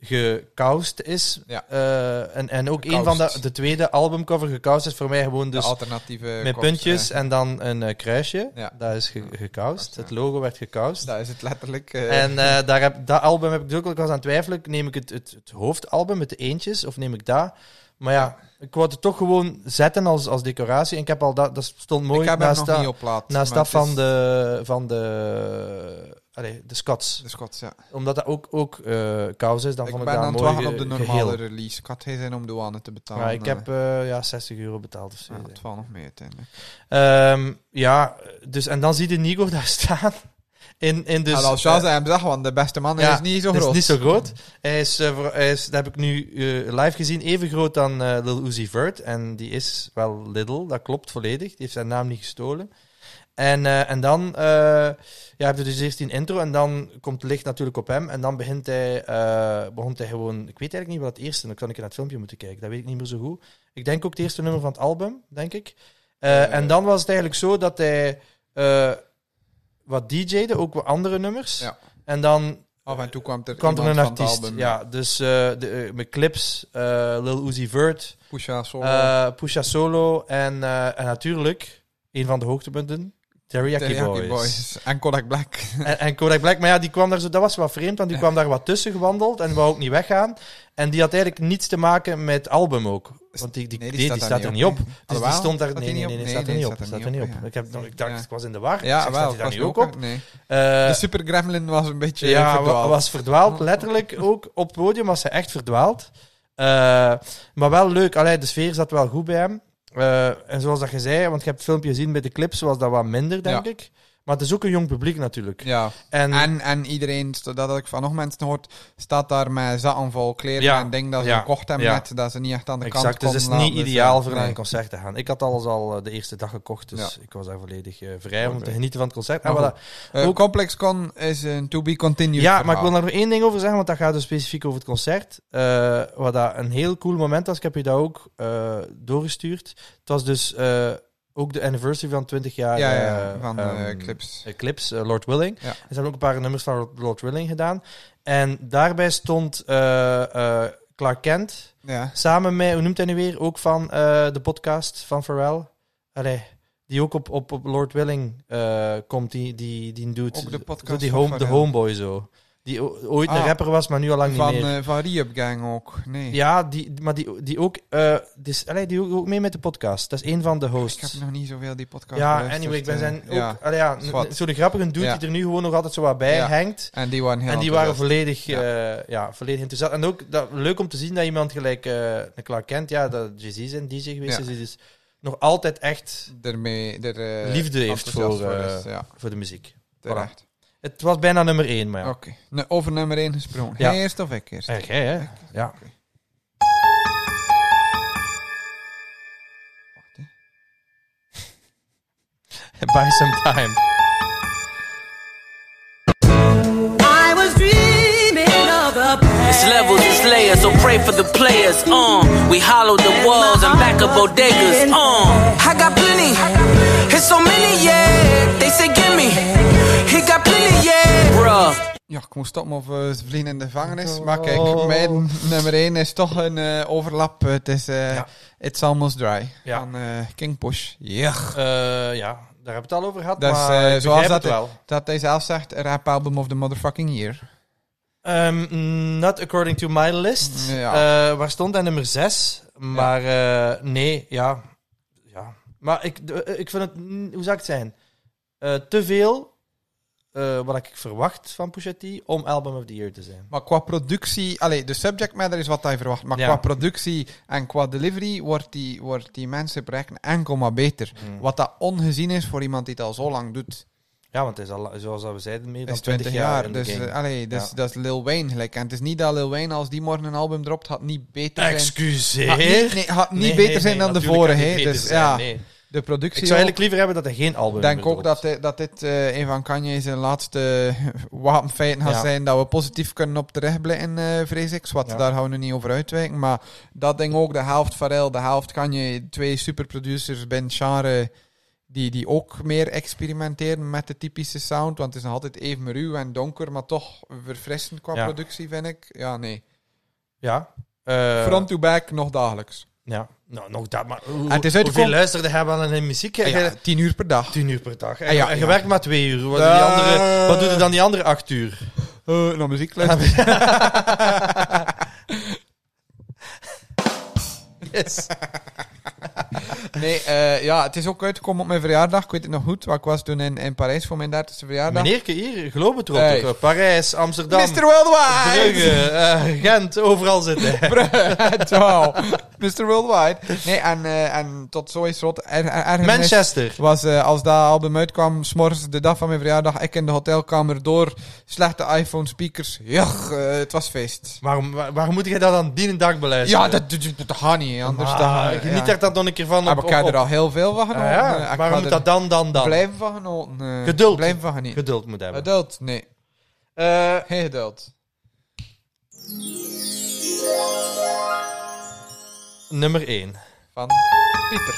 A: gekaust is.
B: Ja.
A: Eh, en, en ook een
B: Gekaust.
A: van de, de tweede albumcover gekaust is voor mij gewoon
B: de
A: dus
B: alternatieve
A: met
B: kost,
A: puntjes
B: eh,
A: en dan een eh, kruisje.
B: Ja.
A: Dat is ge- gekaust. Het logo werd gekaust.
B: Daar is het letterlijk. eh,
A: En eh, daar heb, dat album heb ik dus ook al ik was aan het twijfelen. Neem ik het, het, het hoofdalbum met de eentjes of neem ik dat? Maar ja, ik wou het toch gewoon zetten als, als decoratie. En ik heb al dat, dat stond mooi
B: ik heb hem
A: naast
B: nog
A: dat,
B: niet op plaat.
A: naast
B: maar
A: dat
B: het is
A: van de, van de, allee, de Scots.
B: De Scots, ja.
A: Omdat dat ook, ook eh kous is, dan
B: ik
A: vond
B: ben
A: ik
B: aan
A: dat een
B: het
A: mooi
B: wachten op
A: ge-
B: de normale
A: geheel.
B: release. Ik had geen zin om douane te betalen.
A: Maar ik
B: eh. Ah,
A: heb eh, ja, 60 euro betaald of zo.
B: Ja, het valt nog mee uiteindelijk.
A: Ehm, ja, dus, en dan zie je Nico daar staan. In, in dus,
B: Dus, als Charles hem zag, want de beste man
A: ja, dus
B: is niet zo
A: dat
B: groot.
A: is niet zo groot. Hij is, eh, voor- hij is, dat heb ik nu eh, live gezien, even groot dan eh, Lil Uzi Vert. En die is wel Lidl, dat klopt volledig. Die heeft zijn naam niet gestolen. En, eh, en dan eh, ja, heb je dus eerst die intro en dan komt het licht natuurlijk op hem. En dan begint hij, eh, begon hij gewoon... Ik weet eigenlijk niet wat het eerste... Dan kan ik naar het filmpje moeten kijken, dat weet ik niet meer zo goed. Ik denk ook het eerste nummer van het album, denk ik. Eh,
B: Eh.
A: en dan was het eigenlijk zo dat hij eh, wat DJ'de, ook wat andere nummers.
B: Ja.
A: En dan
B: Af en toe kwam er,
A: kwam er
B: iemand
A: een
B: van het
A: artiest.
B: album.
A: ja, dus eh, de, eh, met clips, eh, Lil Uzi Vert,
B: Pusha Solo.
A: eh Pusha Solo en, eh, en natuurlijk, een van de hoogtepunten, Teriyaki,
B: Teriyaki
A: Boys.
B: Boys. En Kodak Black.
A: En, en Kodak Black, maar ja, die kwam daar zo, dat was wat vreemd, want die kwam daar wat tussen gewandeld en wou ook niet weggaan. En die had eigenlijk niets te maken met het album ook. Want die, die,
B: Nee,
A: nee,
B: die
A: die,
B: staat daar
A: staat er
B: niet
A: niet
B: op,
A: op.
B: nee.
A: Dus die
B: Alhoewel,
A: stond daar...
B: staat
A: Nee,
B: die
A: nee, nee,
B: niet op?
A: nee, staat er
B: Nee,
A: niet
B: nee,
A: op.
B: staat er
A: Staat
B: niet
A: er niet
B: op,
A: op.
B: ja.
A: Ik, heb, nog- ik dacht,
B: Ja.
A: ik was in de war. Ik
B: Ja,
A: zeg,
B: wel. Dus
A: Staat hij daar
B: was
A: niet
B: nu
A: ook op?
B: ook- Nee.
A: Eh,
B: de Super Gremlin was een beetje
A: ja,
B: ja,
A: wa-
B: verdwaald.
A: was verdwaald. Letterlijk ook op het podium was hij echt verdwaald. Eh, maar wel leuk. Allee, de sfeer zat wel goed bij hem. Eh, en zoals dat je zei, want je hebt het filmpje gezien bij de clips, was dat wat minder, denk
B: Ja.
A: ik. Maar het is ook een jong publiek natuurlijk.
B: Ja.
A: En,
B: En, en iedereen, dat had ik van nog mensen hoort, staat daar met zakken vol kleren
A: Ja.
B: en denkt dat ze
A: Ja.
B: gekocht hebben
A: Ja.
B: net, dat ze niet echt aan de kant
A: exact, dus
B: konden
A: het is
B: laten,
A: niet
B: dus,
A: ideaal
B: eh,
A: voor
B: nee.
A: naar een concert te gaan. Ik had alles al eh, de eerste dag gekocht, dus ik was daar volledig eh, vrij om
B: Oké.
A: te genieten van het concert.
B: Maar
A: En
B: goed.
A: voilà.
B: Eh,
A: Ook-
B: ComplexCon is een to be continued
A: Ja, maar ik
B: verhaal.
A: wil daar nog één ding over zeggen, want dat gaat dus specifiek over het concert. Eh, wat dat een heel cool moment was, ik heb je dat ook eh, doorgestuurd. Het was dus eh, ook de anniversary van 20 jaar
B: Ja, ja,
A: eh,
B: van eh,
A: ehm,
B: clips.
A: eh, clips, eh, Lord Willing.
B: Ja.
A: En ze hebben ook een paar nummers van Lord Willing gedaan. En daarbij stond eh, eh, Clark Kent
B: Ja.
A: samen met, hoe noemt hij nu weer, ook van eh, de podcast van Pharrell. Allee, die ook op, op, op Lord Willing eh, komt, die, die, die doet
B: Ook de podcast
A: zo die
B: van
A: home, de
B: Pharrell.
A: homeboy zo. Die o- ooit
B: Ah.
A: een rapper was, maar nu al lang
B: Van,
A: niet meer.
B: eh, van Re-Up Gang ook. Nee,
A: ja, die, maar die, die ook, eh, die, is- allee, die ook, ook mee met de podcast. Dat is een van de
B: ik heb
A: hosts.
B: nog niet zoveel die podcast
A: Ja,
B: beluisterd,
A: anyway, ik ben
B: eh,
A: zijn ook,
B: ja.
A: allee, ja,
B: is wat.
A: n- zo'n grappige dude
B: Ja.
A: die er nu gewoon nog altijd zo wat bij
B: Ja.
A: hangt.
B: En die waren heel
A: En die waren
B: enthousiast.
A: volledig,
B: Ja.
A: ja. ja, volledig enthousiast. En ook dat, leuk om te zien dat iemand gelijk eh een Clark Kent, ja, dat Jay-Z zijn DJ geweest
B: Ja.
A: is, die dus nog altijd echt
B: Daarmee, daar, eh,
A: liefde heeft
B: enthousiast
A: voor, eh,
B: is, ja,
A: voor de muziek.
B: terecht.
A: Het was bijna nummer één, maar ja.
B: Oké, Nou, over nummer 1 gesprongen.
A: Ja.
B: Jij eerst of ik eerst?
A: Erg, hè? hè? Ja.
B: Wacht, hè.
A: Buy some time.
E: I was dreaming of a
C: It's levels, it's layers, so pray for the players. Uh, we hollowed the walls and back of bodegas. Uh, I got plenty, it's so many, yeah. They say, give me, he got plenty, yeah. Bruh.
B: Ja, ik moest stoppen of we vliegen in de
A: Oh.
B: gevangenis. Maar kijk, mijn nummer 1 is toch een eh, overlap. Het is eh,
A: Ja.
B: It's Almost Dry
A: Ja.
B: van eh, King Push. Ja.
A: Eh, ja, daar hebben we het al over gehad,
B: Dat is,
A: maar
B: eh,
A: ik
B: zoals
A: begrijp
B: dat
A: het wel.
B: Dat hij zelf zegt, rap album of the motherfucking year.
A: Ehm, not according to my list.
B: Ja.
A: Eh, waar stond hij nummer 6? Maar eh, nee, ja. ja. Maar ik, de- ik vind het, mm, hoe zou ik het zijn? Eh, te veel eh, wat ik verwacht van Pusha T om Album of the Year te zijn.
B: Maar qua productie, allee, de subject matter is wat hij verwacht. Maar
A: Ja.
B: qua productie en qua delivery wordt die, wordt die mensenprojecten enkel maar beter.
A: Hmm.
B: Wat dat ongezien is voor iemand die het al zo lang doet.
A: Ja, want het is al, zoals we zeiden, meer
B: Dat
A: dan
B: is 20 jaar.
A: in de
B: dus
A: game.
B: eh, allee, dus,
A: Ja.
B: dat is Lil Wayne gelijk. En het is niet dat Lil Wayne, als die morgen een album dropt, had niet beter zijn.
A: Excuseer.
B: Had eh, Ah, niet, nee, had niet
A: Nee,
B: beter
A: nee,
B: zijn
A: nee,
B: dan de
A: natuurlijk
B: vorige.
A: had
B: hè.
A: niet beter
B: Dus
A: zijn,
B: ja,
A: nee.
B: de productie.
A: Ik zou eigenlijk liever hebben dat hij geen album
B: Ik denk
A: meer
B: ook dat
A: dropt.
B: dit, dat dit eh, een van Kanye zijn laatste eh, wapenfeiten gaat
A: Ja.
B: zijn. Dat we positief kunnen op terechtblikken, eh vrees ik. Zwart,
A: Ja.
B: daar gaan we nu niet over uitwijken. Maar dat ding ook, de helft Pharrell, de helft Kanye. Twee superproducers binnen het genre die, die ook meer experimenteren met de typische sound. Want het is nog altijd even ruw en donker, maar toch verfrissend qua
A: Ja.
B: productie, vind ik. Ja, nee.
A: Ja. Eh,
B: Front to back, nog dagelijks.
A: Ja. Nou, nog dat. Maar hoe,
B: Ah, het is uit de
A: hoeveel
B: kom-
A: luisterde hij wel aan de muziek?
B: Ja,
A: Hij- hij-
B: tien uur per dag.
A: Tien uur per dag. En,
B: Ah, ja,
A: en je
B: ja.
A: werkt maar twee uur. Wat, doet
B: Eh.
A: die andere, wat doet er dan die andere acht uur?
B: Eh nou, muziek luisteren.
A: Yes.
B: Nee, eh, ja, het is ook uitgekomen op mijn verjaardag. Ik weet het nog goed, wat ik was toen in, in Parijs voor mijn 30e verjaardag.
A: Meneerke hier, Globetrotter.
B: Hey.
A: Parijs, Amsterdam,
B: Mr. Worldwide!
A: Brugge, eh, Gent, overal zitten.
B: Ciao. Mr. Worldwide. Nee, en, eh, en tot zo is rot. Er, er, ergernis
A: Manchester.
B: was eh, als dat album uitkwam, s'morgens de dag van mijn verjaardag, ik in de hotelkamer door slechte iPhone speakers. Juch, eh, het was feest.
A: Waarom, waar, waarom moet jij dat dan die een dag beluisteren?
B: Ja, dat, dat, dat gaat niet, anders
A: Ah,
B: dan... eh,
A: geniet
B: ja. Ah,
A: er dan nog een keer van.
B: Maar
A: Op,
B: ik heb
A: op-
B: er al heel veel van
A: Ah,
B: genoten. eh.
A: ja.
B: Ik
A: Waarom
B: ga
A: moet
B: er
A: dat dan, dan, dan?
B: Blijven van genoten. eh.
A: Geduld.
B: Blijven van genieten.
A: Geduld moet hebben.
B: Geduld, nee.
A: Eh,
B: Geen geduld.
A: nummer 1.
B: Van Pieter.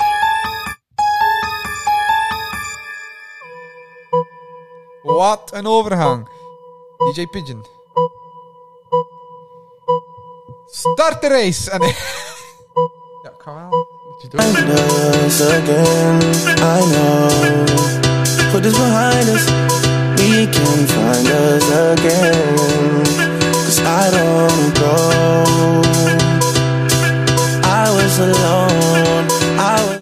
B: Wat een overgang. DJ Pigeon. Start de race. Ah, nee. ja, ik ga wel. Moet je doen.
H: Once again, I know. Put this behind us, we can find us again. Cause I don't go. I was alone. I was.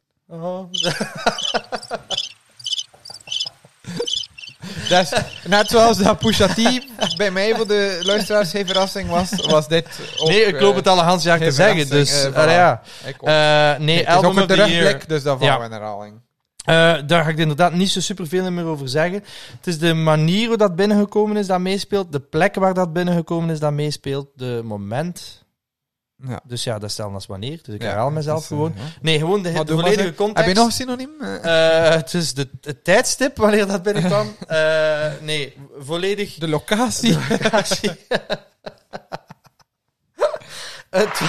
B: Dat is net zoals dat Pusha T bij mij voor de luisteraars geen verrassing was, was dit ook...
A: nee, ik
B: eh,
A: loop het al een hans jaar te
B: geen
A: zeggen. Dus,
B: verrassing, eh,
A: ah,
B: voilà.
A: ja.
B: ik ook.
A: Eh, nee,
B: het is
A: album
B: ook een
A: of the year.
B: terugblik, dus dat
A: Ja.
B: vallen we in herhaling.
A: Eh, daar ga ik inderdaad niet zo superveel meer over zeggen. Het is de manier hoe dat binnengekomen is dat meespeelt. De plek waar dat binnengekomen is dat meespeelt. De moment.
B: Ja.
A: Dus ja, dat stellen als wanneer. Dus ik
B: Ja,
A: herhaal
B: dat
A: mezelf
B: is, eh,
A: gewoon.
B: ja.
A: Nee, gewoon de,
B: Maar
A: de
B: doe maar
A: volledige
B: zo.
A: context.
B: Heb je nog een synoniem? Eh,
A: Eh, het is de, het tijdstip wanneer dat binnenkwam. Eh, nee, volledig
B: De locatie.
A: locatie. Het-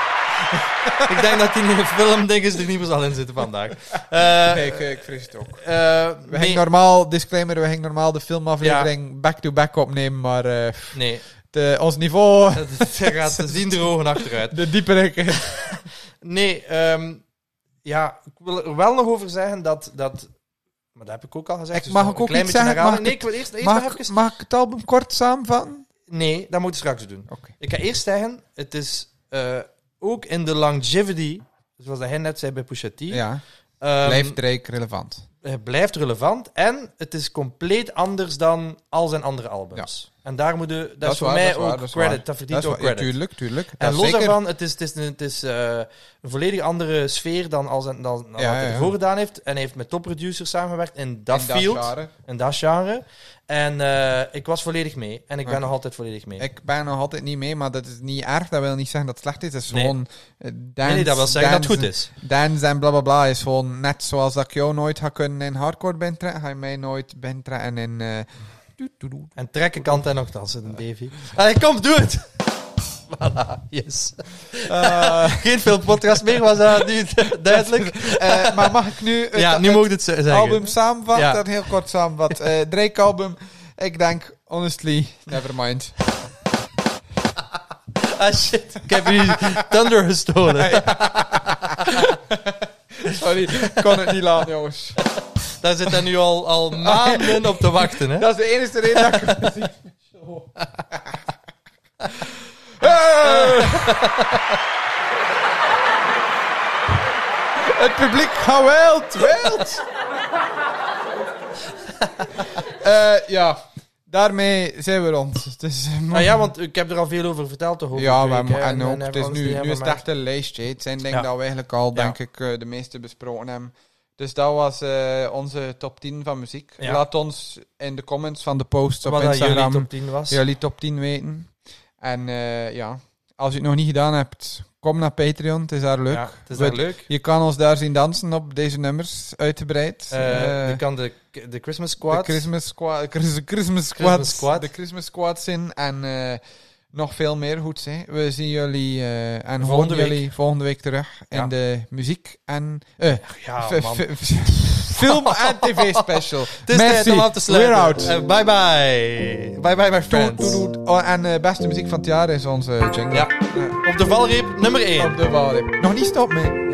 A: ik denk dat die nieuwe film dinges er niet meer zal in zitten vandaag. Eh,
B: Nee, ik, ik vrees het ook. We
A: eh, nee,
B: gingen normaal, disclaimer, we gingen normaal de filmaflevering back-to-back opnemen, maar eh,
A: nee,
B: de, ons niveau,
A: dat dat gaat ze zien de ogen achteruit.
B: de diepere...
A: Nee, ehm, ja, ik wil er wel nog over zeggen dat... dat maar dat heb ik ook al gezegd. dus
B: Ik mag
A: nog
B: ook
A: een klein
B: iets
A: beetje
B: zeggen?
A: herhalen.
B: Mag ik
A: Nee, ik wil eerst, eerst nog
B: Mag, ik-
A: even...
B: mag ik het album kort samenvatten?
A: Nee, dat moet ik straks doen.
B: Oké.
A: Ik ga eerst zeggen, het is eh, ook in de longevity, zoals hij net zei bij Pusha T,
B: Ja,
A: ehm,
B: blijft Drake relevant.
A: het blijft relevant en het is compleet anders dan al zijn andere albums. En daar moet je, dat, is voor
B: waar,
A: mij
B: dat is waar,
A: ook
B: dat is
A: credit,
B: waar.
A: dat verdient
B: is
A: ook
B: wa- ja,
A: credit.
B: tuurlijk, tuurlijk. Dat
A: en
B: is
A: los
B: zeker-
A: daarvan, het is, het is, een- het is eh, een volledig andere sfeer dan, al zijn, dan, dan
B: Ja,
A: wat hij
B: ja.
A: ervoor gedaan heeft. En hij heeft met topproducers samengewerkt in dat
B: in
A: field,
B: genre.
A: in dat genre. En eh, ik was volledig mee. En ik ben
B: Oké.
A: nog altijd volledig mee.
B: Ik ben nog altijd niet mee, maar dat is niet erg. Dat wil niet zeggen dat het slecht is. Het is
A: Nee.
B: gewoon eh, dance,
A: nee, nee, dat wil zeggen dat het goed
B: dance-
A: is.
B: Dance en blablabla bla, bla is gewoon net zoals dat ik jou nooit ga kunnen in hardcore bentrekken, ga je mij nooit bentrekken in... eh, doet, doet, doet.
A: En trekken kant en nogthans, een Davy. Allee, kom, doe het! Voilà, yes. Geen veel podcast meer, was dat nu duidelijk.
B: Eh, maar mag ik nu het,
A: Ja, nu
B: het
A: mogen het ze- zeggen.
B: album samenvatten?
A: Ja.
B: Dat heel kort samenvat. Eh Drake album, ik denk, honestly, never mind.
A: Ah, shit. Ik heb jullie Thunder gestolen.
B: Sorry, ik kon het niet laten, jongens.
A: Daar zit hij nu al, al maanden op te wachten, hè.
B: Dat is de enige reden dat ik het muziek- Zo. Het publiek gaat wild, wild. Eh, ja, daarmee zijn we rond. Dus, eh,
A: Ah ja, want ik heb er al veel over verteld, toch? over
B: ja,
A: Drake,
B: maar,
A: hè,
B: en ook,
A: en
B: het is
A: Everyone's
B: nu,
A: Day,
B: nu is het
A: maar-
B: echt een lijstje. Het zijn dingen
A: Ja.
B: dat we eigenlijk al,
A: Ja.
B: denk ik, eh, de meeste besproken hebben. Dus dat was eh, onze top 10 van muziek.
A: Ja.
B: Laat ons in de comments van de post op
A: Wat dat jullie
B: Instagram
A: top 10 was.
B: jullie top 10 weten. En eh, ja, als je het nog niet gedaan hebt, kom naar Patreon. Het is daar leuk.
A: Ja, het is wel
B: We-
A: leuk.
B: Je kan ons daar zien dansen op deze nummers, uitgebreid.
A: Eh,
B: Eh,
A: je kan de, de Christmas
B: de
A: Squad...
B: Christmas Squad. Chris- Christmas
A: Christmas
B: Squad.
A: Squad.
B: De Christmas Squad in. En eh, nog veel meer goed zijn. We zien jullie eh, en
A: Volgende
B: horen
A: week.
B: jullie volgende week terug in
A: Ja.
B: de muziek en eh,
A: Ja,
B: f-
A: man.
B: f- f- film en tv-special.
A: Het is tijd om af te sluiten.
B: We're out. Eh,
A: Eh, bye bye. Bye bye, my
B: Doe, doe,
A: friends.
B: doe. Oh, en eh beste muziek van het jaar is onze jingle.
A: Ja. Op de valreep nummer 1.
B: Op de walrip. Nog niet stop, man.